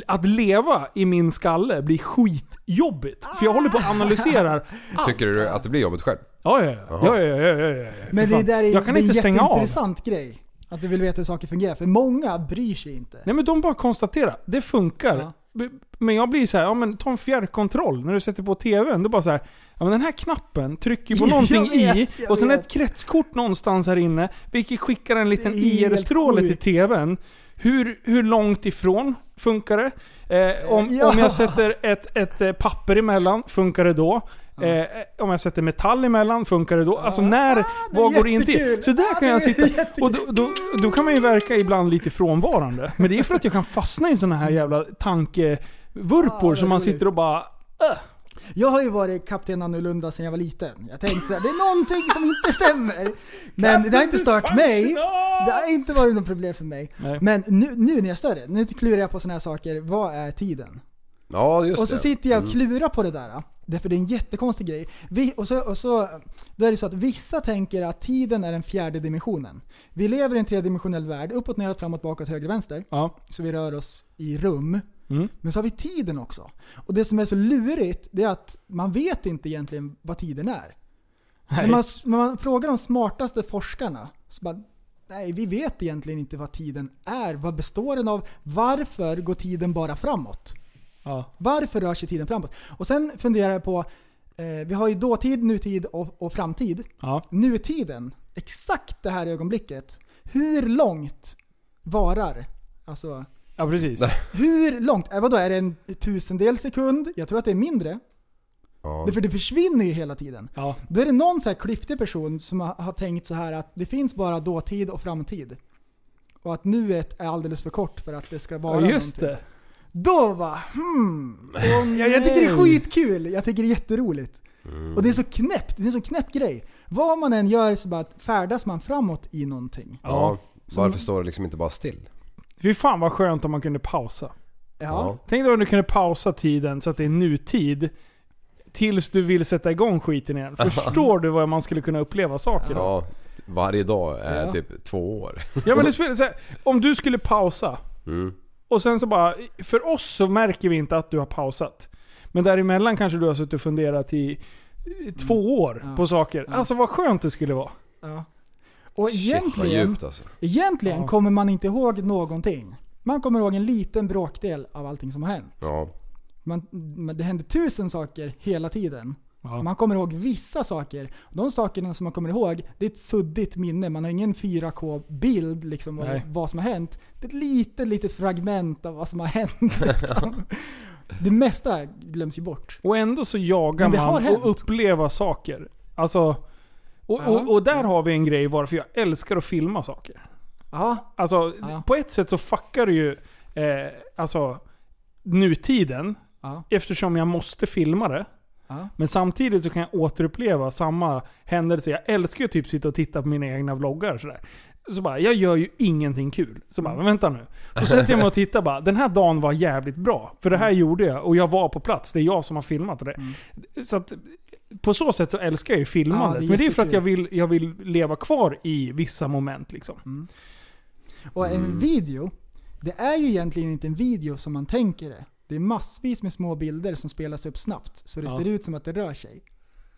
S3: att leva i min skalle blir skitjobbigt. För jag håller på att analysera allt.
S1: Tycker du att det blir jobbigt själv?
S3: Ja, ja, ja.
S1: Jaha.
S3: ja, ja, ja, ja, ja, ja.
S2: Men
S3: För
S2: det
S3: fan.
S2: där är,
S3: jag kan
S2: det är
S3: inte
S2: en
S3: stänga av.
S2: jätteintressant grej. Att du vill veta hur saker fungerar, för många bryr sig inte.
S3: Nej men de bara konstaterar, det funkar. B- Men jag blir så här, ja men ta en fjärrkontroll när du sätter på TVn. Då bara så här, ja men den här knappen trycker ju på
S2: (laughs) Jag
S3: någonting i
S2: vet, jag
S3: och sen
S2: vet.
S3: ett kretskort någonstans här inne vilket skickar en liten
S2: Det är helt
S3: IR-stråle till
S2: sjukt.
S3: TVn. Hur, hur långt ifrån funkar det? Eh, om,
S2: Ja.
S3: om jag sätter ett, ett eh, papper emellan, funkar det då? Eh, om jag sätter metall emellan, funkar det då? Alltså när, vad går in till?
S2: Ah, jättekul.
S3: Så där
S2: Ah, det
S3: kan jag
S2: är
S3: sitta. Och då, då, då kan man ju verka ibland lite frånvarande. Men det är för att jag kan fastna i såna här jävla tankevurpor som man sitter och bara...
S2: Jag har ju varit kapten annorlunda sedan jag var liten. Jag tänkte såhär, det är någonting som inte stämmer. Men det har inte stört mig. Det har inte varit något problem för mig.
S1: Nej.
S2: Men nu, nu när jag är större, nu klurar jag på sådana här saker. Vad är tiden?
S1: Ja, just
S2: och så
S1: det.
S2: sitter jag och
S1: Mm.
S2: klurar på det där. Därför det är en jättekonstig grej. Vi, och så, och så, då är det så att vissa tänker att tiden är den fjärde dimensionen. Vi lever i en tredimensionell värld. Uppåt, neråt, framåt, bakåt, höger, vänster. Så vi rör oss i rum. Men så har vi tiden också. Och det som är så lurigt, det är att man vet inte egentligen vad tiden är. När
S3: Nej.
S2: man, när man frågar de smartaste forskarna, så bara, nej vi vet egentligen inte vad tiden är. Vad består den av? Varför går tiden bara framåt?
S3: Ja.
S2: Varför rör sig tiden framåt? Och sen funderar jag på, eh, vi har ju dåtid, nutid och, och framtid. Nutiden, exakt det här ögonblicket. Hur långt varar alltså
S3: Ja precis.
S2: hur långt? Äh, vadå, är det en tusendel sekund? Jag tror att det är mindre.
S1: Ja.
S2: Det För det försvinner ju hela tiden.
S3: Ja.
S2: Då är det någon så här klyftig person som har, har tänkt så här att det finns bara dåtid och framtid. Och att nuet är alldeles för kort för att det ska vara
S3: Ja, just
S2: någonting.
S3: det.
S2: Då va, hmm.
S1: Mm.
S2: Åh, jag, jag tycker det är skitkul, jag tycker det är jätteroligt.
S1: Mm.
S2: Och det är så knäppt, det är en sån knäpp grej. Vad man än gör så bara färdas man framåt i någonting.
S1: Ja.
S2: Som-
S1: Varför står det liksom inte bara still?
S3: Fy fan vad skönt om man kunde pausa.
S1: Ja.
S3: Tänk dig om du kunde pausa tiden så att det är nutid. Tills du vill sätta igång skiten igen. Förstår du vad man skulle kunna uppleva saker?
S1: Ja, varje dag är
S3: Ja.
S1: typ två år.
S3: Ja men det spelar så här, Om du skulle pausa
S1: Mm.
S3: och sen så bara... För oss så märker vi inte att du har pausat. Men däremellan kanske du har suttit och funderat i i
S2: Mm.
S3: två år på saker. Alltså vad skönt det skulle vara.
S2: Ja. Och
S1: Vad
S2: egentligen,
S1: djupt alltså.
S2: egentligen kommer man inte ihåg någonting. Man kommer ihåg en liten bråkdel av allting som har hänt.
S1: Ja.
S2: Man, men det händer tusen saker hela tiden. Man kommer ihåg vissa saker. De sakerna som man kommer ihåg, det är ett suddigt minne. Man har ingen 4K-bild liksom av
S3: Nej.
S2: vad som har hänt. Det är ett litet, litet fragment av vad som har hänt. Liksom. det mesta glöms ju bort.
S3: Och ändå så jagar
S2: Men det har
S3: man
S2: hänt.
S3: och uppleva saker. Alltså... Och,
S2: Ja.
S3: och, och där har vi en grej varför jag älskar att filma saker.
S2: Ja.
S3: Alltså, på ett sätt så fuckar du ju eh, alltså, nutiden.
S2: Ja.
S3: Eftersom jag måste filma det.
S2: Ja.
S3: Men samtidigt så kan jag återuppleva samma händelse. Jag älskar ju typ sitta och titta på mina egna vloggar och sådär. Så bara, jag gör ju ingenting kul. Så bara, men vänta nu. Så sätter jag mig och tittar bara, den här dagen var jävligt bra. För det här gjorde jag och jag var på plats. Det är jag som har filmat det. Så att, på så sätt så älskar jag ju filmandet.
S2: Ja, det är
S3: men det är för att jag
S2: jättekul.
S3: vill, jag vill leva kvar i vissa moment liksom.
S2: Och en
S3: Mm.
S2: video, det är ju egentligen inte en video som man tänker det. Det är massvis med små bilder som spelas upp snabbt, så det
S3: Ja.
S2: ser ut som att det rör sig.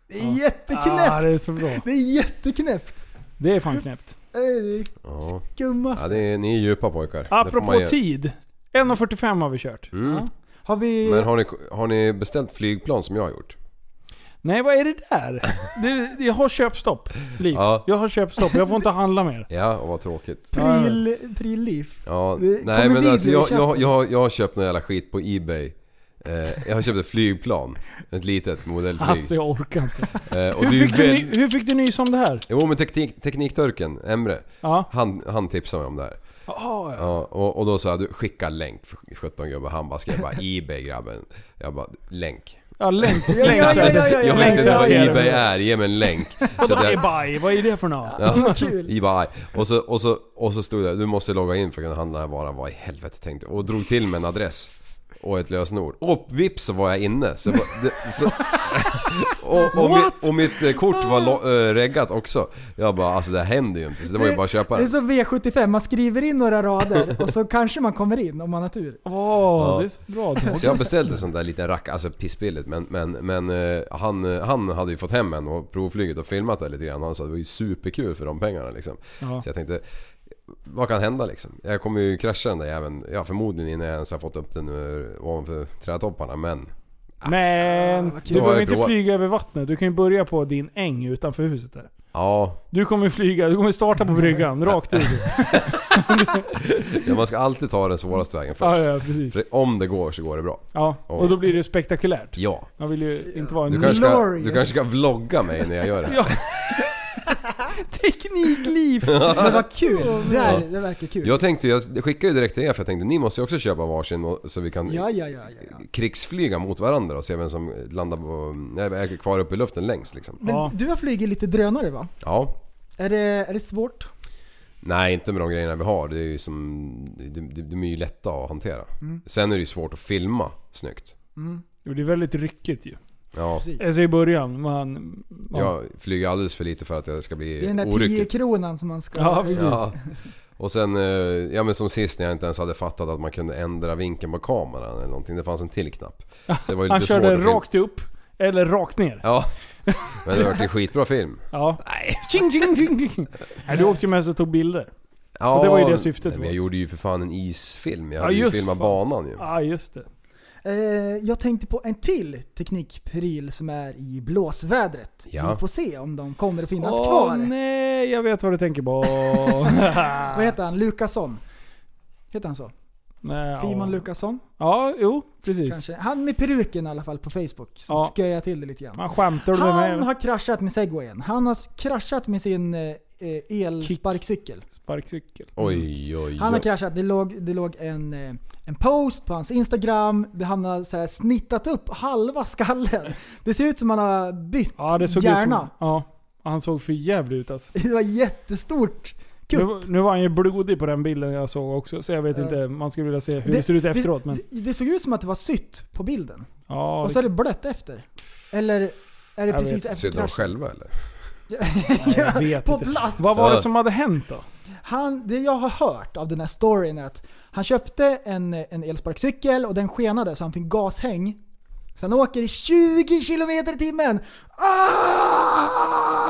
S2: Det är jätteknäppt!
S3: Ah, det är så bra.
S2: Det är jätteknäppt!
S3: Det är fan knäppt.
S2: Det är
S1: Ja.
S2: Skummaste.
S1: ja det är, ni är djupa pojkar. Det får man
S3: Apropå
S1: ge-
S3: tid. 1.45 har vi kört.
S1: Mm.
S2: Har vi...
S1: Men har ni, har ni beställt flygplan som jag har gjort?
S3: Nej, vad är det där? Det, jag har köpstopp, Liv.
S1: Ja.
S3: Jag har köpstopp. Jag får inte handla mer.
S1: Ja, och vad tråkigt.
S2: Pryl, prylliv.
S1: Ja,
S2: Det
S1: nej
S2: kommer
S1: men
S2: video
S1: alltså
S2: i
S1: jag,
S2: chatten.
S1: jag, jag, har- jag har köpt någon jävla skit på Ebay. Eh, jag har köpt ett flygplan. Ett litet modellflyg.
S3: Alltså jag orkar inte.
S1: Eh, och
S3: Hur
S1: det är ju
S3: fick, du,
S1: väl-
S3: ny- hur fick du nys om det här?
S1: Jo men teknik, Teknikturken, Emre,
S3: Ja.
S1: han, han tipsade mig om det här.
S3: Jaha, ja.
S1: Ja, och, och då sa jag du skicka länk för 17 gubbar. Han bara skrev bara Ebay grabben. Jag bara länk. Alltså,
S3: Ja, länk. länk.
S1: jag vet inte vad Ebay är, ge mig
S3: (laughs)
S1: en länk. Så
S3: Vadå
S1: där-
S3: ebay? (laughs) Vad är det för något?
S1: Ja, Ebay. Och så, och, så, och så stod det du måste logga in för att kunna handla den här varan. Vad i helvete tänkte jag. Och drog till med en adress. Och ett lösenord. Och vips så var jag inne. Så jag bara, det, så, (laughs) och, och,
S2: What?
S1: mitt, och mitt eh, kort var lo, eh, reggat också. Jag bara alltså det här händer ju inte. Så det var ju bara att köpa
S2: Det är
S1: den.
S2: som V75, man skriver in några rader och så kanske man kommer in om man har tur.
S3: Åh,
S1: Ja.
S3: det är så bra.
S1: Så jag beställde sån där liten rack, alltså pissbilligt men, men, men eh, han, eh, han hade ju fått hem en och provflugit och filmat det lite grann. Han sa det var ju superkul för de pengarna liksom.
S3: Ja.
S1: Så jag tänkte, vad kan hända liksom? Jag kommer ju krascha den där jäveln, ja förmodligen innan jag ens har fått upp den ur, ovanför trädtopparna men...
S3: Men
S1: Ah, vad
S3: du
S1: kul. Då har
S3: behöver
S1: jag
S3: inte
S1: provat.
S3: flyga över vattnet. Du kan ju börja på din äng utanför huset där.
S1: Ja,
S3: Du kommer ju flyga, du kommer starta på bryggan, rakt
S1: (laughs)
S3: ut.
S1: ja, man ska alltid ta den svåraste vägen först.
S3: Ja, ja, precis.
S1: För om det går så går det bra.
S3: Ja, och då blir det spektakulärt.
S1: Ja.
S3: Man vill ju inte vara en
S1: Du kanske, ska, du kanske ska vlogga mig när jag gör det här.
S2: (laughs)
S3: Ja. Teknikliv!
S2: Men vad kul! Det, här,
S1: Ja.
S2: det verkar kul.
S1: Jag tänkte, jag skickade ju direkt till er för jag tänkte ni måste ju också köpa varsin och- så vi kan
S2: Ja, ja, ja, ja.
S1: krigsflyga mot varandra och se vem som landar på, nej, är kvar uppe i luften längst liksom.
S2: Men du har flugit lite drönare va?
S1: Ja.
S2: Är det, är det svårt?
S1: Nej, inte med de grejerna vi har. Det är ju som, det, det, de är ju lätta att hantera.
S2: Mm.
S1: Sen är det ju svårt att filma snyggt.
S3: Jo, det är väldigt ryckigt ju.
S1: Ja.
S3: Alltså i början, man... man
S1: Jag flyger alldeles för lite för att jag ska
S2: Det
S1: bli
S2: är den där
S1: oryckig.
S2: 10 kronan som man ska...
S1: (laughs) Ja. Och sen, eh, ja men som sist när jag inte ens hade fattat att man kunde ändra vinkeln på kameran eller någonting. Det fanns en till knapp. Så det var
S3: (laughs)
S1: ju
S3: Han
S1: lite svårt
S3: körde
S1: att film-
S3: rakt upp, eller rakt ner.
S1: Ja. Men det har varit en skitbra film.
S3: Ja. Nej. Ching, ching, ching, ching. Nej, du åkte ju mest och tog bilder. (laughs) Och det var ju det syftet
S1: nej, men jag
S3: var.
S1: gjorde ju för fan en isfilm. Jag
S3: Ja,
S1: hade ju
S3: just
S1: filmat
S3: fan.
S1: banan ju.
S3: Ja, just det.
S2: Eh, jag tänkte på en till teknikpryl som är i blåsvädret.
S3: Ja.
S2: Vi får se om de kommer att finnas
S3: Åh,
S2: kvar.
S3: nej, jag vet vad du tänker på.
S2: (laughs) Vad heter han? Lukasson? Heter han så?
S3: Nej,
S2: Simon
S3: ja.
S2: Lukasson?
S3: Ja, jo, precis.
S2: Kanske. Han med peruken i alla fall på Facebook. Så
S3: Ja.
S2: ja. jag till det lite grann.
S3: Man skämtar du med
S2: Han
S3: mig?
S2: har kraschat med segwayen. Han har s- kraschat med sin eh, eh, elsparkcykel.
S3: Sparkcykel.
S1: Oj, oj,
S3: Mm.
S1: oj.
S2: Han har kraschat. Det låg, det låg en, eh, en post på hans Instagram. Det, han har så här snittat upp halva skallen. Det ser ut som han har bytt
S3: Ja, det såg
S2: hjärna.
S3: ut som, Ja, han såg för jävligt ut alltså.
S2: (laughs) Det var jättestort.
S3: Nu, nu var han ju blodig på den bilden jag såg också, så jag vet
S2: Ja.
S3: inte. Man skulle vilja se hur det, ser ut efteråt. Men,
S2: Det, det såg ut som att det var sytt på bilden.
S3: ja,
S2: och så är det blött efter. Eller är det
S3: Jag
S2: precis
S3: vet.
S2: efter
S1: Sitter de
S2: kraschen?
S1: själva eller?
S3: jag vet
S2: på
S3: inte.
S2: plats.
S3: Vad var det som hade hänt då?
S2: Han, det jag har hört av den här storyn är att han köpte en, en elsparkcykel och den skenade så han fick gashäng. Så han åker i 20 km i timmen. Ah!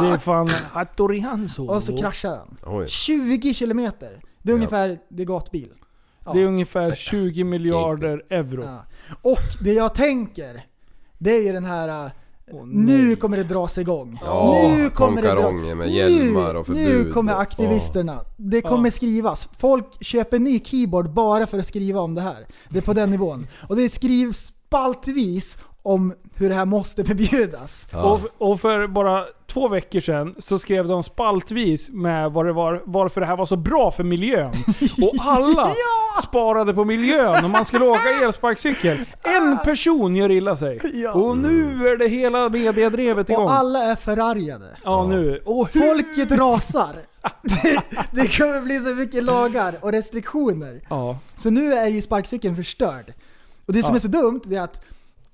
S3: Det är fan Hattori Hanzo.
S2: Och så kraschar han.
S1: Oj.
S2: 20 km. Det är ungefär, det är gatbil. Ja.
S3: Det är ungefär 20 miljarder euro.
S2: Ja. Och det jag tänker, det är ju den här... äh, nu kommer det dras igång.
S1: Ja,
S2: nu kommer det
S1: konkaronger med hjälmar
S2: nu,
S1: och förbud
S2: Nu kommer
S1: och-
S2: aktivisterna. Det
S3: Ja.
S2: kommer skrivas. Folk köper ny keyboard bara för att skriva om det här. Det är på den nivån. Och det skrivs spaltvis om hur det här måste förbjudas.
S3: Och, f- och för bara två veckor sedan så skrev de spaltvis med vad det var, varför det här var så bra för miljön. Och
S2: (laughs)
S3: alla sparade på miljön om man skulle åka elsparkcykel. En person gör illa sig.
S2: Ja.
S3: Och nu är det hela mediedrevet igång.
S2: Och alla är förargade.
S3: Ja, nu. Och hur...
S2: Folket rasar. (laughs) Det, det kommer bli så mycket lagar och restriktioner.
S3: Ja.
S2: Så nu är ju sparkcykeln förstörd. Och det som
S3: Ja.
S2: är så dumt det är att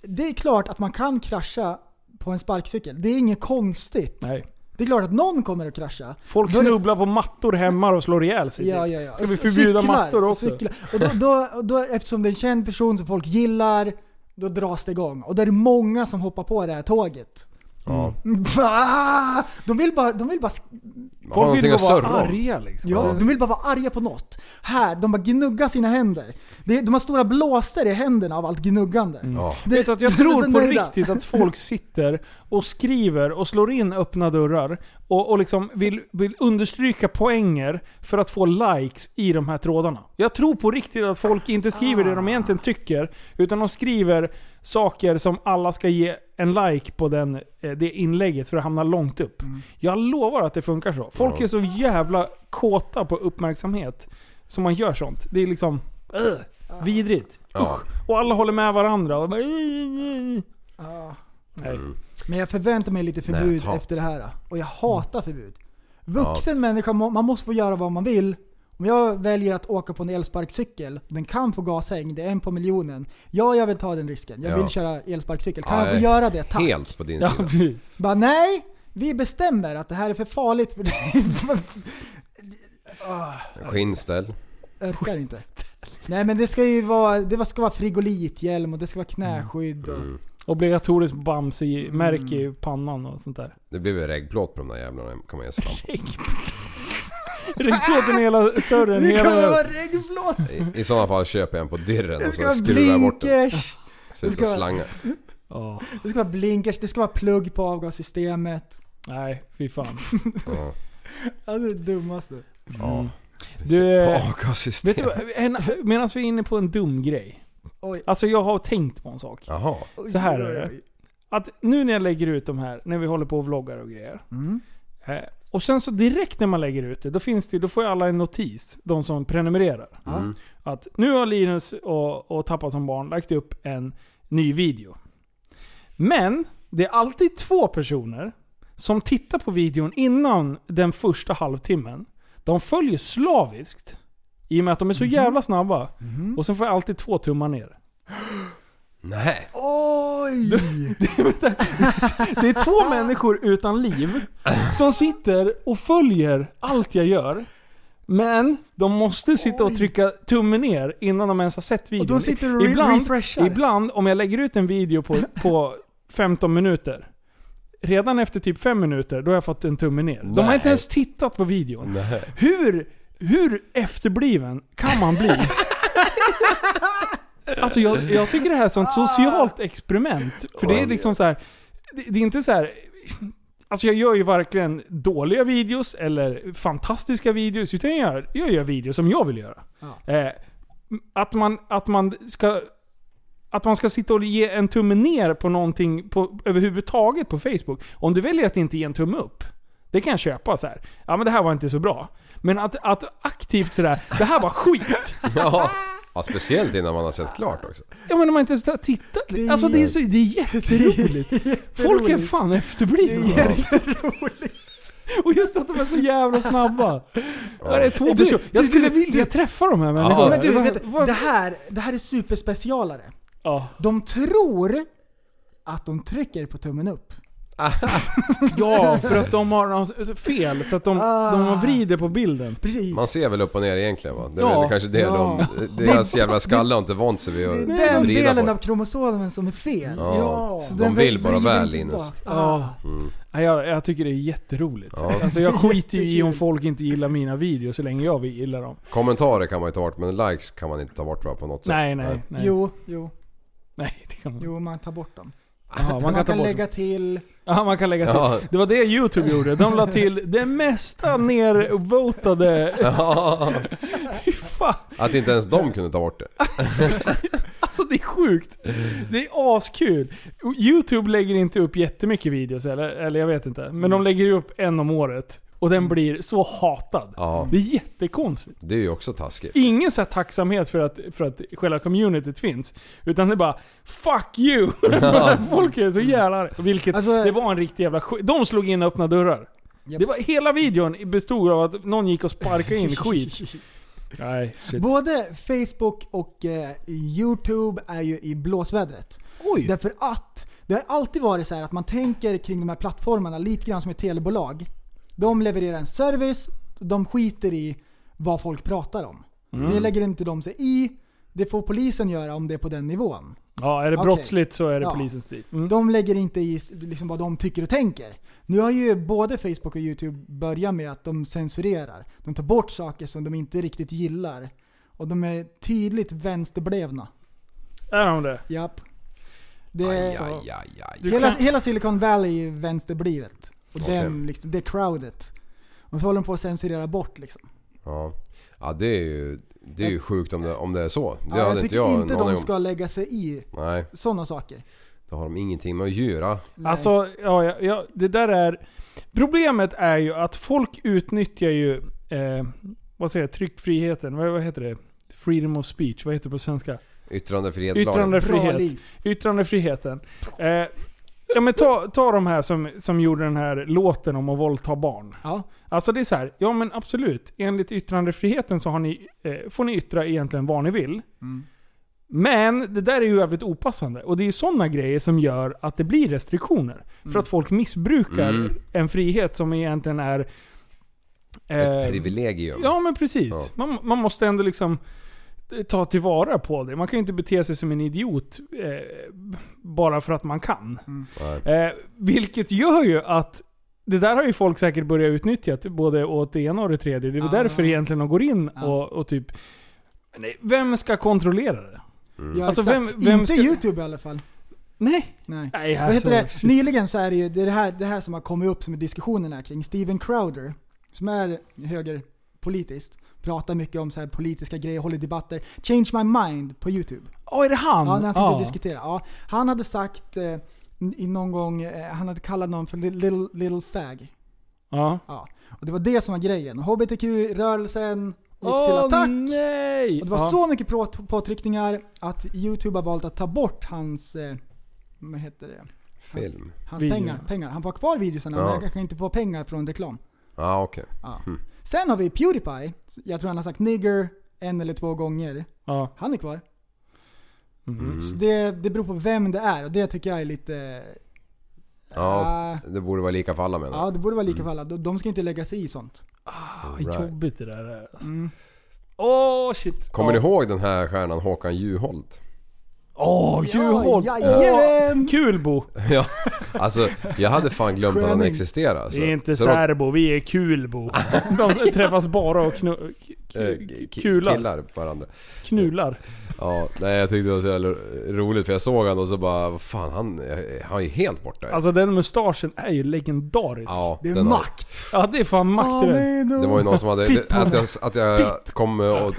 S2: det är klart att man kan krascha på en sparkcykel. Det är inget konstigt.
S3: Nej.
S2: Det är klart att någon kommer att krascha.
S3: Folk
S2: Då är det-
S3: snubblar på mattor hemma och slår ihjäl sig. typ.
S2: Ja, ja, ja.
S3: Ska vi
S2: Och
S3: förbjuda
S2: cyklar,
S3: mattor också?
S2: cyklar. Och då, då, och då, eftersom det är en känd person som folk gillar, då dras det igång. Och då är det många som hoppar på det här tåget.
S1: Ja.
S2: Va? De vill bara... De vill bara sk-
S1: Folk vill bara vara arga
S3: liksom.
S2: Ja, de vill bara vara arga på något. Här, de bara gnugga sina händer. Det- De har stora blåsor i händerna av allt gnuggande.
S3: Ja.
S2: Det-
S3: Vet
S2: (laughs)
S3: du att jag
S2: de är så
S3: tror på
S2: nöjda.
S3: riktigt
S2: (laughs)
S3: att folk sitter och skriver och slår in öppna dörrar och, och liksom vill, vill understryka poänger för att få likes i de här trådarna. Jag tror på riktigt att folk inte skriver det
S2: Ah.
S3: de egentligen tycker, utan de skriver saker som alla ska ge en like på den, eh, det inlägget för att hamna långt upp.
S2: Mm.
S3: Jag lovar att det funkar så. Folk
S1: Ja.
S3: är så jävla kåta på uppmärksamhet som man gör sånt. Det är liksom... Ugh,
S2: Ah.
S3: vidrigt.
S1: Ja.
S3: Och alla håller med varandra. Och bara, "Ej, ej,
S2: Ja.
S3: ej."
S2: Men jag förväntar mig lite förbud
S3: Näthat.
S2: efter det här. Och jag hatar förbud. Vuxen människa, må- man måste få göra vad man vill. Om jag väljer att åka på en elsparkcykel, den kan få gashäng, det är en på miljonen. Ja, jag vill ta den risken. Jag
S1: Ja.
S2: vill köra elsparkcykel. Kan
S1: Ja,
S2: jag få
S1: är
S2: göra det? Tack.
S1: Helt på din
S2: Ja,
S1: sida.
S2: Bara nej, vi bestämmer att det här är för farligt för
S1: (laughs)
S2: dig. Ah,
S1: Skinnställ.
S2: Orkar inte. Nej men det ska ju vara, det ska vara frigolithjälm och det ska vara knäskydd
S1: Mm.
S2: och...
S3: (laughs) Obligatoriskt
S2: Mm.
S3: Bamse-märke i pannan och sånt där. (laughs)
S1: Det blev väl reggplåt på de där jävlarna kan man ge
S2: (laughs)
S1: sig fram på.
S3: Regnplåten är hela större än
S2: Det
S3: hela...
S2: kommer vara regnplåt!
S1: I, I sådana fall köper jag en på dirren
S2: Det
S1: och
S2: ska
S1: så
S2: vara
S1: skruvar jag bort den.
S2: blinkers! Alltså,
S1: Så det
S2: Det ska
S1: ska
S2: vara-
S1: slanga.
S2: (laughs) Det ska vara blinkers, det ska vara plugg på avgassystemet.
S3: Nej, fy fan.
S2: Mm.
S1: Ja.
S2: Alltså det dummaste.
S1: Ja.
S3: Du, eh,
S1: Avgassystem.
S3: Mm. vet du vad, en, medan vi är inne på en dum grej.
S2: Oj.
S3: Alltså jag har tänkt på en sak.
S1: Jaha.
S3: Så här
S2: Oj,
S3: är
S2: oj,
S3: det.
S2: oj.
S3: Att nu när jag lägger ut de här, när vi håller på och vloggar och grejer.
S1: Mm.
S3: Eh, och sen så direkt när man lägger ut det, då, finns det, ju- då får ju alla en notis. De som prenumererar.
S2: Mm.
S3: Att nu har Linus och, och Tappat som barn lagt upp en ny video. Men det är alltid två personer som tittar på videon innan den första halvtimmen. De följer slaviskt. I och med att de är så jävla snabba. Och sen får jag alltid två tummar ner.
S1: Nej. (laughs)
S2: Oj!
S3: Det är två människor utan liv som sitter och följer allt jag gör. Men de måste sitta och trycka tummen ner innan de ens har sett videon.
S2: då sitter du och re- refreshar.
S3: ibland om jag lägger ut en video på, på 15 minuter. Redan efter typ 5 minuter, då har jag fått en tumme ner. De har
S1: Nej.
S3: inte ens tittat på videon.
S1: Nej.
S3: Hur, hur efterbliven kan man
S1: (laughs)
S3: bli? Alltså jag, jag tycker det här är ett sånt socialt experiment. För det är liksom så här. Det, det är inte så här. Alltså jag gör ju varken dåliga videos eller fantastiska videos. Utan jag gör, jag gör videos som jag vill göra. Eh, att, man, att man ska... Att man ska sitta och ge en tumme ner på någonting på, överhuvudtaget på Facebook. Om du väljer att inte ge en tumme upp, Det kan jag köpa så här. Ja men det här var inte så bra. Men att, att aktivt sådär, det här var skit.
S1: Ja. ja, speciellt innan man har sett klart också.
S3: Ja men om man inte ens har tittat lite. Alltså det är, så, det är jätteroligt.
S2: (laughs)
S3: Folk är fan efterblivna.
S2: Det är
S3: Och just att de är så jävla snabba. Ja, Det är två
S2: Du-
S3: personer. Jag
S2: du-
S3: skulle
S2: du-
S3: vilja träffa de här människorna.
S2: Ja, men du,
S3: Vad-
S2: vet, du,
S3: vad-
S2: det, här, det här är superspecialare.
S3: Ja.
S2: De tror att de trycker på tummen upp.
S3: Ja, för att de har någon- fel. Så att de,
S2: Ah.
S3: de vrider på bilden.
S2: Precis.
S1: Man ser väl upp och ner egentligen va? Det är
S3: Ja.
S1: väl kanske det
S3: Ja.
S1: de... Deras jävla skalle har inte vant sig vid
S2: Det är
S1: att
S2: den
S1: vrida på
S2: delen
S1: det.
S2: av kromosomen som är fel.
S1: Ja.
S2: Så
S1: De
S2: den
S1: vill bara
S2: vrider
S1: väl,
S2: inte
S1: Linus.
S2: tillbaka. Ah,
S3: Ja.
S1: Mm.
S3: Nej, Jag, jag tycker det är jätteroligt.
S1: Ja.
S3: Alltså jag skiter ju i om folk inte gillar mina videos så länge jag gillar dem.
S1: Kommentarer kan man ju ta bort men likes kan man inte ta bort va, på något sätt.
S3: Nej, nej, nej.
S2: Jo, jo.
S3: Nej, det kan man
S2: Jo, man tar bort dem.
S3: Jaha, man
S2: man
S3: kan
S2: kan,
S3: ta bort
S2: lägga
S3: dem.
S2: till...
S3: (laughs) Ja, man kan lägga till.
S1: Ja.
S3: Det var det Youtube gjorde. De la till det mesta
S1: (laughs)
S3: nervotade.
S1: Ja.
S3: Fy fan.
S1: Att inte ens de kunde ta bort det.
S3: Alltså det är sjukt. Det är askul. Youtube lägger inte upp jättemycket videos, eller, eller jag vet inte. Men
S1: Mm.
S3: de lägger ju upp en om året. Och den blir så hatad.
S1: Ja.
S3: Det är jättekonstigt.
S1: Det är ju också taskigt.
S3: Ingen så här tacksamhet för att, för att själva communityt finns. Utan det är bara 'Fuck you!' (laughs) För att Folk är så jävla arga. Vilket,
S2: Alltså-
S3: det var en riktig jävla skit. De slog in öppna dörrar. Det var, hela videon bestod av att någon gick och sparkade
S2: (laughs)
S3: in skit. Nej, shit.
S2: Både Facebook och eh, Youtube är ju i blåsvädret. Därför att det har alltid varit så här att man tänker kring de här plattformarna lite grann som ett telebolag. De levererar en service, de skiter i vad folk pratar om.
S3: Mm.
S2: Det lägger inte de sig i. Det får polisen göra om det är på den nivån.
S3: Ja, är det
S2: Okej.
S3: brottsligt så är det
S2: Ja.
S3: polisens Mm. stil.
S2: Mm. De lägger inte i liksom vad de tycker och tänker. Nu har ju både Facebook och Youtube börjat med att de censurerar. De tar bort saker som de inte riktigt gillar. Och de är tydligt vänsterblevna.
S3: Är de det?
S2: Japp. Det
S3: Aj,
S2: är,
S3: aj,
S1: aj, aj. Du
S2: Hela,
S1: kan-
S2: hela Silicon Valley är vänsterblivet. Och
S1: Okej.
S2: den, liksom, det crowdet. Och så håller de på att censurera bort liksom.
S1: Ja. Ja det är ju, det är ju sjukt om det, om det är så. Det
S2: Ja,
S1: hade
S2: jag
S1: inte
S2: tycker
S1: jag
S2: inte
S1: en aning
S2: de
S1: om.
S2: ska lägga sig i
S1: Nej.
S2: sådana saker.
S1: Det har de ingenting med att göra.
S3: Alltså, ja, ja, ja, det där är... Problemet är ju att folk utnyttjar ju... Eh, vad säger jag? Tryckfriheten? Vad, vad heter det? Freedom of speech? Vad heter det på svenska?
S1: Yttrandefrihetslagen.
S3: Yttrandefrihet. Yttrandefriheten. Eh, ja, men ta, ta de här som, som gjorde den här låten om att våldta barn.
S2: Ja.
S3: Alltså det är så här, ja men absolut. Enligt yttrandefriheten så har ni, eh, får ni yttra egentligen vad ni vill. Men det där är ju jävligt opassande. Och det är ju sådana grejer som gör att det blir restriktioner. För att folk missbrukar
S1: Mm.
S3: en frihet som egentligen är... eh,
S1: Ett privilegium.
S3: Ja men precis. Man, man måste ändå liksom ta tillvara på det. Man kan ju inte bete sig som en idiot eh, bara för att man kan. Eh, vilket gör ju att det där har ju folk säkert börjat utnyttja, till både åt det ena och det tredje. Det är väl
S2: Ah.
S3: därför egentligen de går in och, och typ... Nej, Vem ska kontrollera det?
S1: Mm.
S2: Ja,
S3: Alltså,
S2: exakt.
S3: vem- vem
S2: inte
S3: ska-
S2: Youtube i alla fall.
S3: Nej.
S2: Nej.
S3: Nej,
S2: Vad
S3: alltså,
S2: heter det?
S3: shit.
S2: Nyligen så är det ju det är det här, det här som har kommit upp som i diskussionerna kring Steven Crowder, som är högerpolitiskt, pratar mycket om så här politiska grejer, håller debatter. Change my mind på Youtube.
S3: Ja, är det han?
S2: Ja, när han sitter
S3: Ja.
S2: och diskuterar. Ja, han hade sagt eh, i någon gång, eh, han hade kallat någon för li- little, little fag.
S3: Ja.
S2: Ja. Och det var det som var grejen. HBTQ-rörelsen gick
S3: Åh,
S2: till attack.
S3: nej!
S2: Och det var
S3: Ja.
S2: så mycket på, påtryckningar att Youtube har valt att ta bort hans, eh, vad heter det? Hans-
S1: Film.
S2: Hans
S1: Video.
S2: pengar, pengar. Han får ha kvar videosarna
S1: Ja.
S2: men han kanske inte får pengar från reklam.
S1: Ja okej.
S2: Ja.
S1: Hm.
S2: Sen har vi Pewdiepie. Jag tror han har sagt nigger en eller två gånger.
S3: Ja.
S2: Han är kvar.
S1: Mm.
S2: Så det, det beror på vem det är och det tycker jag är lite...
S1: Ja, Mm.
S2: Äh.
S1: det borde vara lika för alla menar
S2: Ja, det borde vara lika för alla. De- De ska inte lägga sig i sånt.
S3: Ah, Vad
S1: Right.
S3: jobbigt det där är. Alltså.
S2: Mm.
S3: Åh shit.
S1: Kommer
S3: ja.
S1: ni ihåg den här stjärnan Håkan Juholt?
S3: Åh, Juholt!
S2: Ja,
S3: Åh, kul Bo!
S1: Ja, alltså jag hade fan glömt att han
S3: Sköning.
S1: existerade. Alltså.
S3: Vi är inte
S1: Så de-
S3: särbo, vi är
S1: (laughs)
S3: kulbo. De träffas bara och knu,
S1: eh,
S3: k-
S1: ki-
S3: kular.
S1: Killar på varandra.
S3: Knular.
S1: Ja, nej jag tyckte det var så jävla roligt för jag såg han och så bara, vad fan han, han är ju helt borta.
S3: Alltså den mustaschen är ju legendarisk.
S1: Ja, Det är den har- makt.
S3: Ja det är fan makt det där.
S1: Det var ju någon som hade...
S3: Titt på
S1: att,
S3: den.
S1: jag, att jag kom och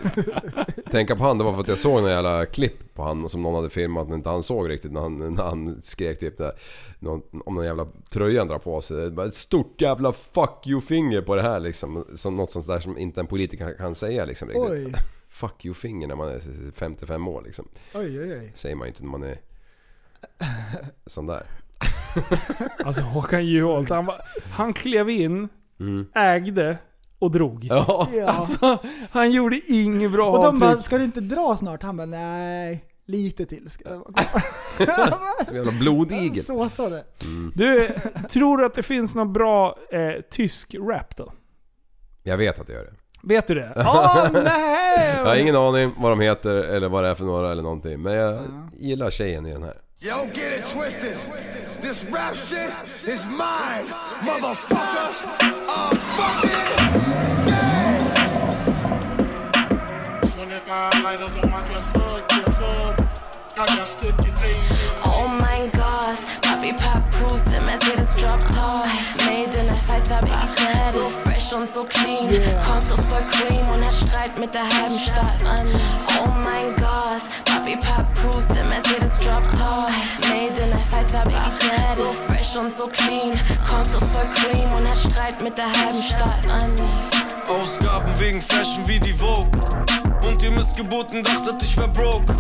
S1: tänka på han, det var för att jag såg några jävla klipp på han som någon hade filmat men inte han såg riktigt när han, när han skrek typ det här. någon, om någon jävla tröja han drar på sig. Det är bara Ett stort jävla fuck you-finger på det här liksom. Som, något sånt där som inte en politiker kan, kan säga liksom
S2: Oj.
S1: riktigt. Fuck you-finger när man är 55 år liksom.
S2: Oj, oj,
S1: (laughs)
S2: oj.
S1: Säger man ju inte när man är sån där.
S3: Alltså Håkan Juholt, han, var- han klev in,
S1: Mm.
S3: ägde och drog.
S1: Ja.
S3: Alltså, han gjorde inget bra
S2: Och de
S3: avtryck.
S2: bara, ska du inte dra snart? Han bara, nej, lite till ska jag vara (laughs)
S1: (laughs)
S2: kvar."
S1: (laughs) Som jävla blodigel.
S2: Så sa det.
S3: Du, tror du att det finns någon bra eh, tysk rap då?
S1: Jag vet att jag gör det.
S3: Vet du det? Åh nej!
S1: Jag har ingen aning vad de heter eller vad det är för några eller någonting. Men jag gillar tjejen i den här.
S12: Yo, get it twisted. This rap shit is mine, motherfuckers. I'm fucking dead. 25 lighters on my dresser, yes sir. I got sticky things.
S14: Oh my gosh, Papi Papp Proust, der Mercedes Drop Top. Made in der Fighter Big so fresh und so clean. Kommt so voll cream und hat Streit mit der halben Stadt an. Oh mein Gott, Papi Papp Proust, der Mercedes Drop Top. Made in der Fighter Big so fresh und so clean. Kommt so voll cream und hat Streit mit der halben Stadt an.
S15: Ausgaben wegen Fashion wie die Vogue. Und ihr Missgeboten dachtet, ich wär broke.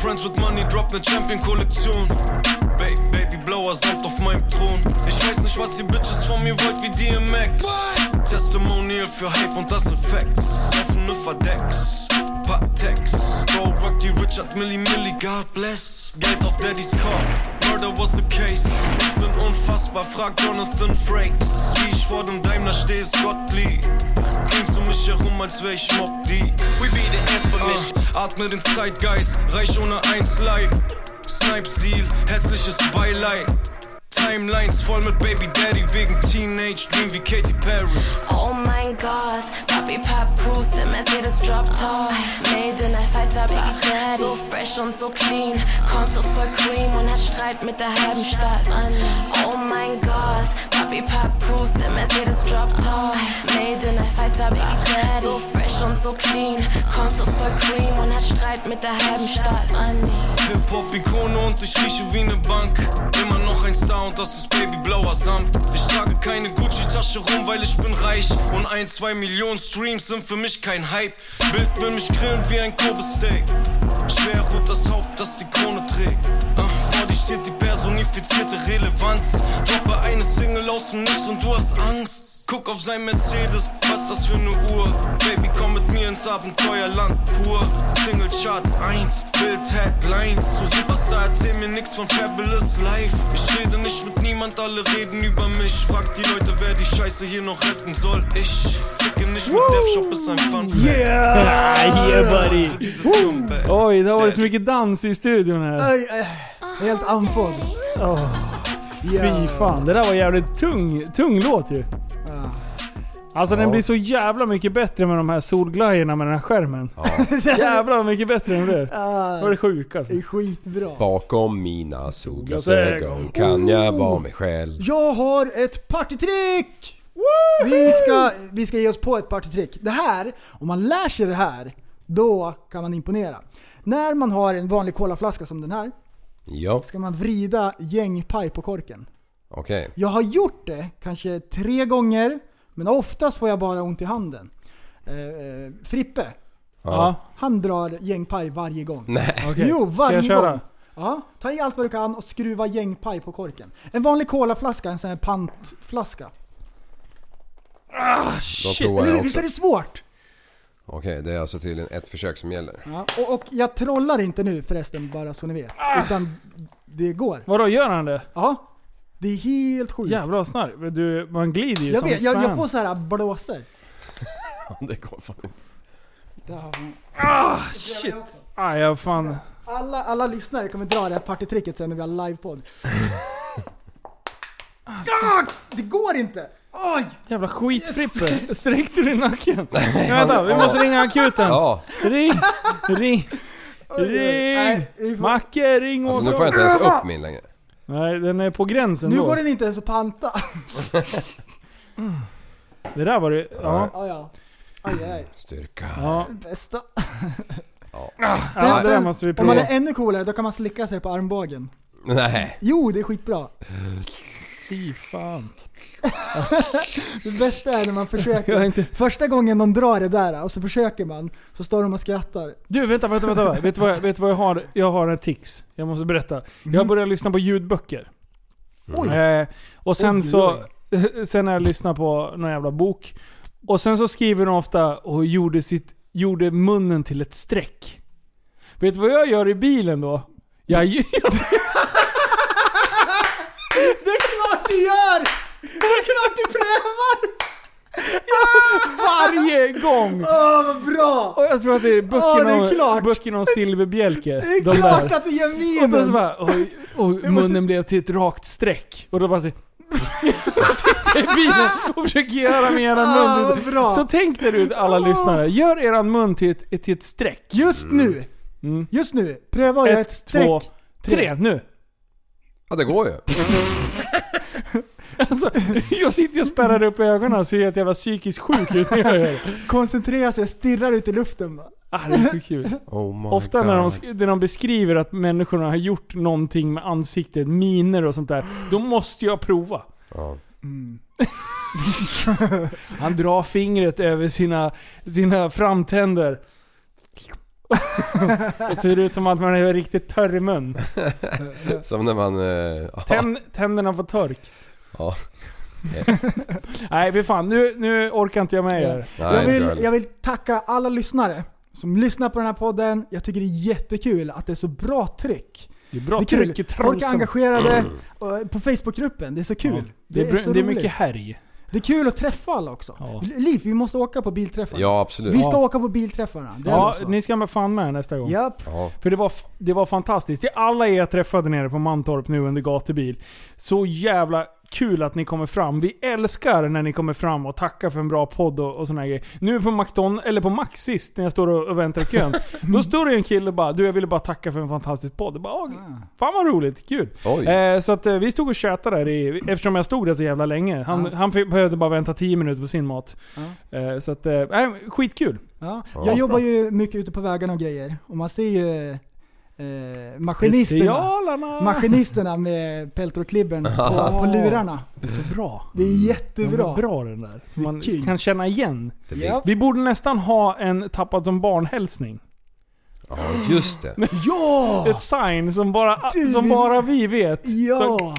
S15: Friends with Money drop ne Champion-Kollektion. Ba Baby Blower saugt auf meinem Thron. Ich weiß nicht, was ihr Bitches von mir wollt wie DMX. Testimonial für Hype und das sind Facts. Offene Verdecks, Patex. Bro, Rocky Richard, Milli Milli, God bless. Geld auf Daddys Kopf, Murder was the case. Ich bin unfassbar, frag Jonathan Frakes. Wie ich vor dem Daimler stehe, ist Gottlieb. Creamst du mich herum, als wär ich Mob D. We be the infamous. atme den Zeitgeist, reich ohne eins live. Snipes Deal, herzliches Beileid. Timelines voll mit Baby Daddy wegen Teenage Dream wie Katy Perry.
S14: Oh mein Gott, Papi Papp Proust, der Mercedes Drop Top. Made in der Fighter Big Daddy. So fresh und so clean. Kommt so voll cream und hat Streit mit der halben Stadt an. Oh mein Gott, Papi Papp Proust, der Mercedes Drop Top. Made in der Fighter Big Daddy. So fresh und so clean. Kommt so voll cream und hat Streit mit der halben Stadt an.
S15: Hip-Hop-Ikone und ich rieche wie ne Bank. Immer noch ein Star und das ist babyblauer Samt. Ich trage keine Gucci-Tasche rum, weil ich bin reich. Und ein, zwei Millionen Streams sind für mich kein Hype. Bild will mich grillen wie ein Kobe-Steak. Schwerhut das Haupt, das die Krone trägt. Ah, vor dir steht die personifizierte Relevanz. Droppe eine Single aus dem Nichts und du hast Angst. Guck auf sein Mercedes, was das für ne Uhr. Baby, komm mit mir ins Abenteuerland pur. Single Charts 1, Bild Headlines. So Superstar, erzähl mir nix von Fabulous Life. Ich rede nicht mit niemand, alle reden über mich. Frag die Leute, wer die Scheiße hier noch retten soll. Ich ficke nicht mit Death Shop, ist ein Fun Fact.
S3: Yeah! yeah buddy! Oh, Oj, det har varit så mycket dans i studion här.
S2: Aj, aj, helt andfådd.
S3: Åh, Fy fan, det där var jävligt tung, tung låt ju. Alltså den
S2: Ja.
S3: blir så jävla mycket bättre med de här solglajjorna med den här skärmen. (laughs) jävlar vad mycket bättre den blir. Det var det alltså. sjukaste.
S2: Det är skitbra.
S1: Bakom mina solglasögon kan jag vara mig själv.
S2: Jag har ett partytrick! Vi ska, vi ska ge oss på ett partytrick. Det här, om man lär sig det här, då kan man imponera. När man har en vanlig colaflaska som den här,
S1: Ja,
S2: ska man vrida gängpaj på korken.
S1: okej.
S2: Jag har gjort det kanske tre gånger, men oftast får jag bara ont i handen. Eh, eh, Frippe,
S1: Ja.
S2: han drar gängpaj varje gång.
S1: Nej.
S3: Okej.
S2: Jo,
S3: Ska
S2: varje
S3: jag köra?
S2: gång. Ja, ta i allt vad du kan och skruva gängpaj på korken. En vanlig colaflaska, en sån här pantflaska. Ah, shit!
S1: provar jag
S2: (laughs) Eller,
S1: också.
S2: Visst är det svårt?
S1: Okej, det är alltså tydligen ett försök som gäller.
S2: Ja, och, och jag trollar inte nu förresten, bara så ni vet.
S3: Ah!
S2: Utan det går.
S3: Vadå, gör han det?
S2: Ja. Det är helt sjukt.
S3: Jävlar vad snarv. Du, man glider ju
S2: Jag,
S3: som
S2: vet, jag, jag
S3: fan.
S2: får så här
S1: (laughs)
S2: blåser.
S1: Det går fan inte.
S2: Där har vi-
S3: Ah,
S2: Det blev
S3: shit.
S2: jag också.
S3: Aj, jag fan.
S2: Alla, alla lyssnare kommer dra det här partytricket sen när vi har livepodd.
S3: (laughs) Alltså.
S2: Ah, det går inte! Oj!
S3: Jävla skitfrippe. Sträckte du i nacken? Nej, vänta, vi måste ringa akuten.
S1: Ja.
S3: Ring, ring,
S2: oj. Nej, vi
S3: ring.
S2: får-
S3: Macke, ring
S1: Alltså
S3: och
S1: nu får jag inte ens upp min längre.
S3: Nej, den är på gränsen
S2: Nu
S3: då.
S2: går den inte ens att panta.
S3: Det där var det... Ja.
S2: Ja, ja. Aj, aj.
S1: Styrka.
S3: Ja.
S2: Bästa. Alltså,
S3: Ja, det där måste vi
S2: Om man
S3: prova.
S2: är ännu coolare, då kan man slicka sig på armbågen.
S1: Nej.
S2: Jo, det är skitbra.
S3: Fy fan.
S2: det bästa är när man
S3: (laughs) Jag
S2: försöker.
S3: är inte-
S2: Första gången de drar det där och så försöker man, så står de och skrattar.
S3: Du, vänta, vänta, vänta. vänta. vet, du vad jag, vet du vad jag har? Jag har en tics. Jag måste berätta. Jag börjar lyssna på ljudböcker.
S2: Mm. Oj.
S3: Eh, och sen
S2: Oj,
S3: så... (laughs) Sen när jag lyssnar på någon jävla bok. Och sen så skriver de ofta och gjorde, sitt, gjorde munnen till ett streck. Vet du vad jag gör i bilen då? Jag, jag, (laughs)
S2: Det är klart du gör! Det är klart du prövar!
S3: varje gång!
S2: Åh, vad bra!
S3: Och jag tror att det är
S2: Ja, det
S3: böckerna,
S2: är klart.
S3: om, böckerna om silverbjälke.
S2: Det är
S3: de
S2: klart
S3: där.
S2: att du gör
S3: Och då så
S2: minen!
S3: bara, oj, oj,
S2: måste-
S3: munnen blev till ett rakt streck. Och då bara så, (laughs) jag sitter i bilen och försöker göra med eran
S2: Ah,
S3: mun.
S2: vad bra.
S3: Så tänk där ut alla lyssnare, gör eran mun till ett, till ett streck.
S2: Just nu! Just nu, pröva att göra ett
S3: Mm. Ett,
S2: streck.
S3: två, tre. Nu! (laughs)
S1: Ja, det går ju.
S3: Alltså, jag sitter ju och spärrar upp ögonen och ser helt jävla psykiskt sjuk ut när jag
S2: (laughs)
S3: gör det.
S2: Koncentrera sig, stirrar ut i luften bara.
S3: Ah, det är så kul.
S1: Oh my
S3: Ofta när de,
S1: God.
S3: sk- när de beskriver att människorna har gjort någonting med ansiktet, miner och sånt där. Då måste jag prova.
S1: Ja.
S3: Mm. Han drar fingret över sina,
S2: (laughs)
S3: sina framtänder. Det ser ut som att man är riktigt törr i mun.
S1: Som när man... Eh, ja.
S3: Tän, tänderna på tork.
S1: Ja.
S3: (laughs) Nej för fan, nu, nu orkar inte jag med er.
S1: Nej,
S2: jag,
S1: inte jag
S2: vill,
S1: heller.
S2: jag vill tacka alla lyssnare som lyssnar på den här podden. Jag tycker det är jättekul att det är så bra tryck.
S3: Det är bra
S2: det är kul.
S3: tryck i
S2: Folk är
S3: trolsen.
S2: engagerade
S1: Mm.
S2: och- på Facebookgruppen. Det är så kul.
S3: Ja.
S2: Det, är,
S3: br-
S2: så
S3: det är
S2: roligt.
S3: mycket härj.
S2: Det är kul att träffa alla också. Liv, vi måste åka på bilträffarna.
S1: Ja, absolut.
S2: Vi ska
S1: Ja.
S2: åka på bilträffarna. Det är alltså-
S3: Ja,
S2: väl så.
S3: ni ska med fan med nästa gång.
S2: Japp.
S1: Ja.
S3: För det var, f- det var fantastiskt. Till alla er jag träffade nere på Mantorp nu under gatubil. Så jävla kul att ni kommer fram. Vi älskar när ni kommer fram och tackar för en bra podd och, och såna här grejer. Nu på McDonald's, eller på Max sist när jag står och, och väntar i kön. då står det en kille och bara Du jag ville bara tacka för en fantastisk podd. Jag Bara,
S2: Mm.
S3: "Åh, fan vad roligt, kul.
S1: Oj.
S3: Eh, så att, eh, vi stod och tjötade där i, eftersom jag stod där så jävla länge. Han, han fick, behövde bara vänta 10 minuter på sin mat. Eh, så att, eh, äh, skitkul.
S2: Ja.
S3: Ja.
S2: Jag jobbar ju mycket ute på vägarna och grejer. Och man ser ju eh, maskinisterna.
S3: Specialarna.
S2: Maskinisterna med peltorklibbern
S1: (laughs)
S2: på, på lurarna.
S3: Det är så bra.
S2: Det
S1: Mm.
S2: är jättebra.
S3: Den är bra den där. Så man
S2: kul.
S3: kan känna igen.
S1: Det
S2: blir-
S3: Vi borde nästan ha en tappad som barn-hälsning.
S1: Ja, just det.
S2: Ja!
S3: Ett sign som bara,
S2: Ah. Du,
S3: som
S2: vi-
S3: bara vi vet. Så,
S2: Ja!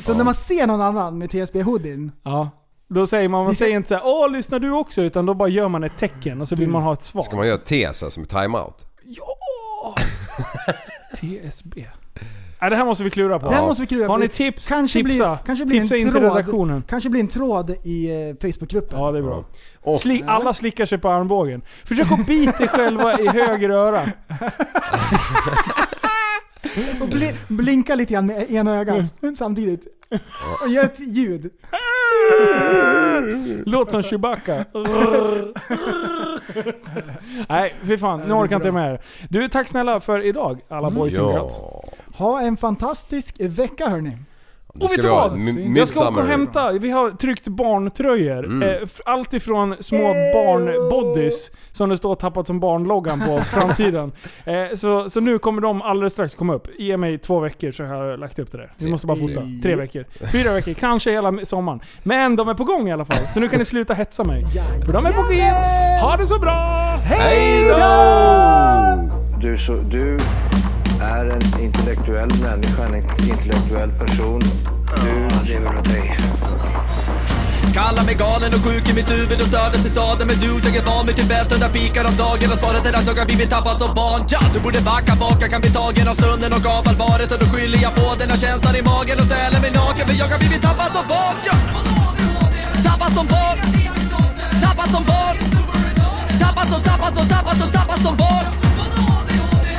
S2: Så när man ser någon annan med TSB-hoodien.
S3: ja. Då säger man, man säger inte såhär Åh, lyssnar du också? Utan då bara gör man ett tecken och så vill man ha ett svar.
S1: Ska man göra tes alltså med timeout?
S2: (laughs)
S3: TSB. Nej, det här måste vi klura på.
S2: Det här måste vi klura på.
S3: Har ni tips?
S2: Kanske
S3: tipsa.
S2: blir, kanske blir
S3: tipsa
S2: en
S3: in
S2: tråd,
S3: till redaktionen.
S2: Kanske blir en tråd i eh, Facebookgruppen.
S3: Ja, det är bra. Sli, alla slickar sig på armbågen. Försök att bita er själva i höger öra.
S2: Och bli, blinka lite grann med ena ögat samtidigt. Och gör ett ljud.
S3: Låt som Chewbacca. Nej, fy fan. Nu orkar inte jag med det. Du, tack snälla för idag alla
S1: Mm.
S3: boys and girls.
S2: Ha en fantastisk vecka hörni.
S1: Det
S3: Och vet
S1: ska
S3: du
S1: vi ha.
S3: vad?
S1: M-
S3: Jag ska åka och
S1: Midsummer.
S3: hämta, vi har tryckt barntröjor.
S1: Mm.
S3: Eh, f- Allt ifrån små barnbodys som det står tappat som barnloggan
S1: (laughs)
S3: på framsidan. Eh, så, så nu kommer de alldeles strax komma upp. Ge mig två veckor så har jag lagt upp det där. Vi måste bara fota.
S1: Tre.
S3: Tre veckor. Fyra veckor, kanske hela sommaren. Men de är på gång i alla fall. Så nu kan ni sluta hetsa mig. För de är på G. Ha det så bra!
S1: Hej då!
S6: Du, är så, du är en intellektuell människa, en intellektuell person. Du lever av dig.
S5: Kallar mig galen och sjuk i mitt huvud och stördes i staden Men du, jag är van vid Tibet under fikar om dagen Och svaret är att jag har blivit tappad som barn ja! Du borde backa bak, jag kan bli tagen av stunden och av allvaret Och då skyller jag på den här känslan i magen och ställer mig naken För jag har blivit tappad som barn ja! Tappad som barn Tappad som barn Tappad som, tappad som, tappad som, tappad som barn